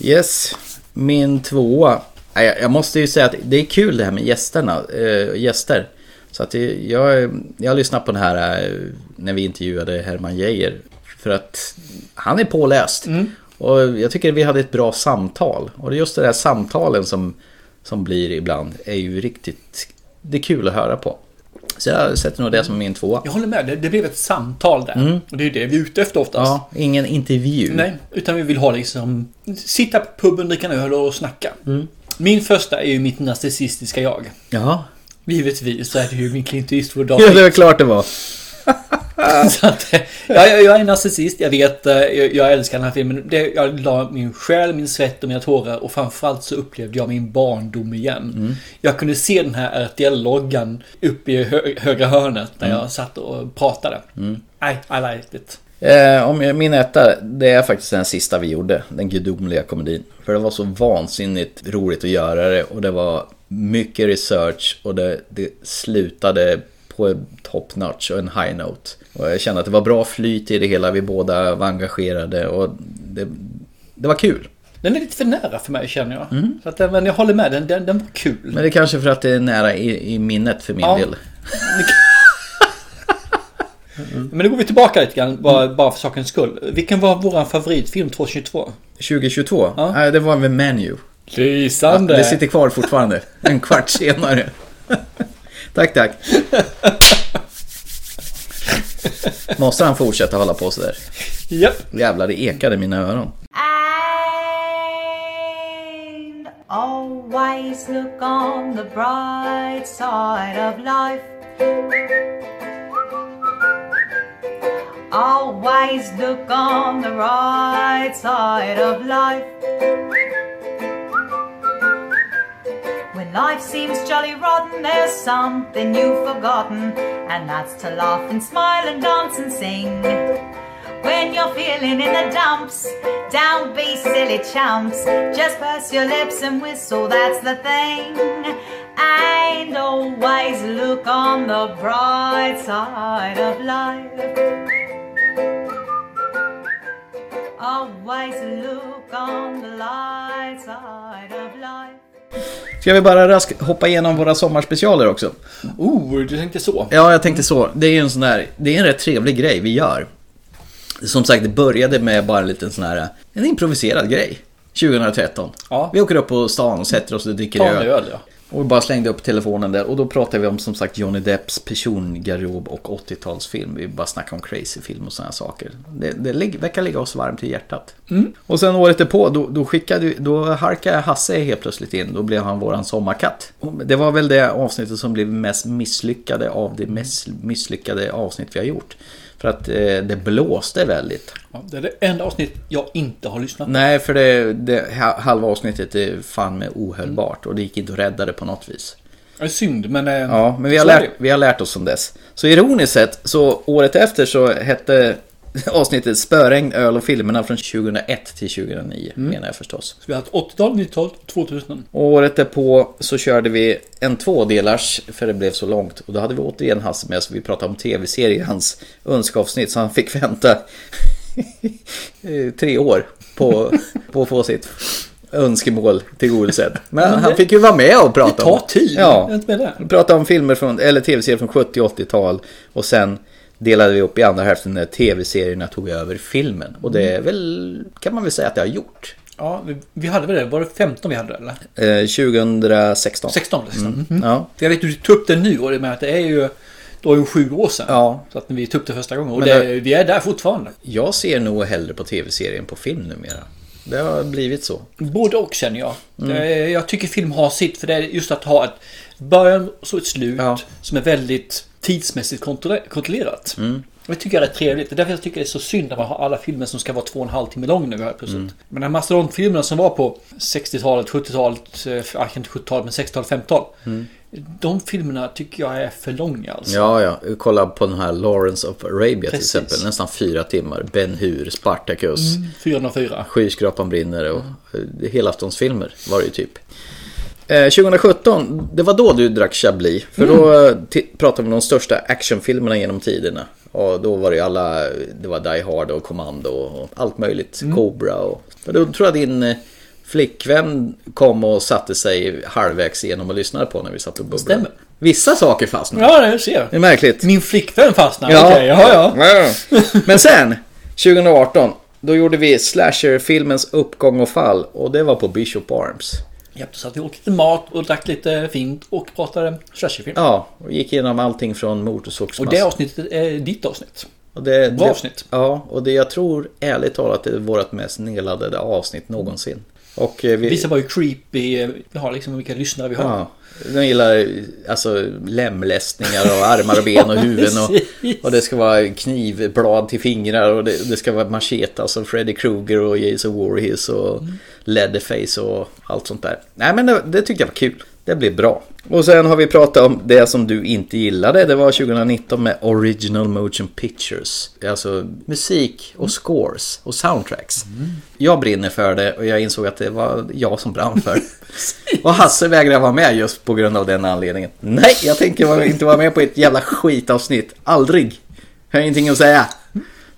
Yes, min tvåa. Nej, Jag jag måste ju säga att det är kul det här med gästerna, eh, gäster. Så att det- jag, jag har lyssnat på den här eh, när vi intervjuade Herman Geijer. För att han är påläst. Och jag tycker vi hade ett bra samtal. Och det är just det där samtalen som, som blir ibland är ju riktigt... Det är kul att höra på. Så jag sätter nog det som min tvåa.
Jag håller med. Det, det blev ett samtal där.
Mm.
Och det är ju det vi är ute efter oftast.
Ja, ingen intervju.
Nej, utan vi vill ha liksom... Sitta på puben, dricka en öl och snacka.
Mm.
Min första är ju mitt narcissistiska jag.
Jaha.
Givetvis så är det ju min Clint Eastwood
Ja, det var klart det var.
Så att, eh, jag, jag, jag är narcissist, jag vet, eh, jag, jag älskar den här filmen. Det, jag la min själ, min svett och mina tårar och framförallt så upplevde jag min barndom igen.
Mm.
Jag kunde se den här RTL-loggan uppe i hö, högra hörnet när
Mm.
jag satt och pratade.
Mm.
Nej, I liked it.
Eh, om jag, min etta, det är faktiskt den sista vi gjorde, den gudomliga komedin. För det var så vansinnigt roligt att göra det och det var mycket research och det, det slutade på en top notch och en high note. Och jag kände att det var bra flyt i det hela, vi båda var engagerade och det, det var kul.
Den är lite för nära för mig känner jag. Så att, eh, men jag håller med, den, den, den var kul.
Mm. Men det är kanske för att det är nära i, i minnet för min
Ja.
del.
Men nu går vi tillbaka lite grann, bara,
Mm.
bara för sakens skull. Vilken var vår favoritfilm 2022?
2022, ja. det var med Menu.
Lysande!
Det sitter kvar fortfarande, en kvart senare. tack, tack. Måste han fortsätta hålla på sådär?
Japp.
Jävlar, det ekade i mina öron.
Always look on the bright side of life. Always look on the right side of life. When life seems jolly rotten, there's something you've forgotten, and that's to laugh and smile and dance and sing. When you're feeling in the dumps, don't be silly chumps. Just purse your lips and whistle, that's the thing. And always look on the bright side of life. Always look on the light side of life.
Ska vi bara raskt hoppa igenom våra sommarspecialer också?
Oh, du tänkte så?
Ja, jag tänkte så. Det är ju en sån där, det är en rätt trevlig grej vi gör. Som sagt, det började med bara en liten sån här, en improviserad grej. 2013. Vi åker upp på stan och sätter oss och dricker
Ta en öl ja.
Och vi bara slängde upp telefonen där och då pratade vi om som sagt Johnny Depps persongarderob och 80-talsfilm. Vi bara snackade om crazyfilm och sådana saker. Det, det lig- verkar ligga oss varmt i hjärtat.
Mm.
Och sen året därpå då, då, skickade, då harkade Hasse helt plötsligt in. Då blev han våran sommarkatt. Och Det var väl det avsnittet som blev mest misslyckade av det mest misslyckade avsnitt vi har gjort. För att eh, det blåste väldigt.
Ja, det är det enda avsnitt jag inte har lyssnat på.
Nej, för det, det ha- halva avsnittet är fan med ohörbart och det gick inte att rädda det på något vis.
Det är synd, men... eh,
Ja, men vi har,
så är
lärt, vi har lärt oss om dess. Så ironiskt sett, så året efter så hette avsnittet Spöregn, öl och filmerna från 2001 till 2009
Mm.
menar jag förstås.
Så vi har haft 80-tal, 90-tal, 2000.
Och året därpå så körde vi en tvådelars för det blev så långt. Och då hade vi återigen Hasse med så vi pratade om tv-serier i hans önskeavsnitt så han fick vänta eh, tre år på, på att få sitt önskemål tillgodosett. Men han fick ju vara med och prata
Det
om
tar tid.
Ja.
Jag är inte med där.
Vi pratade om filmer från, eller tv-serier från 70 och 80-tal och sen delade vi upp i andra hälften när tv-serierna tog över filmen. Och det är
Mm.
väl, kan man väl säga att det har gjort.
Ja, vi, vi hade väl det. Var det 15 vi hade eller?
Eh, 2016.
16 liksom.
Mm. Ja.
Jag vet att du tog upp det nu och det med att det är ju... Det var ju sju år sedan. Så att vi tog upp det första gången. Och
Men
det,
det-
vi är där fortfarande.
Jag ser nog hellre på tv-serier än på film numera. Det har blivit så.
Både och känner jag.
Mm.
Eh, Jag tycker film har sitt. För det är just att ha ett början och så ett slut. Som är väldigt tidsmässigt kontro- kontrollerat.
Mm.
Och Det tycker jag är trevligt. Det är därför jag tycker det är så synd när man har alla filmer som ska vara två och en halv timme lång nu här plötsligt.
Mm.
Men de här mastodontfilmerna som var på 60-talet, 70-talet, eh, ja, kanske inte 70-talet men 60-talet, 50-talet.
Mm.
De filmerna tycker jag är för långa alltså.
Ja, ja. Kolla på den här Lawrence of Arabia till
Precis.
exempel. Nästan fyra timmar. Ben Hur, Spartacus,
Mm, 404.
Skyskrapan brinner och mm. helaftonsfilmer var det ju typ. Eh, 2017, det var då du drack Chablis. För då
Mm.
eh, ti- pratade vi om de största actionfilmerna genom tiderna. Och då var det ju alla, det var Die Hard och Commando och allt möjligt.
Mm.
Cobra och... Men då tror jag din eh, flickvän kom och satte sig halvvägs igenom och lyssnade på när vi satt och bubblade.
Stämmer.
Vissa saker fastnade.
Ja, det ser jag.
Det är märkligt.
Min flickvän fastnade. Ja. Okej, ja, ja.
Men sen, 2018, då gjorde vi slasherfilmens uppgång och fall och det var på Bishop Arms.
Japp, så att vi åt lite mat och drack lite fint och pratade slasherfilm.
Ja, och gick igenom allting från motorsågsmassa.
Och det avsnittet är ditt avsnitt.
Och det,
Bra
det-
avsnitt.
Ja, och det jag tror ärligt talat är vårt mest nedladdade avsnitt någonsin. Och eh, vi...
Vissa var ju creepy. eh, Vi har liksom vilka lyssnare vi har.
Ja, de gillar alltså lemlästningar och armar och ben och huvuden och, och det ska vara knivblad till fingrar och det, det ska vara macheta som Freddy Krueger och Jason Voorhees och Leatherface och allt sånt där. Nej men det, det tyckte jag var kul. Det blev bra. Och sen har vi pratat om det som du inte gillade. Det var 2019 med Original Motion Pictures. Alltså Mm. musik och scores och soundtracks. Jag brinner för det och jag insåg att det var jag som brann för det. Och Hasse vägrade vara med just på grund av den anledningen. Nej, jag tänker vara- inte vara med på ett jävla skitavsnitt. Aldrig. Jag har ingenting att säga.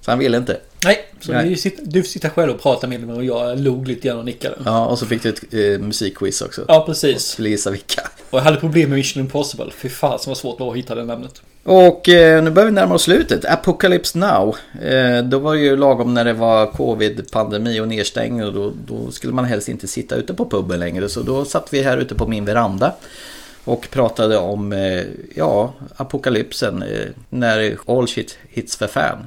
Så han ville inte.
Nej, så
Nej.
Vi sitter, du får sitta själv och prata med mig och jag log lite grann och nickade.
Ja, och så fick du ett eh, musikquiz också.
Ja, precis.
Och skulle gissa vilka.
Och jag hade problem med Mission Impossible. Fy fan som var svårt att hitta det namnet.
Och eh, nu börjar vi närma oss slutet. Apocalypse Now. Eh, då var det ju lagom när det var covid-pandemi och nedstängning och då, då skulle man helst inte sitta ute på puben längre. Så då satt vi här ute på min veranda och pratade om eh, ja, apokalypsen eh, när all shit hits the fan.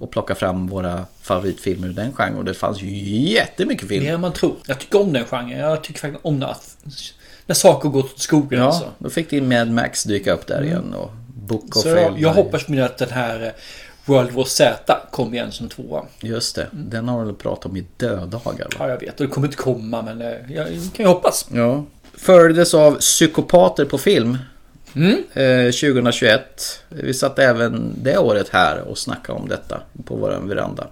Och plocka fram våra favoritfilmer ur den genren. Och det fanns ju jättemycket
Mer
filmer.
än man tror. Jag tycker om den genren. Jag tycker faktiskt om när, när saker går åt skogen.
Ja,
alltså. Mm.
då fick din Mad Max dyka upp där igen. Och Book of
Så jag,
Eli.
jag hoppas med att den här eh, World War Z kommer igen som tvåa.
Just det,
Mm.
den har de pratat om i dödagar. Va?
Ja, jag vet. Och det kommer inte komma, men eh, jag kan ju hoppas.
Ja. Följdes av Psykopater på film.
Mm.
Eh, 2021. Vi satt även det året här och snackade om detta på vår veranda.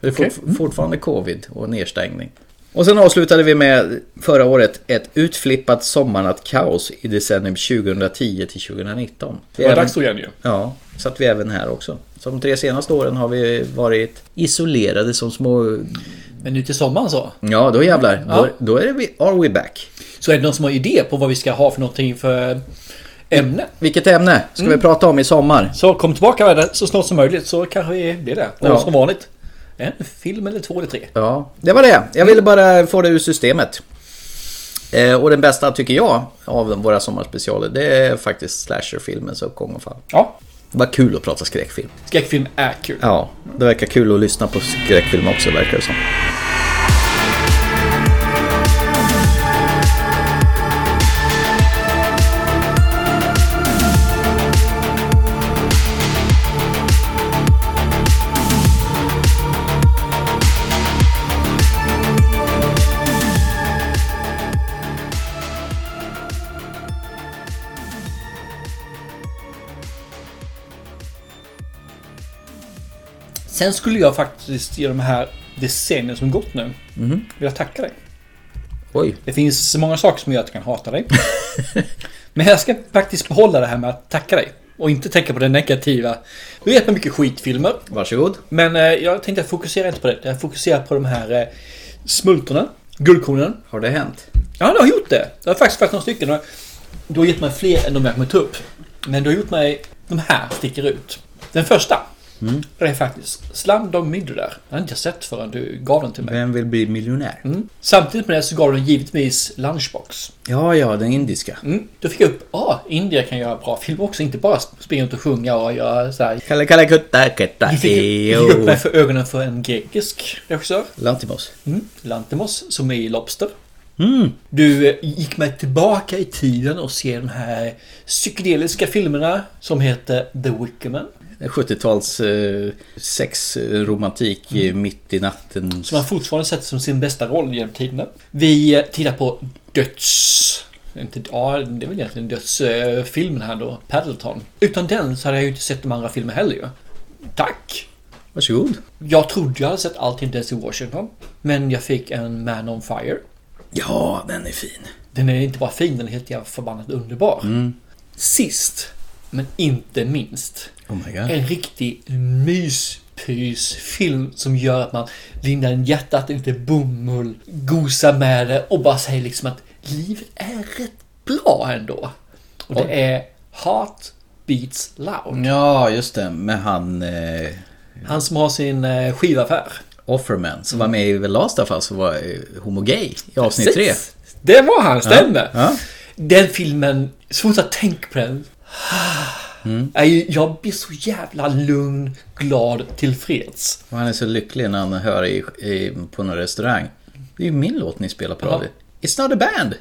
Det är
Okej.
fort, fortfarande covid och nedstängning. Och sen avslutade vi med förra året ett utflippat sommarnattkaos i decennium 2010 till 2019.
Det var dags då igen ju.
Ja, så att vi är även här också. Så de tre senaste åren har vi varit isolerade som små...
Men nu till sommaren så.
Ja, då jävlar.
Ja.
Då, då är vi, are we back.
Så är det någon som har idé på vad vi ska ha för någonting för ämne?
Vilket ämne ska vi prata om i sommar?
Mm. Så kom tillbaka med det så snart som möjligt så kanske vi blir det. Och
Ja.
som vanligt. En film eller två eller tre.
Ja, Mm. det var det. Jag ville bara få det ur systemet. Eh, och den bästa, tycker jag, av våra sommarspecialer, det är faktiskt slasherfilmens uppgång och fall.
Ja.
Vad kul att prata skräckfilm.
Skräckfilm är kul.
Ja, det verkar kul att lyssna på skräckfilm också, verkar det som.
Sen skulle jag faktiskt i de här decennierna som gått nu
Mhm.
vilja tacka dig.
Oj.
Det finns så många saker som gör att jag kan hata dig. Men jag ska faktiskt behålla det här med att tacka dig. Och inte tänka på det negativa. Du vet med mycket skitfilmer.
Varsågod.
Men eh, jag tänkte jag fokuserar inte på det. Jag fokuserar på de här eh, smultorna. Guldkornen.
Har det hänt?
Ja, du har gjort det. Jag har faktiskt fått några stycken. och Du har gett mig fler än de jag kommer ta upp. Men du har gjort mig... De här sticker ut. Den första.
Mm.
Det är faktiskt Slam Dog Millionaire. Den har inte jag sett förrän du gav den till mig.
Vem vill bli miljonär?
Mm. Samtidigt med det så gav den givetvis Lunchbox.
Ja, ja, den indiska.
Mm. Då fick jag upp, ja, ah, India kan göra bra film också. Inte bara springa runt och sjunga och göra så här.
Kalle, kalle, kutta, kutta,
Du fick, du fick upp mig för ögonen för en grekisk regissör.
Lantimos.
Mm. Lantimos, som är i Lobster. Du eh, gick mig tillbaka i tiden och ser de här psykedeliska filmerna som heter The Wickerman.
70-tals eh, sexromantik eh, mitt i natten.
Som han fortfarande sett som sin bästa roll genom tiderna. Vi eh, tittar på Döds... Inte, ja, det är väl egentligen dödsfilmen här då, Paddleton. Utan den så hade jag ju inte sett de andra filmerna heller ju. Tack!
Varsågod.
Jag trodde jag hade sett allting Denzel Washington. Men jag fick en Man on Fire.
Ja, den är fin.
Den är inte bara fin, den är helt jävla förbannat underbar.
Mm.
Sist, men inte minst.
Oh my god.
En riktig myspysfilm som gör att man lindar in hjärtat lite bomull, gosar med det och bara säger liksom att livet är rätt bra ändå. Och
Oj. Mm.
det är Heart Beats Loud.
Ja, just det. Med han... Eh,
Han som har sin eh, skivaffär.
Offerman som var med i The Last of Us och var eh, homogay i avsnitt tre.
Precis. Det var han, stämmer.
Ja.
Den filmen, så fort jag tänker på den.
Mm.
Nej, Jag blir så jävla lugn, glad, tillfreds.
Och han är så lycklig när han hör i, i, på någon restaurang. Det är ju min låt ni spelar på
Ja.
radio. It's not a band!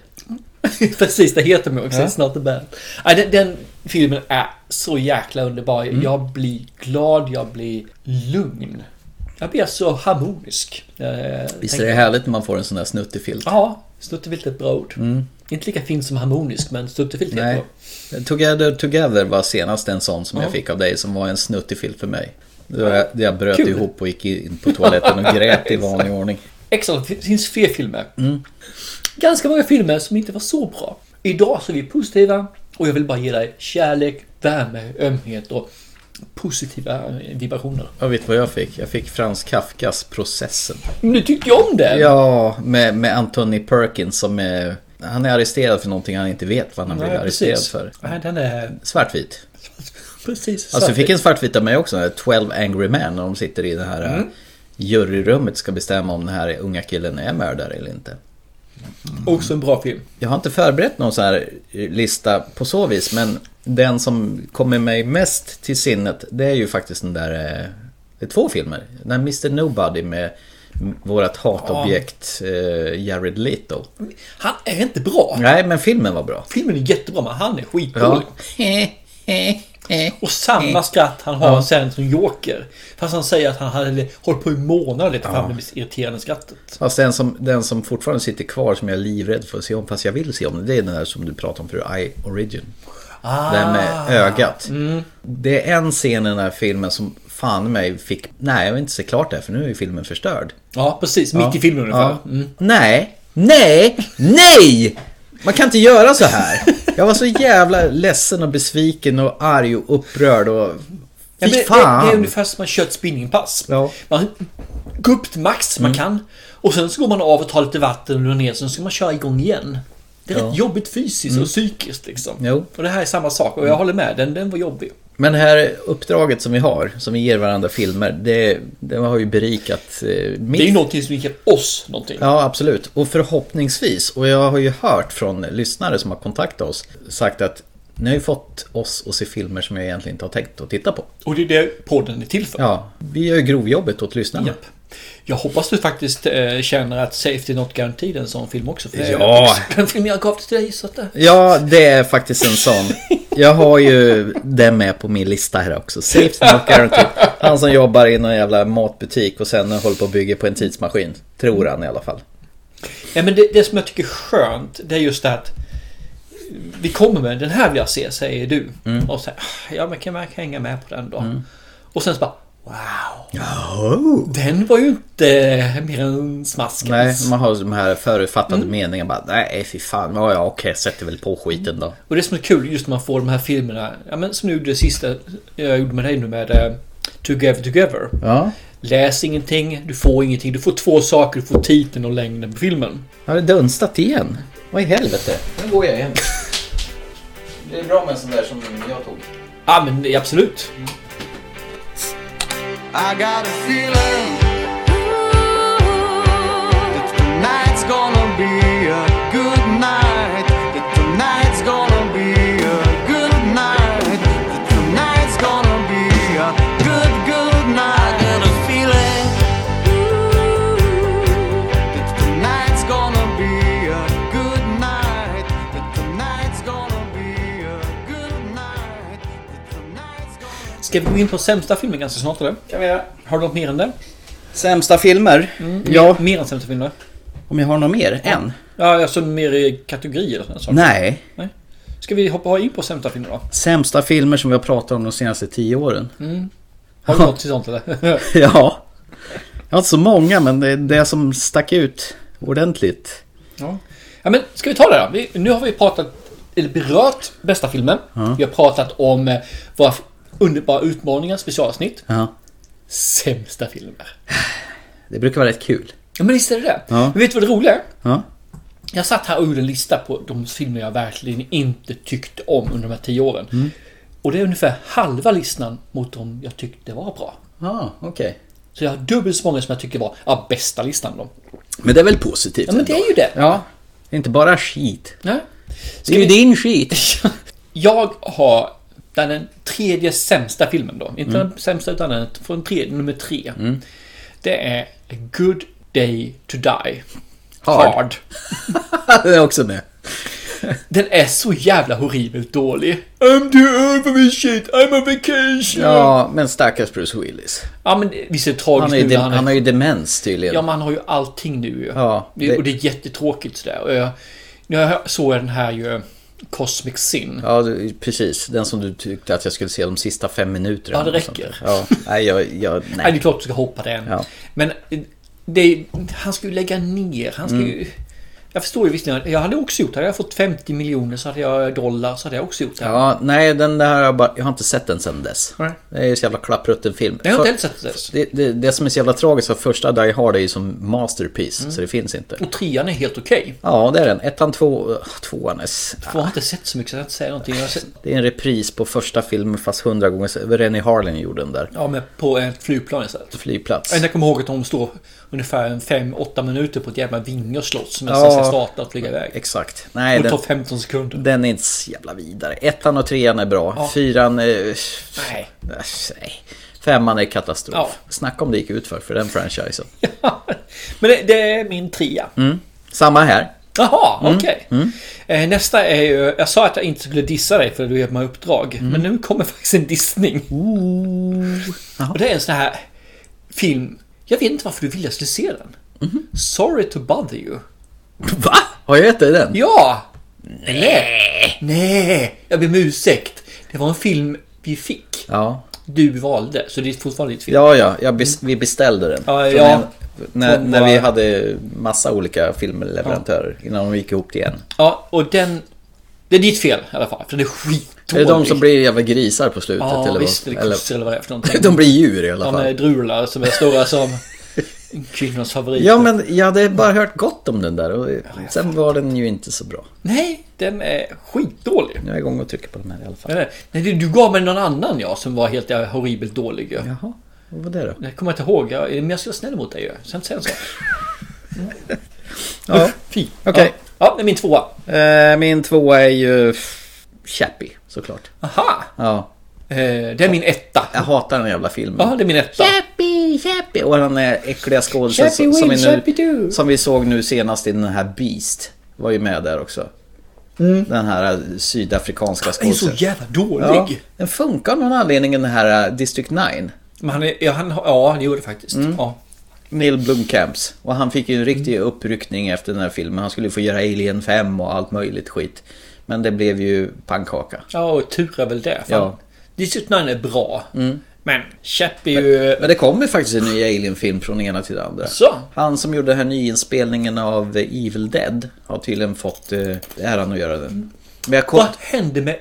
Precis, det heter mig också.
Ja.
It's not a band. Nej, den, den filmen är så jäkla underbar.
Mm.
Jag blir glad, jag blir lugn. Jag blir så harmonisk. Eh,
Visst är
tänker-
det härligt när man får en sån där snuttefilt?
Ja, snuttefilt är ett bra ord.
Mm.
Inte lika fint som harmonisk, men snuttefilt är ett
Nej.
bra.
Together Together var senast en sån som
Ja.
jag fick av dig som var en snuttefilt för mig. Det var jag- det jag bröt
Kul.
ihop och gick in på toaletten och grät i vanlig ordning.
Exakt, det finns fler filmer.
Mm.
ganska många filmer som inte var så bra. Idag så är vi positiva och jag vill bara ge dig kärlek, värme, ömhet och positiva eh, vibrationer.
Jag vet vad jag fick? Jag fick Frans Kafkas Processen.
Men du tyckte ju om den!
Ja, med, med Anthony Perkins som är... Han är arresterad för någonting han inte vet vad han
Nej,
blir arresterad för.
Nej, den är
Svartvit.
precis
Alltså jag fick en
svartvit.
svartvit av mig också, 12 angry men när de sitter i det här eh,
Mm.
juryrummet ska bestämma om den här unga killen är mördare eller inte.
Också en bra film.
Jag har inte förberett någon sån här eh, lista på så vis, men den som kommer mig mest till sinnet, det är ju faktiskt den där... eh, Det är två filmer. Den här Mr Nobody med vårt hatobjekt eh, Jared Leto.
Han är inte bra.
Nej, men filmen var bra.
Filmen är jättebra, men han är skitdålig. Och samma skratt han har
Mm. Ja.
sen som Joker. Fast han säger att han hade hållit på i månader lite fram det mest irriterande skrattet.
Fast den som, den som fortfarande sitter kvar som jag är livrädd för att se om, fast jag vill se om, det är den där som du pratade om för I Origin.
Ah.
Den med ögat.
Mm.
Det är en scen i den här filmen som fan mig fick, nej jag vill inte se klart det här för nu är ju filmen förstörd.
Ja, precis. Mitt i filmen ungefär. Mm.
Nej, nej, nej! Man kan inte göra så här. Jag var så jävla ledsen och besviken och arg och upprörd och...
Ja, men
Fy
det,
fan!
det är ungefär som man kör ett spinningpass. Man går upp till max
Mm.
man kan. Och sen så går man av och tar lite vatten och går ner. Sen ska man köra igång igen. Det är
Ja.
rätt jobbigt fysiskt
Mm.
och psykiskt liksom.
Jo. Mm.
Och det här är samma sak. Och jag håller med. Den, den var jobbig.
Men det här uppdraget som vi har, som vi ger varandra filmer, det, det har ju berikat eh, mitt...
Det är ju någonting som ger oss någonting.
Ja, absolut. Och förhoppningsvis, och jag har ju hört från lyssnare som har kontaktat oss, sagt att ni har ju fått oss att se filmer som jag egentligen inte har tänkt att titta på.
Och det är det podden är till för.
Ja, vi gör ju grovjobbet åt lyssnarna.
Japp. Jag hoppas du faktiskt eh, känner att Safety Not Guaranteed är en sån film också. För det är
Ja.
också Den film jag gav till dig. Så att det...
Ja, det är faktiskt en sån. Jag har ju den med på min lista här också. Safety not guaranteed. Han som jobbar i någon jävla matbutik och sen håller på och bygger på en tidsmaskin. Tror han i alla fall.
Ja, men det, det som jag tycker är skönt, det är just det att vi kommer med den här vill jag se, säger du.
Mm.
Och så här, "Ah, ja men kan jag kan hänga med på den då. Och sen så bara,
Oh.
Den var ju inte mer än smaskens.
Nej, man har de här förutfattade meningarna bara nej fy fan, ja ja okej, sätter väl på skiten då.
Och det som är kul just när man får de här filmerna, ja, men som nu det sista jag gjorde med dig nu med eh, Together Together.
Ja.
Läs ingenting, du får ingenting. Du får två saker, du får titeln och längden på filmen.
Har det dunstat igen? Vad i helvete? Nu går jag hem. Det är bra med en sån där som jag tog.
Ja, men det- absolut.
I got a feeling that tonight's gonna be a good night. That tonight's gonna be a good night. That tonight's gonna be a good, good night. I got a feeling that tonight's gonna be a good night. That tonight's gonna be a good night. That tonight's gonna
Ska vi gå in på sämsta filmen ganska snart eller?
Kan vi göra.
Har du något mer än det?
Sämsta filmer?
Ja. Mer än sämsta filmer?
Om jag har något mer? En?
Ja, alltså mer i kategorier och sådana saker.
Nej.
Nej. Ska vi hoppa in på sämsta filmer då?
Sämsta filmer som vi har pratat om de senaste tio åren?
Mm. Har du något till sånt eller?
ja. Jag har inte så många men det är det som stack ut ordentligt.
Ja. ja, men ska vi ta det då? Vi, nu har vi pratat, eller berört bästa filmen.
Ja.
Vi har pratat om eh, våra f- underbara utmaningar, specialavsnitt.
Ja.
Sämsta filmer.
Det brukar vara rätt kul.
Ja, men visst är det det?
Ja.
Men vet du vad det roliga är?
Ja.
Jag satt här och gjorde en lista på de filmer jag verkligen inte tyckte om under de här tio åren.
Mm.
Och det är ungefär halva listan mot de jag tyckte var bra.
Ja, okej.
Så jag har dubbelt så många som jag tycker var ja, bästa listan då.
Men det är väl positivt?
Ja, men det är ju det.
Ja. Det är inte bara skit.
Nej.
Det är ju din skit.
Jag har den, den tredje sämsta filmen då. Inte
Mm.
den sämsta utan den från tredje, nummer tre. Det är A Good Day To Die.
Hard.
det är också med. Den är så jävla horribelt dålig. I'm too old for this shit, I'm on vacation.
Ja, men stackars Bruce Willis.
ja men visst är det
Han,
tragiskt
är ju
nu
de-
när
han, har ju demens tydligen.
Ja, men han har ju allting nu ju.
Ja,
det...
det-
Och det är jättetråkigt sådär. Och jag, nu har jag- såg jag den här ju, Cosmic Sin.
Ja, du- precis. Den som du tyckte att jag skulle se de sista fem minuterna.
Ja, det
eller sånt
räcker.
där. Ja, nej, jag... jag nej.
Nej, det är klart du ska hoppa den.
Ja.
Men eh, det, är- han ska ju lägga ner. Han ska
Mm.
ju, jag förstår ju visserligen. Jag hade också gjort det. Hade jag fått 50 miljoner så hade jag dollar så hade jag också gjort det.
Ja, nej, den där har jag bara... Jag har inte sett den sen dess. Det är ju så jävla klapprutten film.
Jag har inte
För-
heller sett det.
Det, det, det som är så jävla tragiskt för första Die Hard är ju som masterpiece,
Mm.
så det finns inte.
Och trean är helt okej.
Ja, det är den. Ettan, två, äh, tvåan är... s-
Två har inte sett så mycket så jag kan inte säga någonting. Jag har sett,
Det är en repris på första filmen fast hundra gånger... så- Rennie Harlin gjorde den där.
ja, men på ett flygplan istället.
Flygplats.
Jag kommer ihåg att de står ungefär 5-8 minuter på ett jävla vinge och slåss som
Ja.
nästan ska starta och flyga iväg.
Exakt. Nej,
och det
den-
tar 15 sekunder.
Den är inte så jävla vidare. Ettan och trean är bra.
Ja.
Fyran är... Äh,
Nej.
Nej. Femman är katastrof.
Ja.
Snacka om det gick ut för, för den franchisen.
Men det, det är min trea.
Mm. Samma här.
Jaha,
Mm.
okej. Eh, Nästa är ju... Jag sa att jag inte skulle dissa dig för du ger mig uppdrag.
Mm.
Men nu kommer faktiskt en dissning. Och det är en sån här film. Jag vet inte varför du ville jag skulle se den.
Mm-hmm.
Sorry to bother you.
Va? Har jag gett dig den?
Ja! Nej! Nej! Jag ber om ursäkt. Det var en film vi fick.
Ja.
Du valde, så det är fortfarande ditt film.
Ja, ja. Jag bes- vi beställde den.
Ja,
Från
ja.
en- när,
Från
när
våra-
vi hade massa olika filmleverantörer innan de gick ihop till en.
Ja, och den... Det är ditt fel i alla fall, för den är skitdålig.
Är det de som blir jävla grisar på slutet?
Ja,
eller
visst.
vad?
Eller kossor eller vad det är för någonting.
De blir djur i alla
De
fall.
är drular eh, som är stora som kvinnors favorit.
Ja, men jag hade bara hört gott om den där och sen var den ju inte så bra.
Nej, den är skitdålig.
Nu är jag igång och trycker på den här i alla fall.
Nej, nej, du- du gav mig någon annan ja, som var helt ja, horribelt dålig. Ja.
Jaha, vad var det då?
Jag kommer inte ihåg, jag, men jag ska vara snäll mot dig ju. Så jag inte säga så. Mm.
Ja.
Fy.
Okej.
Ja. ja, det är min tvåa.
Eh, Min tvåa är ju f- Chappie, såklart.
Aha! Eh,
Ja.
Det är min etta.
Jag hatar den jävla filmen.
Ja, det är min etta.
Chappie, Chappie! Och den är äckliga skådisen som, som, vi nu- som vi såg nu senast i den här Beast. Var ju med där också. Den här eh, sydafrikanska
Mm. Han är så
skådisen.
jävla dålig.
Ja, den funkar av någon anledning i den här eh, District 9.
Men han är, ja, han, har- ja, det gjorde det faktiskt.
Mm.
Ja.
Neil Blomkamps. Och han fick ju en riktig
Mm.
uppryckning efter den här filmen. Han skulle ju få göra Alien 5 och allt möjligt skit. Men det blev ju pannkaka.
ja, och tur är väl det. Fan.
Ja.
District 9 är bra.
Mm.
Men Shep är ju...
Men det kommer faktiskt en ny Alien-film från ena till det andra.
Så.
Han som gjorde den här nyinspelningen av Evil Dead har tydligen fått eh, äran att göra den. Men jag kom...
Vad hände med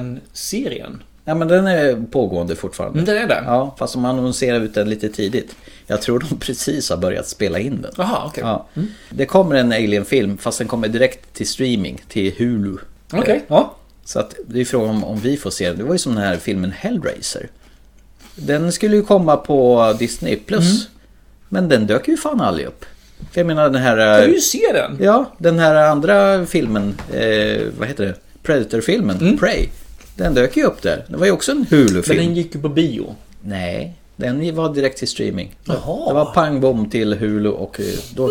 Alien-serien?
Ja, men den är pågående fortfarande.
Mm, den är det?
Ja, fast de annonserar ut den lite tidigt. Jag tror de precis har börjat spela in den.
Jaha, okej. Mm.
Ja. Det kommer en Alien-film, fast den kommer direkt till streaming, till Hulu.
Okej,
Eh,
ja.
Så att det är frågan om, om vi får se den. Det var ju som den här filmen Hellraiser. Den skulle ju komma på Disney+. Plus.
Mm.
Men den dök ju fan aldrig upp. För jag menar den här... eh,
Jag vill ju se den!
Ja, den här andra filmen, eh, vad heter det? Predator-filmen, Prey. Den dök ju upp där. Det var ju också en Hulu-film.
Mm. Men den gick ju på bio.
Nej, den var direkt till streaming. Det var pang bom till Hulu och, eh, då,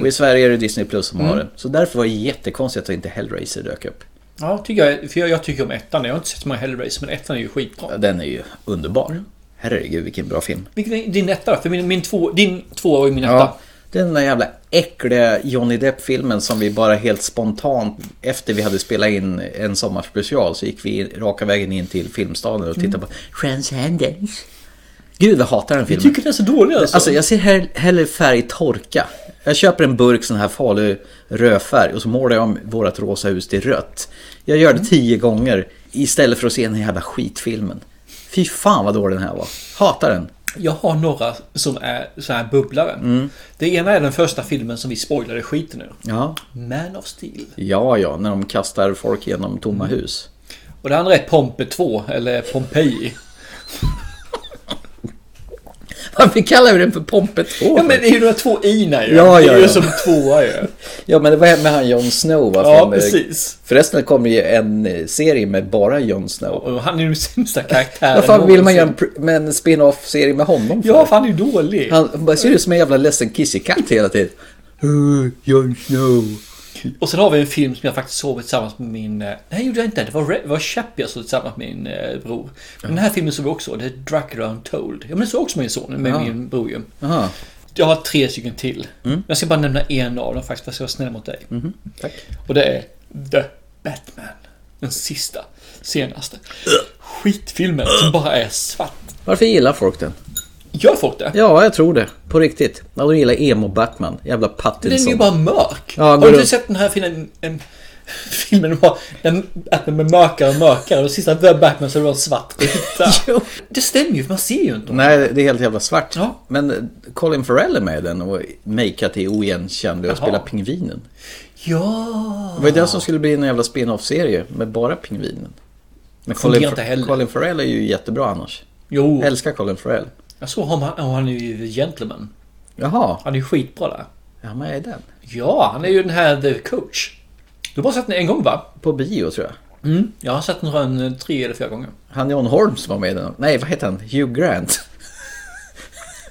och i Sverige är det Disney Plus som har
Mhm. Mm.
den. Så därför var det jättekonstigt att inte Hellraiser dök upp.
Ja, tycker jag, för jag, jag tycker om ettan. Jag har inte sett så många Hellraiser, men ettan är ju skitbra.
Den är ju underbar. Herregud vilken bra film.
Vilken är din etta då? För min, min två, din två var ju min etta.
Ja, den där jävla äckliga Johnny Depp-filmen som vi bara helt spontant efter vi hade spelat in en sommarspecial så gick vi raka vägen in till filmstaden och tittade på Transcendence. Gud, jag hatar den filmen.
Mm. Jag tycker den är så dålig alltså.
Alltså jag ser hell- hellre färg torka. Jag köper en burk sån här farlig rödfärg och så målar jag om vårt rosa hus till rött. Jag gör det
Mm.
tio gånger istället för att se den här jävla skitfilmen. Fy fan vad dålig den här var. Hatar den.
Jag har några som är så här bubblare.
Mm.
Det ena är den första filmen som vi spoilade skiten ur.
Ja.
Man of Steel.
ja, ja, när de kastar folk genom tomma hus.
Och det andra är Pompe 2, eller Pompeji.
Varför kallar vi den för Pompe 2?
Ja men det är ju de två i-na ju.
Ja,
det
ja,
är ju
ja.
som tvåa ju.
Ja, men det var med han Jon Snow va?
Ja,
Från, eh,
precis.
Förresten det kommer ju en eh, serie med bara Jon Snow.
Och han är ju den sämsta karaktären
Vad fan vill man
någonsin.
göra en, pr- med en spin-off-serie med honom för?
Ja, för han är ju dålig.
Han han bara ser ut som en jävla ledsen kissekatt hela tiden. Uh,
Eh,
Jon Snow.
Och sen har vi en film som jag faktiskt såg tillsammans med min... eh, Nej, gjorde jag inte. Det var, Re- det var Shep jag såg tillsammans med min eh, bror. Men den här filmen såg vi också. Det är Dracula Untold. Ja, men den såg också min son, med
Ja.
min bror ju.
Jaha.
Jag har tre stycken till.
Mm.
Jag ska bara nämna en av dem faktiskt, för jag ska vara snäll mot dig.
Mhm, tack.
Och det är The Batman. Den sista, senaste. Skitfilmen som bara är svart.
Varför gillar folk den?
Gör folk det?
Ja, jag tror det. På riktigt. Ja, de gillar emo-Batman. Jävla Pattinson.
Den är ju bara mörk.
Ja, han
har du
går
inte
runt-
sett den här filmen? En, filmen var den, att den blir mörkare och mörkare och sista The Batman så det var svart skita. det stämmer ju för man ser ju inte.
Nej, det är helt jävla svart. Men Colin Farrell är med i den och makeat till oigenkännlig och
Jaha.
spelar pingvinen.
Ja.
Det var ju den som skulle bli en jävla spin-off-serie med bara pingvinen. Men Colin,
Fungerar inte heller.
Colin Farrell är ju jättebra annars.
Jo.
Jag älskar Colin Farrell.
Jag såg honom, och han är ju gentleman.
Jaha.
Han är ju skitbra där.
Ja, han är den.
Ja, han är ju den här The Coach. Du har bara sett den en gång va?
På bio tror jag.
Mm, jag har sett den runt tre eller fyra gånger.
Han John Holmes var med i den. Nej, vad heter han? Hugh Grant.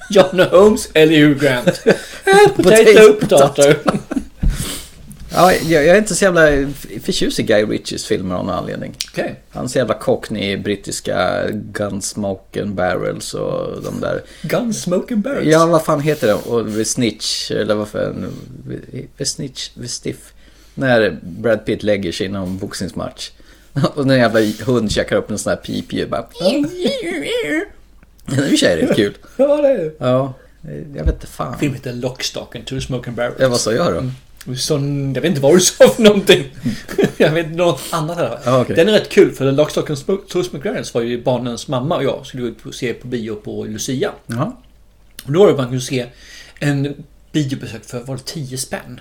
John Holmes eller Hugh Grant. Eh, Potato, potato.
Ja, jag, jag är inte så jävla förtjust i Guy Ritchies filmer av någon anledning.
Okej.
Hans jävla cockney brittiska Gunsmoke and Barrels och de där.
Gunsmoke and Barrels?
Ja, vad fan heter det? Och The Snitch, eller vad fan... The Snitch, The Stiff. När Brad Pitt lägger sig i någon boxningsmatch. Och den jävla hund käkar upp en sån här pipljud bara. Det är i och för sig rätt kul.
Ja, det är det.
Ja, jag vet inte fan.
Filmen heter Lockstock and Two Smoking Barrels.
Ja, vad sa jag då?
Du sa- jag vet inte vad du sa för någonting. jag vet inte något annat. Här.
Ja, Mm. Ah, okej.
Den är rätt kul för den Lockstock and Smo- Two Smoking Barrels var ju barnens mamma och jag skulle gå och se på bio på Lucia.
Jaha.
Och då var det man kunde se en biobesök för var det 10 spänn.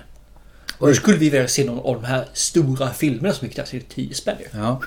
Och då skulle vi vilja se någon av de här stora filmerna som gick där, så det är 10 spänn ju.
Ja.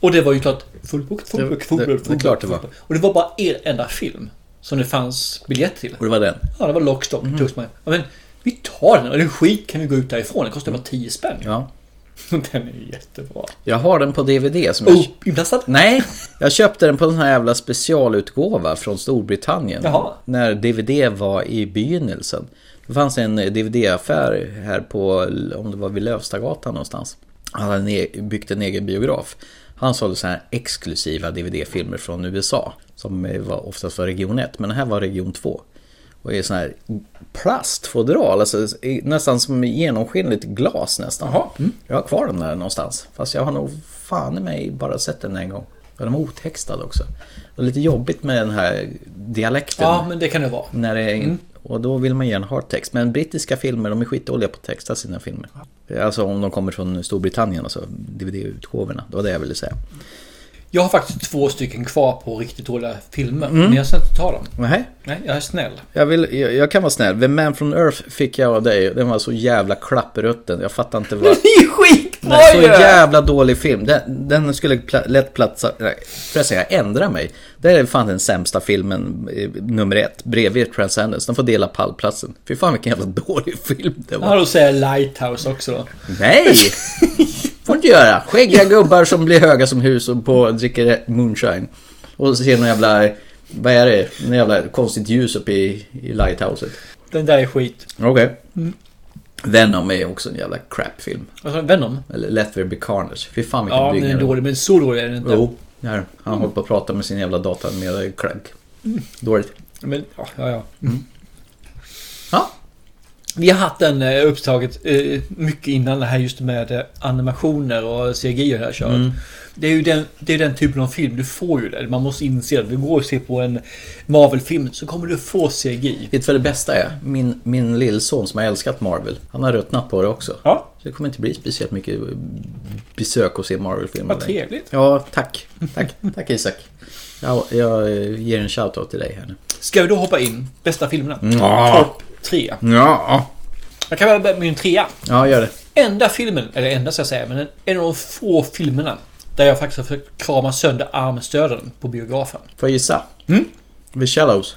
Och det var ju klart fullbokat,
Det-
fullbokat, fullbokat.
det- det är klart det var.
fullbokat. Och det var bara en enda film som det fanns biljett till.
Och det var den?
Ja, det var Lockstock. Mm. Ja, men vi tar den och det är skit kan vi gå ut därifrån. Det kostar bara 10 spänn.
Ja.
Den är ju jättebra.
Jag har den på DVD som
Oh, inplastad?
Nej, jag köpte den på en sån här jävla specialutgåva från Storbritannien.
Jaha.
När DVD var i begynnelsen. Det fanns en eh, DVD-affär här på, om det var vid Lövstagatan någonstans. Han hade ne- byggt en egen biograf. Han sålde så här exklusiva DVD-filmer från USA. Som eh, var oftast var region 1, men den här var region 2. Och är sån här plastfodral, alltså i- nästan som genomskinligt glas nästan. Jag har kvar den där någonstans. Fast jag har nog fan i mig bara sett den en gång. Ja, de är otextade också. Det är lite jobbigt med den här dialekten.
Ja, men det kan det vara.
När det är, Och då vill man gärna ha text. Men brittiska filmer, de är skitdåliga på att texta sina filmer. Alltså om de kommer från Storbritannien, alltså DVD-utgåvorna. Det var det jag ville säga.
Jag har faktiskt två stycken kvar på riktigt dåliga filmer.
Mm.
Men jag ska inte ta dem.
Nej.
Nej, jag är snäll.
Jag, vill, jag, jag kan vara snäll. The Man from Earth fick jag av dig. Den var så jävla klapprötten. Jag fattar inte vad...
Skitbra
Nej, så
ju!
jävla dålig film. Den, den skulle pla- lätt platsa... Nej, förresten, jag ändrar mig. Det är fan den sämsta filmen, eh, nummer ett, bredvid Transcendence. Den får dela pallplatsen. Fy fan vilken jävla dålig film det var.
Ja, då säger jag Lighthouse också då.
Nej! får inte göra. Skäggiga gubbar som blir höga som hus och på, dricker moonshine. Och så ser någon jävla... Vad är det? Någon jävla konstigt ljus uppe i, i lighthouset.
Den där är skit.
Okej.
Mm.
Venom är också en jävla crapfilm.
Vad sa du? Venom?
Eller Let there be carnage. Fy fan vilken
Ja, den
dynga
är
det var.
dålig. Men så dålig är den inte.
Jo, det är den. han håller på att prata med sin jävla datanimerade crank.
Mm.
Dåligt.
Men, ja, ja. ja.
Mm.
Vi har haft den eh, upptaget eh, mycket innan det här just med eh, animationer och CGI och det här köret.
Mm.
Det är ju den, det är den typen av film, du får ju det. Man måste inse det. Du går och ser på en Marvel-film så kommer du få CGI.
Vet du vad det bästa är? Min, min lillson som har älskat Marvel, han har ruttnat på det också.
Ja.
Så det kommer inte bli speciellt mycket besök och se Marvel-filmer.
Vad
längre.
trevligt.
Ja, tack. Tack, tack Isak. Jag, jag eh, ger en shoutout till dig här nu.
Ska vi då hoppa in? Bästa filmerna?
Ja.
Topp tre.
Ja.
Jag kan väl börja med min trea.
Ja, gör det.
Enda filmen, eller enda ska jag säga, men en- en av de få filmerna där jag faktiskt har försökt krama sönder armstöden på biografen.
Får jag gissa? Mm? The Shallows.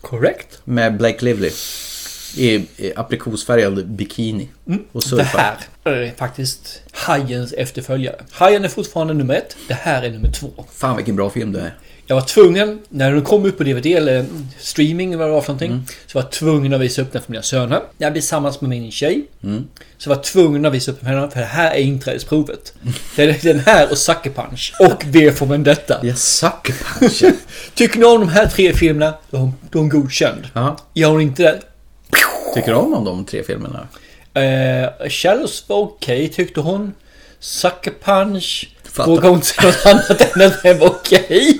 Korrekt.
Med Blake Lively. I, i aprikosfärgad bikini. Och
det
surfar.
här är faktiskt Hajens efterföljare. Hajen är fortfarande nummer ett. Det här är nummer två.
Fan vilken bra film det är.
Jag var tvungen, när den kom ut på DVD eller streaming eller vad det var för någonting.
Mm.
Så var jag tvungen att visa upp den för mina söner. Jag blev tillsammans med min tjej.
Mm.
Så var jag tvungen att visa upp den för henne. För det här är inträdesprovet. Det är den här och Sucker Punch. Och V for Vendetta.
Ja, Sucker Punch.
Tycker ni om de här tre filmerna, då är hon- då är hon godkänd.
Ja.
Gör hon inte det,
Tycker du om, om de tre filmerna?
Eh, Shallows var okej tyckte hon. Sucker Punch.
Fattar.
Vågar hon inte säga något annat än att den var okej.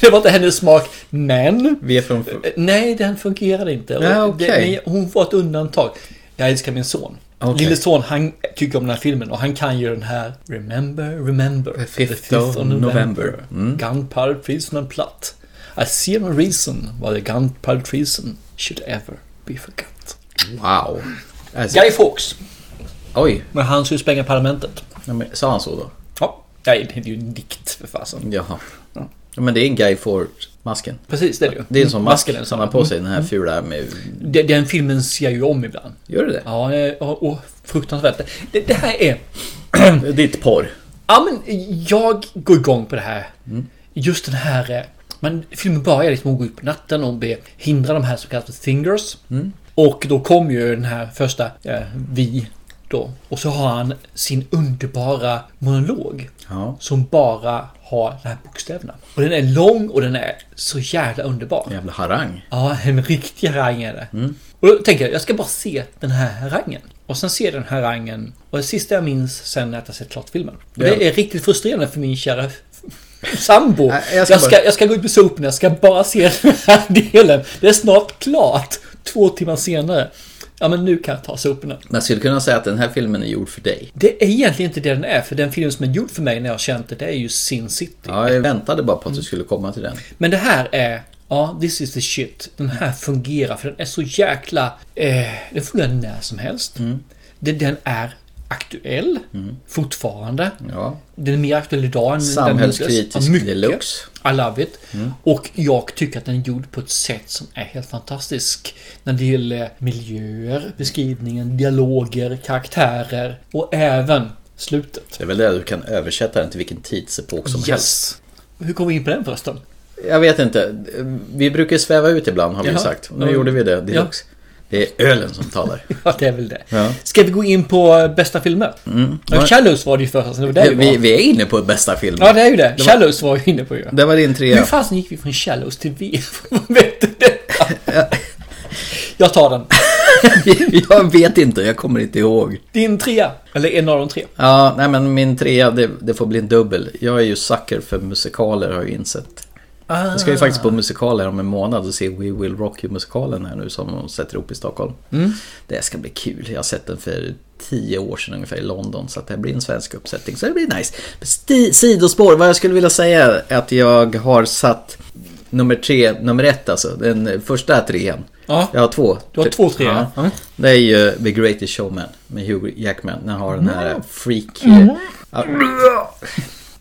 Det var inte hennes smak. Men.
Vi är från...
eh, Nej, den fungerade inte. Och
Ja, okej.
det- men hon var ett undantag. Jag älskar min son.
Okej.
Lille son, han tycker om den här filmen och han kan ju den här Remember, remember. The
fifth of November. Mm.
Gunpowder treason and plot. I see no reason why the gunpowder treason should ever be forgot.
Wow. Alltså,
Guy Fawkes.
Oj.
Men han skulle spränga parlamentet.
Ja, men, sa han så då?
Ja. Nej, det är ju en dikt för fasen.
Jaha. Ja, men det är en Guy Fawkes-masken.
Precis, det är det ju.
Det är en sån mask
Masken är en
som
sån.
han har på sig. Den
Mm.
här fula med...
Den, den filmen ser jag ju om ibland.
Gör du det?
Ja, eh, och, och fruktansvärt. Det, det här är...
Ditt porr.
Ja, men jag går igång på det här. Just den här... eh, Men filmen börjar liksom att gå ut på natten och be, hindra de här så kallade fingers. Och då kom ju den här första eh, vi då. Och så har han sin underbara monolog.
Ja.
Som bara har de här bokstäverna. Och den är lång och den är så jävla underbar.
Jävla harang.
Ja, en riktig harang är det.
Mm.
Och då tänker jag, jag ska bara se den här harangen. Och sen ser jag den här harangen. Och det sista jag minns sen är att jag sett klart filmen. Och
Ja.
det är riktigt frustrerande för min kära f- sambo.
Nej, jag
Jag
ska
ska, jag,
bara-
ska, gå ut med soporna, jag ska bara se den här delen. Det är snart klart. Två timmar senare. Ja, men nu kan jag ta soporna.
Man skulle kunna säga att den här filmen är gjord för dig.
Det är egentligen inte det den är, för den film som är gjord för mig när jag har känt det, det är ju Sin City.
Ja, jag väntade bara
Mm.
på att du skulle komma till den.
Men det här är... Ja, this is the shit. Den här fungerar för den är så jäkla... Eh, den fungerar när som helst.
Mm.
Det, den är aktuell fortfarande.
Ja.
Den är mer aktuell idag än
Samhällskritisk
den gjordes. Ja, mycket.
deluxe. Mm.
I love it. Och jag tycker att den är gjord på ett sätt som är helt fantastisk. När det gäller miljöer, beskrivningen, dialoger, karaktärer och även slutet.
Det är väl det du kan översätta den till vilken tidsepok som
Yes.
helst.
Hur kom vi in på den förresten?
Jag vet inte. Vi brukar ju sväva ut ibland har vi
Jaha.
sagt. Nu
Ja.
gjorde vi det deluxe. Det är ölen som talar.
Ja, det är väl det.
Ja.
Ska vi gå in på eh, bästa filmer?
Mm.
Ja, Shallows var det ju först, alltså, det var där vi,
vi,
var.
vi är inne på bästa filmen.
Ja, det är ju det.
var-
Shallows var jag inne på ju.
Det var din trea.
Hur fasen gick vi från Shallows till V? Vad vet du detta? Jag tar den.
jag vet inte, jag kommer inte ihåg.
Din trea, eller en av de tre.
Ja, nej men min trea, det, det får bli en dubbel. Jag är ju sucker för musikaler har jag insett.
Ah.
Jag ska ju faktiskt på musikaler om en månad och se We Will Rock You-musikalen här nu som de sätter ihop i Stockholm.
Mm.
Det ska bli kul. Jag har sett den för tio år sedan ungefär i London så att det här blir en svensk uppsättning. Så det blir nice. Sti- sidospår, vad jag skulle vilja säga är att jag har satt nummer tre, nummer ett alltså, den första trean.
Ja.
Jag har två.
Du har två treor.
Typ. Ja. Det är ju The Greatest Showman med Hugh Jackman. Den har den
Mm.
här freak... Ja.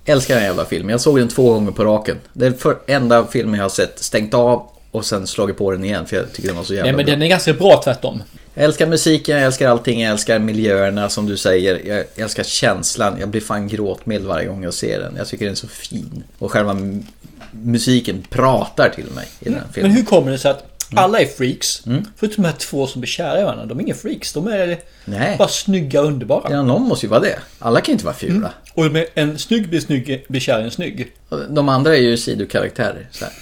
Älskar den här jävla filmen. Jag såg den två gånger på raken. Det är den för- enda filmen jag har sett stängt av och sen slagit på den igen för jag tycker den var så jävla
Nej men
bra.
den är ganska bra tvärtom.
Jag älskar musiken, jag älskar allting, jag älskar miljöerna som du säger. Jag älskar känslan, jag blir fan gråtmild varje gång jag ser den. Jag tycker den är så fin. Och själva m- musiken pratar till mig i den
Mm. Men
filmen.
hur kommer det sig att
Mm.
alla är freaks? Förutom de här två som blir kära i varandra. De är inga freaks. De är
Nej.
bara snygga och underbara.
Ja, någon måste ju vara det. Alla kan ju inte vara fula.
Och med en snygg blir, snygg blir kär i en snygg.
De andra är ju sidokaraktärer. Så här.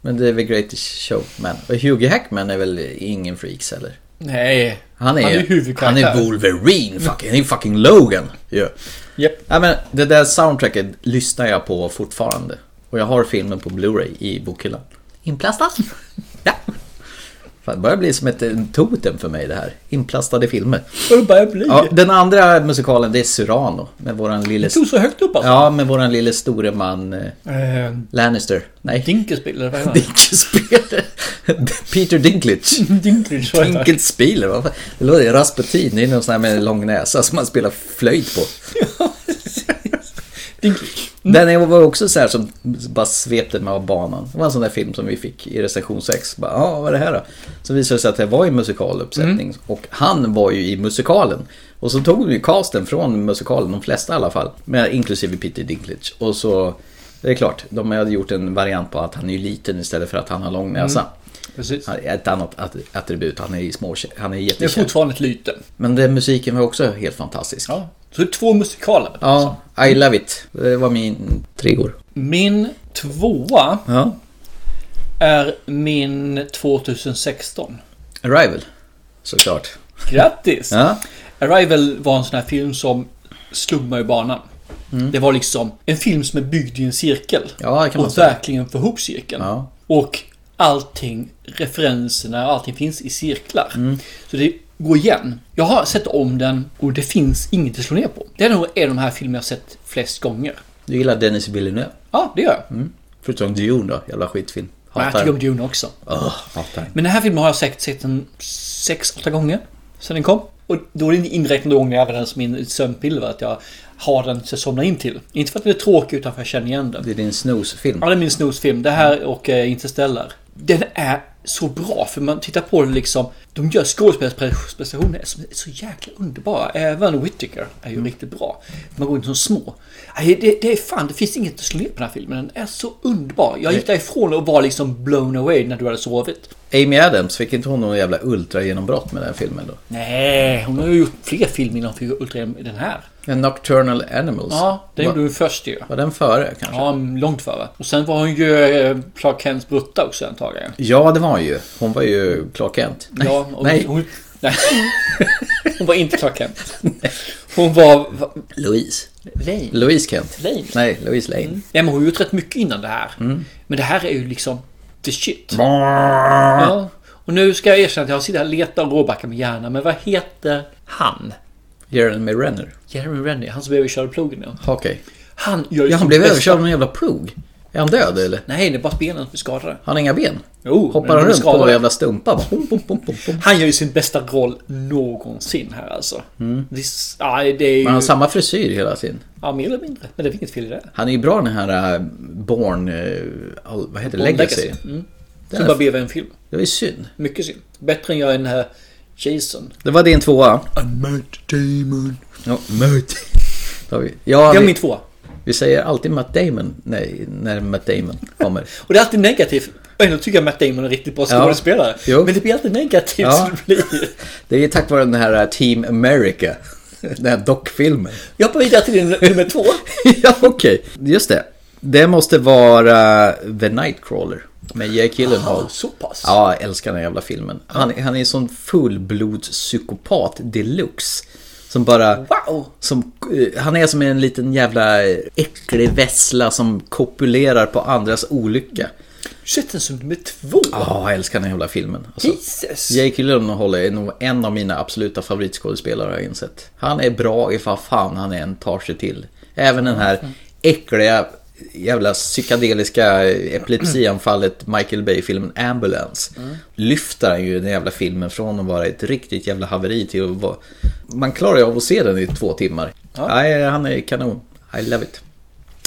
Men det är väl Greatest Showman. Och Hugh Hackman är väl ingen freaks heller?
Nej.
Han är,
han är
Han
huvudkaraktär.
är Wolverine fucking. Han är fucking Logan. Yeah.
Yep.
Ja, men det där soundtracket lyssnar jag på fortfarande. Och jag har filmen på Blu-ray i bokhyllan. Inplastad? ja. Fan, det börjar bli som ett eh, totem för mig det här. Inplastade filmer.
Och det börjar bli.
Ja, den andra musikalen det är Cyrano. Med våran lille...
Det tog så högt upp alltså.
Ja, med våran lille store man... eh,
Eh,
Lannister. Nej.
Dinkelspiller, vad är det?
Dinkelspiller. Peter Dinklage.
Dinklage, vad är det?
Dinkelspiller. vad fan? Det låter Rasputin. Det är någon sån här med en lång näsa som man spelar flöjt på. Den är- var också så här som bara svepte mig av banan. Det var en sån där film som vi fick i recension 6. Bara, ja, vad är det här då? Så visade det sig att det var en musikaluppsättning. Och han var ju i musikalen. Och så tog de ju casten från musikalen, de flesta i alla fall. Med, inklusive Peter Dinklage. Och så, det är klart, de hade gjort en variant på att han är liten istället för att han har lång näsa.
Mm. Precis.
Ett annat att- attribut, han är, i små, han är
Det är
jättekänd.
fortfarande ett lyte.
Men den musiken var också helt fantastisk.
Ja. Så det är två musikaler.
Ja, I love it. Det var min treor.
Min tvåa
Ja.
är min 2016.
Arrival, såklart.
Grattis!
Ja.
Arrival var en sån här film som slog mig i banan. Det var liksom en film som är byggd i en cirkel.
Mm. Ja, det kan man
och
säga.
verkligen få ihop cirkeln.
Ja.
Och allting, referenserna, allting finns i cirklar.
Mm.
Så det går igen. Jag har sett om den och det finns inget att slå ner på. Det är nog en av de här filmerna jag har sett flest gånger.
Du gillar Dennis Villeneuve?
Ja, det gör jag.
Förutom Dune då, jävla skitfilm.
Men jag
Hatar
tycker om
den.
Dune också.
Ugh, hatar den.
Men den här filmen har jag säkert sett en 6-8 gånger sen den kom. Och då är det inräknade gånger jag använder den som min sömnpiller. Att jag har den så jag somnar in till. Inte för att den är tråkig utan för att jag känner igen den.
Det är din snooze-film.
Ja, det är min snosfilm. Det här och eh, Interstellar. Den är så bra för man tittar på den liksom. De gör skådespelarprestationer som är så jäkla underbara. Även Whittaker är ju riktigt bra. Man går in som små. Nej, Det, det är fan, det finns inget att slå ner på den här filmen. Den är så underbar. Jag gick därifrån och var liksom blown away när du hade sovit.
Amy Adams, fick inte hon någon jävla ultragenombrott med den filmen då?
Nej, hon har ju gjort fler filmer innan hon fick Ultra den här.
Ja, Nocturnal Animals.
Ja, den
Va-
gjorde hon först ju.
Var den före kanske?
Ja, långt före. Och sen var hon ju eh, Clark Kents brutta också antagligen.
Ja, det var hon ju. Hon var ju Clark Kent. Nej,
Ja, och
nej.
Hon, nej. hon var inte Clark Kent. Hon var... va-
Louise.
Lane.
Louise Kent.
Lane.
Nej, Louise Lane.
Nej, men hon har gjort rätt mycket innan det här. Men det här är ju liksom the shit. Ja. Och nu ska jag erkänna att jag sitter här och letar och råbackar med hjärnan. Men vad heter han?
Jeremy Renner.
Jeremy Renner, han som blev överkörd av plogen nu.
Okej.
Han gör ju
Ja,
sitt
han blev
bästa.
överkörd av en jävla plog. Är han död eller?
Nej, det är bara att benen som är skadade.
Han har inga ben?
Jo, Oh, men
Hoppar
de
han
är
runt på
skadade.
en jävla stumpa? bara? Pom, pom, pom, pom, pom.
Han gör ju sin bästa roll någonsin här alltså. Det, är s- ja, det är ju...
Mm. Men han har samma frisyr hela tiden.
Ja, mer eller mindre. Men det är inget fel i det.
Han är ju bra den här äh, Born... äh, all- Vad heter det?
Born
Legacy.
Legacy. Mm.
Den
Som
är-
bara blev en film.
Det var ju synd.
Mycket synd. Bättre än jag än här Jason.
Det var din tvåa.
Matt Damon.
Ja, möjt. Då har vi- Ja,
Det är
vi-
min tvåa.
Vi säger alltid Matt Damon nej, när Matt Damon kommer.
Och det är alltid negativt. Och ändå tycker jag Matt Damon är en riktigt bra
Ja.
skådespelare.
Jo.
Men det blir alltid negativt
Ja.
som det blir.
Det är ju tack vare den här äh, Team America. Den här dockfilmen.
Jag hoppar vidare till din nummer två.
ja, okej. Just det. Det måste vara eh, The Nightcrawler. Men Jake Gyllenhaal.
Aha, Ah, så pass.
Ja, jag älskar den här jävla filmen. Han, han är en sån fullblodspsykopat deluxe. Som bara... Wow! Som, eh, han är som en liten jävla äcklig vessla som kopulerar på andras olycka.
Sett den som nummer två.
Ja, jag älskar den här jävla filmen. Alltså,
Jesus.
Jake Gyllenhaal är nog en av mina absoluta favoritskådespelare har jag insett. Han är bra i vad fan han än tar sig till. Även den här äckliga jävla psykedeliska epilepsianfallet Michael Bay-filmen Ambulance.
Mm.
Lyfter han ju den jävla filmen från att vara ett riktigt jävla haveri till att vara... Man klarar ju av att se den i två timmar. Nej, han är kanon. I love it.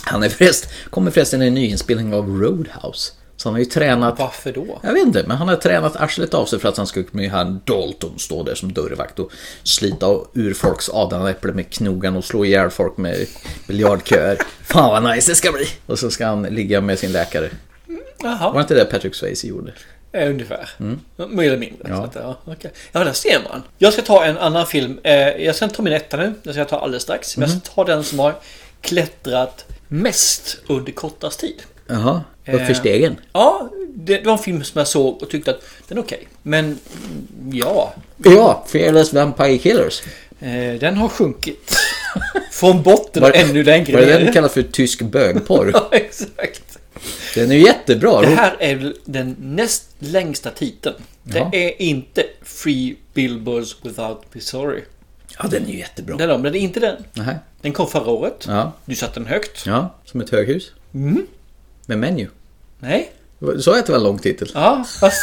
Han är förresten, kommer förresten i en nyinspelning av Roadhouse. Så han har ju tränat...
Varför då?
Jag vet inte, men han har tränat arslet av sig för att han skulle kunna göra en Dalton stå där som dörrvakt och slita ur folks adlande äpple med knogan och slå ihjäl folk med biljardköer. Fan vad nice det ska bli! Och så ska han ligga med sin läkare.
Jaha.
Var inte det Patrick Swayze gjorde?
Eh, Ungefär.
Mm.
Mer eller mindre.
Ja.
Ja. Så att, ja, okej. ja, där ser man. Jag ska ta en annan film. Eh, Jag ska inte ta min etta nu. Den ska jag ta alldeles strax. Men
Mhm.
jag ska ta den som har klättrat mest under kortast tid.
Jaha, uppför
Eh,
stegen.
Ja, det, det var en film som jag såg och tyckte att den är okej. Men mm, ja,
Ja, Fearless Vampire Killers.
eh, den har sjunkit. Från botten och
Var-
ännu längre
Var det den
ner.
du kallar för tysk bögporr?
Ja, exakt.
Den är ju jättebra.
Det här är väl den näst längsta titeln.
Jaha.
Det är inte Free Billboards Without Missouri.
Ja, den är ju jättebra.
Den, är- men det är inte den.
Nähä.
Den kom förra året.
Ja.
Du satte den högt.
ja, som ett höghus.
Mm.
Med menu.
Nej.
Du sa ju att det var en lång titel.
Ja, fast...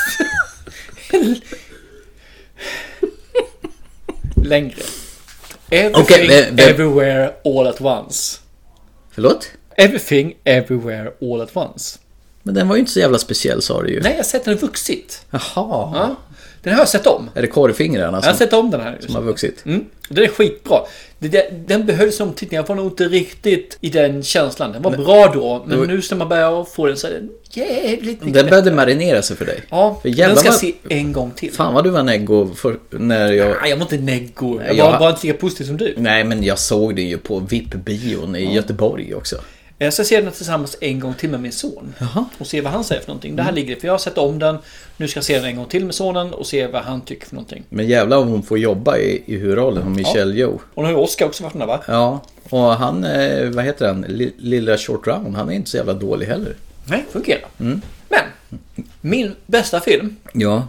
Längre. Everything,
Okej, men-
everywhere, all at once.
Förlåt?
Everything, everywhere, all at once.
Men den var ju inte så jävla speciell sa du ju.
Nej, jag har sett den vuxit.
Jaha.
Ja. Den har jag sett om.
Är det korvfingrarna
Jag har
som,
sett om den här.
som har vuxit?
Mm. Den är skitbra. Det- det- Den behölls som tittning. Jag var nog inte riktigt i den känslan. Den var bra då, men
Då-
nu när man börjar få den så är den jävligt mycket
Den började marinera sig för dig.
Ja,
för
den ska jag
vad-
se en gång till.
Fan vad du var neggo för, när jag...
Nej, jag var inte neggo. Jag
jag-
var bara inte lika positiv som du.
Nej men jag såg den ju på VIP-bion i
Ja.
Göteborg också.
Jag ska se den tillsammans en gång till med min son. Och se vad han säger för någonting. Det här ligger för jag har sett om den. Nu ska jag se den en gång till med sonen och se vad han tycker för någonting.
Men jävlar om hon får jobba i, i huvudrollen, hon Michelle Yeoh.
Och nu har ju Oscar också varit med va?
Ja, och han, eh, vad heter han, Li- lilla Short Round, han är inte så jävla dålig heller.
Nej, fungerar.
Mm.
Men! Min bästa film
Ja.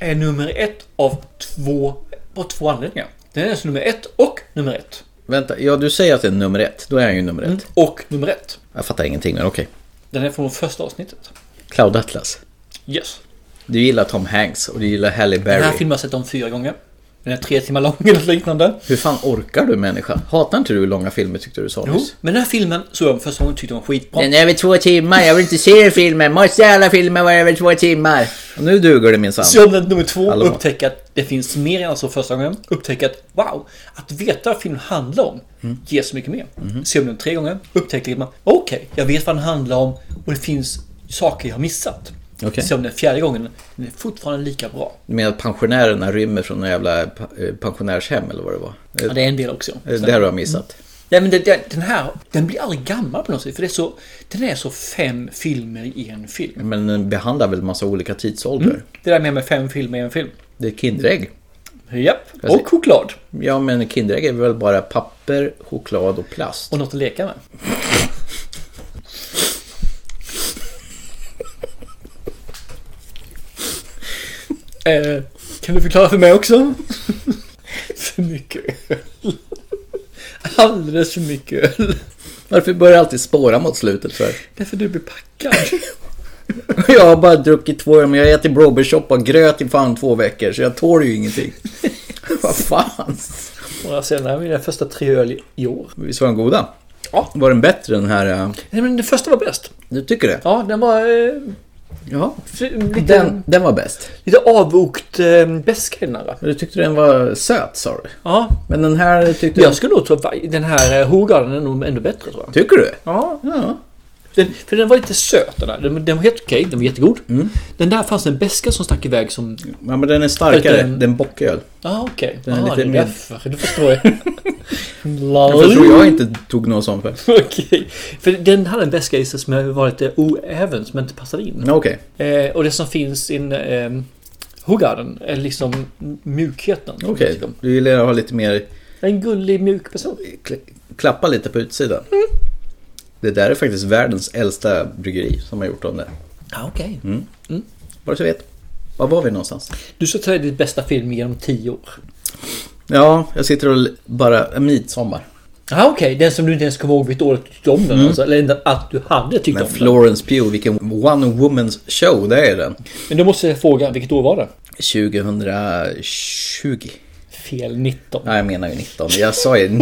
är nummer ett av två, på två anledningar. Den är alltså nummer ett och nummer ett.
Vänta, ja du säger att det är nummer ett, då är han ju nummer ett.
Och nummer ett.
Jag fattar ingenting men okej.
Den är från första avsnittet.
Cloud Atlas.
Yes.
Du gillar Tom Hanks och du gillar Halle Berry.
Den här filmen har jag sett om fyra gånger. Den är tre timmar lång eller liknande.
Hur fan orkar du människa? Hatar inte du långa filmer tyckte du sa
Jo,
nyss?
men den här filmen såg jag om första gången och tyckte den var skitbra.
Den är över två timmar, jag vill inte se den filmen. Måste alla filmer vara över två timmar? Och nu duger det minsann.
Se om den nummer två
Alla
och upptäcka att det finns mer än så första gången. Upptäcka att wow, att veta vad filmen handlar om ger så mycket mer.
Mhm.
Se om den tre gånger. Upptäcker att man okej, jag vet vad den handlar om och det finns saker jag har missat.
Okej.
Se om den fjärde gången. Den är fortfarande lika bra.
Du menar att pensionärerna rymmer från några jävla eh, pensionärshem eller vad det var? Eh,
Ja, det är en del också.
Det har jag missat.
Nej men det, det, den här, den blir aldrig gammal på något sätt. För det är så, den är så fem filmer i en film.
Men den behandlar väl massa olika tidsåldrar?
Det där med, med fem filmer i en film.
Det är Kinderägg.
Japp, och choklad.
Ja, men Kinderägg är väl bara papper, choklad och plast?
Och något att leka med. eh, kan du förklara för mig också? för mycket öl. Alldeles för mycket öl.
Varför börjar jag alltid spåra mot slutet för?
Därför du blir packad.
Jag har bara druckit två öl, men jag har ätit blåbärssoppa och gröt i fan två veckor, så jag tål ju ingenting. Vad fan?
Några senare, mina första tre öl i år.
Visst var den goda?
Ja.
Var den bättre den här? eh,
Nej men den första var bäst.
Du tycker det?
Ja, den var... Eh,
Ja.
fri- lite,
Den, den var bäst.
lite avvokt eh, bäska i den här. va?
Men Du tyckte den var söt sa du?
Ja.
Men den här tyckte
Jag skulle nog tro att va- den här eh, Hogarden är nog ännu bättre tror jag.
Tycker du?
Ja.
Ja.
Den, för den var lite söt den där. Den, den var helt okej, den var jättegod. Den där fanns en beska som stack iväg som...
Ja men den är starkare, den är en bocköl.
Ah okej.
Den är
ah,
lite
det är
mer-
därför. Du förstår jag.
Jag tror jag inte tog någon sån för.
Okej. För den hade en väska i sig som var lite oäven som inte passade in.
Okej.
Eh, och det som finns i eh, Hoogarden är liksom mjukheten. som jag
Okej,
tycker om.
du gillar att ha lite mer...
En gullig mjuk person.
kla- Klappa lite på utsidan.
Mm.
Det där är faktiskt världens äldsta bryggeri som har gjort om det.
Ah, okej.
Mm. Bara så du vet. Var var vi någonstans?
Du ska ta ditt bästa film genom tio år.
Ja, jag sitter och l- bara... En midsommar.
Ah, okej, den som du inte ens kommer ihåg vilket år du tyckte om den
Mm.
alltså, Eller inte att du hade tyckt
Men
om den.
Florence Pugh, vilken one woman's show det är den.
Men då måste jag fråga, vilket år var det?
2020.
Fel 19.
Nej, jag menar ju 19. Jag sa ju...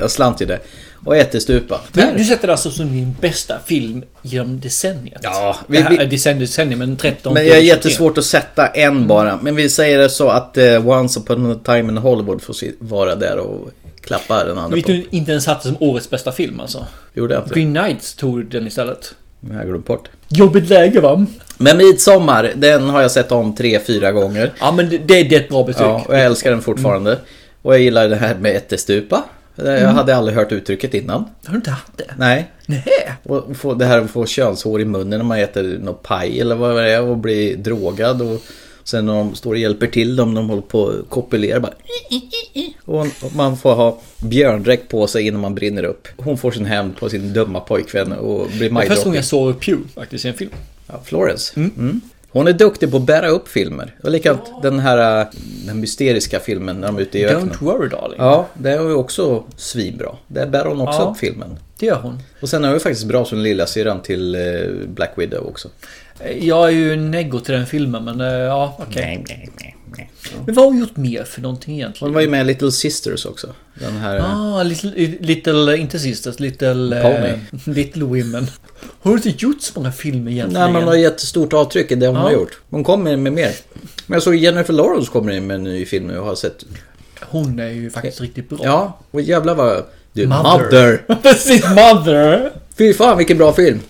jag slant ju det. Och ättestupa.
Du, du sätter alltså som din bästa film genom decenniet. Ja,
vi-
det här
vi-
är decennium, decennium, men 13
Men
till
jag är
23.
jättesvårt att sätta en bara. Men vi säger det så att eh, Once upon a time in Hollywood får si- vara där och klappa den andra
Vet
på.
du inte ens satte som årets bästa film alltså?
Gjorde jag inte.
Green Knights tog den istället.
Men jag glömde bort.
Jobbigt läge va?
Men Midsommar, den har jag sett om tre, fyra gånger.
Ja men det, det är ett bra betyg.
Ja, och jag älskar den fortfarande. Och jag gillar det här med ättestupa. Jag
Mm.
hade aldrig hört uttrycket innan.
Har du inte haft det?
Nej. Och få, det här att få könshår i munnen när man äter någon paj eller vad det är och bli drogad. Och sen när de står och hjälper till dem, de håller på och kopulerar bara. Och och man får ha björndräkt på sig innan man brinner upp. Hon får sin hämnd på sin dumma pojkvän och
Det var första
blir
gången
majdrottning.
jag såg Pew faktiskt i en film.
Ja, Florence. Mm. Hon är duktig på att bära upp filmer. Och likadant den här äh, den mysteriska filmen när de är ute i öknen.
Don't worry darling.
Ja, det är ju också svinbra. Där bär hon också
Ja.
upp filmen.
Det gör hon.
Och sen är hon ju faktiskt bra som lilla syran till eh, Black Widow också.
Jag är ju neggo till den filmen men eh, ja okej. Men vad har hon gjort mer för någonting egentligen?
Hon var ju med i Little Sisters också. Den här... eh,
Ah, little, little, inte sisters, little... eh,
Pony.
little Women. Har du inte gjort så många filmer egentligen?
Nej, man har gett stort avtryck i det hon
Ja.
har gjort. Hon kommer med mer. Men jag såg Jennifer Lawrence kommer in med en ny film nu och har sett...
Hon är ju faktiskt riktigt bra.
Ja, och jävlar vad... Du,
Mother.
Mother!
Precis, Mother!
Fy fan vilken bra film!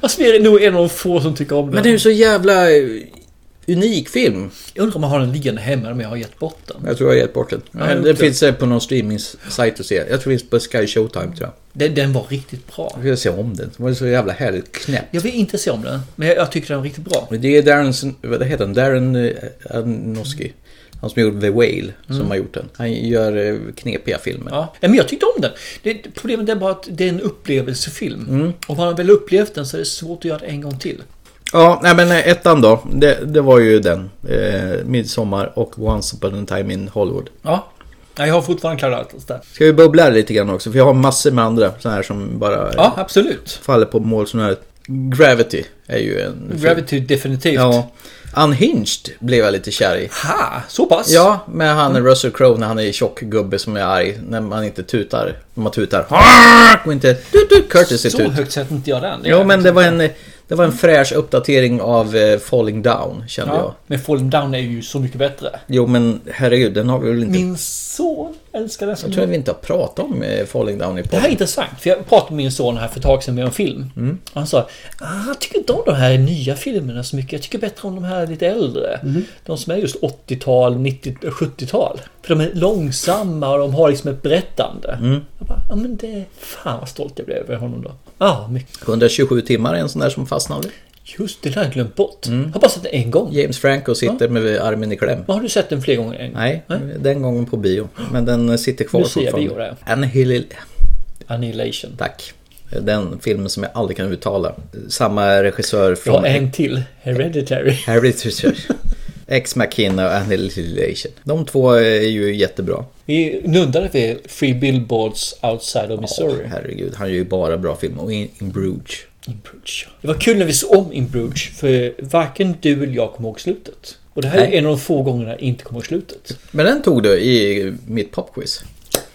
Alltså, vi är nog en av de få som tycker om den.
Men det är ju så jävla eh, unik film.
Jag undrar om jag har den liggande hemma om jag har gett bort den.
Jag tror jag har gett bort den.
Ja, jag
den
gjort det.
finns eh, på någon streamingsajt att se. Jag tror det finns på Sky Showtime tror jag.
Den, den var riktigt bra.
Jag vill se om den. Den var så jävla härligt knäpp.
Jag vill inte se om den, men jag, jag tyckte den var riktigt bra.
Och Det är Darren, vad heter han? Darren eh, Aronofsky. Han som gjorde The Whale som
Mm.
har gjort den. Han gör eh, knepiga filmer.
Ja. Nej, Men jag tyckte om den. Det, problemet är bara att det är en upplevelsefilm.
Mm.
Om man väl upplevt den så är det svårt att göra det en gång till.
Ja, nej men eh, ettan då. Det, det var ju den. Eh, Midsommar och Once upon a time in Hollywood.
Ja. Nej, Jag har fortfarande Clara Atlas där.
Ska vi bubbla lite grann också? För jag har massor med andra sådana här som bara eh,
Ja, absolut.
faller på målsnöret. Gravity är ju en... film.
Gravity definitivt.
Ja. Unhinged blev jag lite kär i.
Ha, så pass?
Ja, med han
Mm.
Russell Crowe när han är tjock gubbe som är arg. När man inte tutar. När man tutar. Och inte... Tut, tut, Curtis är
Så
tut.
högt sätter inte jag den.
Jo, men det var en... Det var en fräsch uppdatering av eh, Falling Down, kände jag.
ja. Men Fallen Down är ju så mycket bättre.
Jo, men herregud, den har vi väl inte...
Min son älskar den.
Jag
som-
tror vi inte har pratat om eh, Falling Down i
Det här är
podden.
intressant, för jag pratade med min son här för ett tag sedan med en film.
Mm.
Och Han sa ah, jag tycker inte om de här nya filmerna så mycket. Jag tycker bättre om de här lite äldre.
Mm.
De som är just 80-tal, 90 70-tal. För de är långsamma och de har liksom ett berättande.
Mm.
Jag bara, ja men det... Fan vad stolt jag blev över honom då. Ja, mycket.
127 timmar är en sån där som fastnade.
Just det, det har jag glömt bort.
Mm.
Jag har bara sett den en gång.
James Franco sitter med armen i kläm.
Men har du sett den fler gånger? än-
Nej, den gången på bio. Men den eh, sitter kvar
Nu ser jag
fortfarande. Annihil-
Annihilation.
Tack. Eh, Den filmen som jag aldrig kan uttala. Samma regissör
Jag har
från...
en till. Hereditary.
Hereditary. Ex Machina och Annihilation. De två är ju jättebra.
Vi nuddade vid Free Billboards Outside of Missouri.
Ja, herregud, han gör ju bara bra filmer. Och In, in Bruges.
In Bruges, ja. Det var kul när vi såg om In Bruges, för varken du eller jag kommer ihåg slutet. Och det här
Nej.
är en av de få gångerna jag inte kommer ihåg slutet.
Men den tog du i mitt popquiz.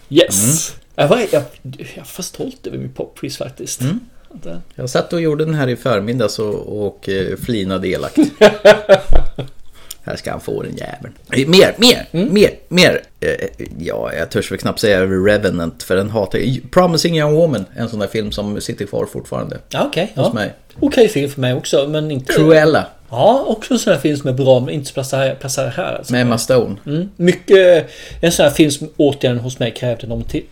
Yes! Jag, var, jag, jag Mm. är för stolt över min popquiz faktiskt. Det-
Jag satt och gjorde den här i förmiddags och, och eh, flinade elakt. Här ska han få den jäveln. Eh, Mer, mer,
Mm.
mer, mer. Eh, Ja, jag törs väl knappt säga Revenant för den hatar jag. Promising Young Woman, en sån där film som sitter kvar fortfarande.
Ja, okej.
Hos
ja.
mig.
Okej film för mig också, men inte...
Cruella.
Ja, också en sån här film som är bra, men inte placerad placerad här. Alltså.
Med Emma Stone.
Mm. Mycket... En sån här film som återigen hos mig krävde någon till.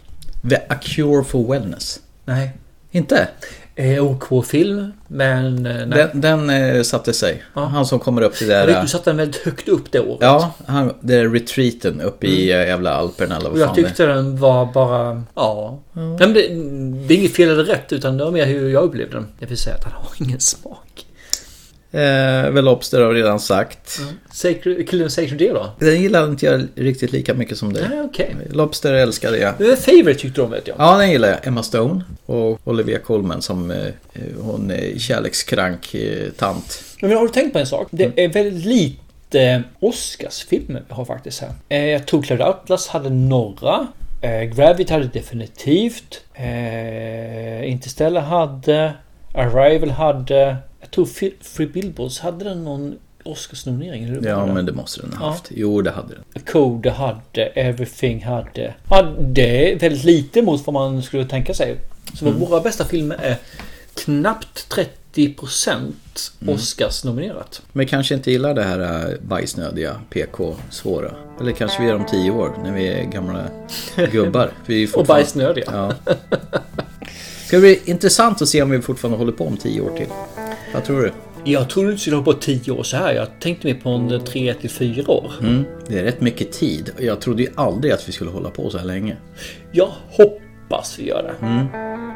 The A Cure for Wellness.
Nej.
Inte?
Eh, OK-film, men... Eh, nej.
Den, den eh, satte sig. Han som kommer upp till det
Jag vet,
där...
du satte den väldigt högt upp det året.
Ja, han, det är retreaten uppe i eh, jävla Alperna eller
Och
vad
jag
fan det är.
tyckte den var bara... Ja. Nej, men det, det är inget fel eller rätt, utan det var mer hur jag upplevde den. Det vill säga att han har ingen smak.
Eh, väl Lobster har jag redan sagt.
Mm. Sacred, Killen Sacred Deer då?
Den gillar inte jag riktigt lika mycket som dig.
Nej, okej.
Lobster älskade jag.
Okay. Favorite tyckte de vet jag.
Ja, den gillar jag. Emma Stone och Olivia Colman som eh, hon är kärlekskrank eh, tant.
Men har du tänkt på en sak? Det
Mm.
är väldigt lite eh, Oscarsfilmer vi har faktiskt här. Eh, Jag tror Cloud Atlas hade några. Eh, Gravity hade definitivt. Eh, Interstellar hade. Arrival hade. Jag tror Fi- Free Billboards hade den någon Oscarsnominering. Är
Ja,
bra?
men det måste den ha
Ja.
haft. Jo, det hade den.
Code hade. Everything hade. Ja, det är väldigt lite mot vad man skulle tänka sig. Så
Mm.
våra bästa filmer är knappt 30%
Mm.
Oscarsnominerat.
Men kanske inte gillar det här eh, bajsnödiga, PK-svåra. Eller kanske vi är om tio år, när vi är gamla gubbar. Vi är
Och
fortfarande-
bajsnödiga.
Ja. Ska det bli intressant att se om vi fortfarande håller på om tio år till. Vad tror du?
Jag trodde inte skulle hålla på 10 år så här. Jag tänkte mer på en 3 till 4 år.
Mm, det är rätt mycket tid. Jag trodde ju aldrig att vi skulle hålla på så här länge.
Jag hoppas vi gör det.
Mm.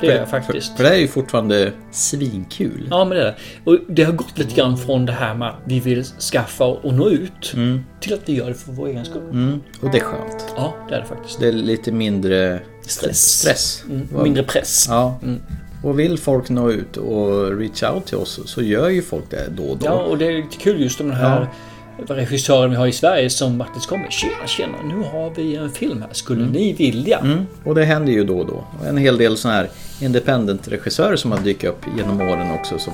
Det är jag faktiskt.
För det här är ju fortfarande svinkul.
Ja, men det är det. Och det har gått lite grann från det här med att vi vill skaffa och nå ut
Mm.
till att vi gör det för vår egen skull.
Mm. Och det är skönt.
Ja, det är det faktiskt.
Det är lite mindre
Stress.
stress.
Mm,
Vad-
mindre Mm. press.
Ja. Och vill folk nå ut och reach out till oss så gör ju folk det då och då.
Ja, och det är lite kul just om den här regissören vi har i Sverige som faktiskt kommer. Tjena, tjena, nu har vi en film här. Skulle ni vilja?
Mm. Och det händer ju då och då. Och En hel del sådana här independent-regissörer som har dykt upp genom åren också som,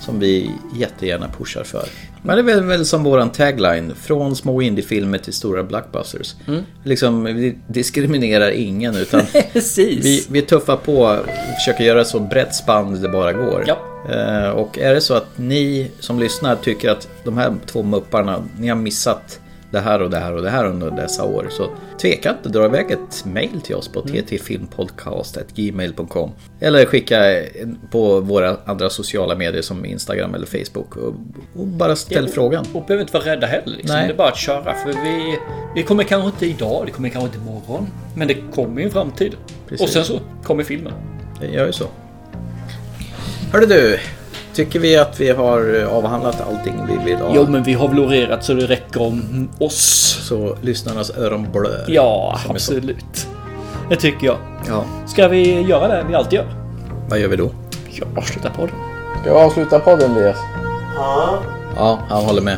som vi jättegärna pushar för. Men det är väl, väl som våran tagline, från små indiefilmer till stora blockbusters.
Mm.
Liksom, vi diskriminerar ingen utan
Precis.
vi, vi tuffar på och försöker göra så brett spann det bara går.
Ja.
Eh, Och är det så att ni som lyssnar tycker att de här två mupparna, ni har missat det här och det här och det här under dessa år så tveka inte, dra iväg ett mail till oss på
Mm.
ttfilmpodcast.gmail.com eller skicka en- på våra andra sociala medier som Instagram eller Facebook och, och bara ställ
Ja, och-
frågan.
Och behöver inte vara rädda heller. Liksom.
Nej.
Det är bara att köra. För vi, det kommer kanske inte idag, det kommer kanske inte imorgon. Men det kommer i en framtid.
Precis.
Och sen så kommer filmen.
Det gör ju så. Hörde du, tycker vi att vi har avhandlat allting vi vill ha?
Jo, men vi har väl orerat så det räcker om oss.
Så lyssnarnas öron blöder.
Ja,
Som är så.
absolut. Det tycker jag.
Ja,
Ska vi göra det vi alltid gör?
vad gör vi då?
Jag avslutar podden.
Ska jag avsluta podden Elias? Ja, han håller med.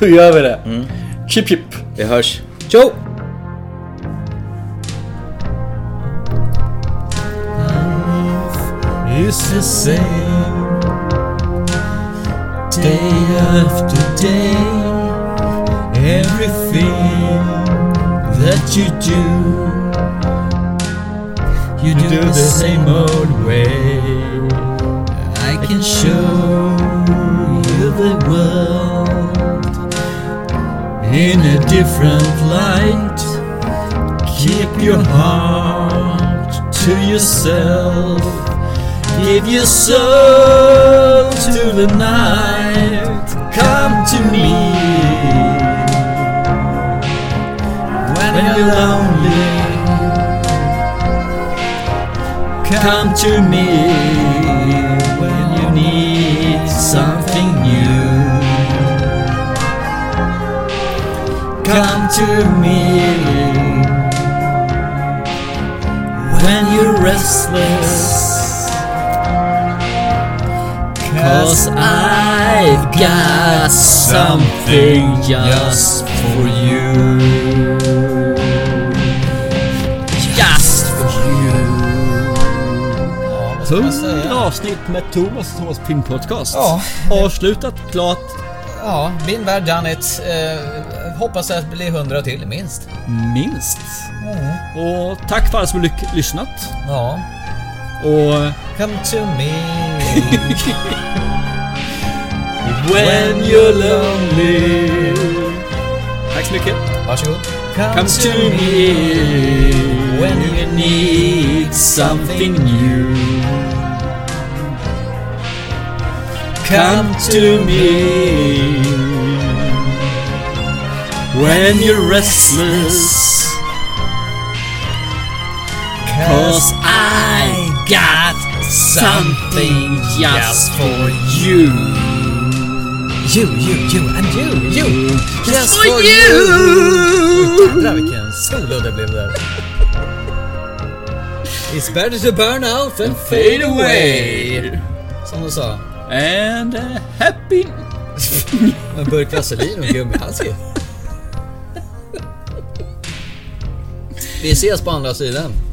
Då gör vi det. Chip chip.
Vi hörs. Tjo!
It's the same day after day. Everything that you do, you do the same old way. I can show you the world in a different light. Keep your heart to yourself. Give your soul to the night. Come to me. When you're lonely, come to me. When you need something new, come to me. When you're restless, Cause I've got something just for you. Just for you.
100 avsnitt med Thomas och Thomas Film Podcast. Avslutat, klart.
Ja, been bad done it. Eh, hoppas att det blir hundra till, minst. Mm.
Minst. Och tack för alla som har lyck- lyssnat.
Ja.
Och...
Come to me
when you're lonely. Tack så mycket.
Varsågod.
Come, to me when you need something new. Come to me when you're restless. Cause I got something just for you.
You, you, you and you, you.
Just for you.
Oj, Jädrar vilken solo det blev där. It's better to burn out than fade away. Som de sa.
And uh, happy...
En burk vaselin och en gummihandske. Vi ses på andra sidan.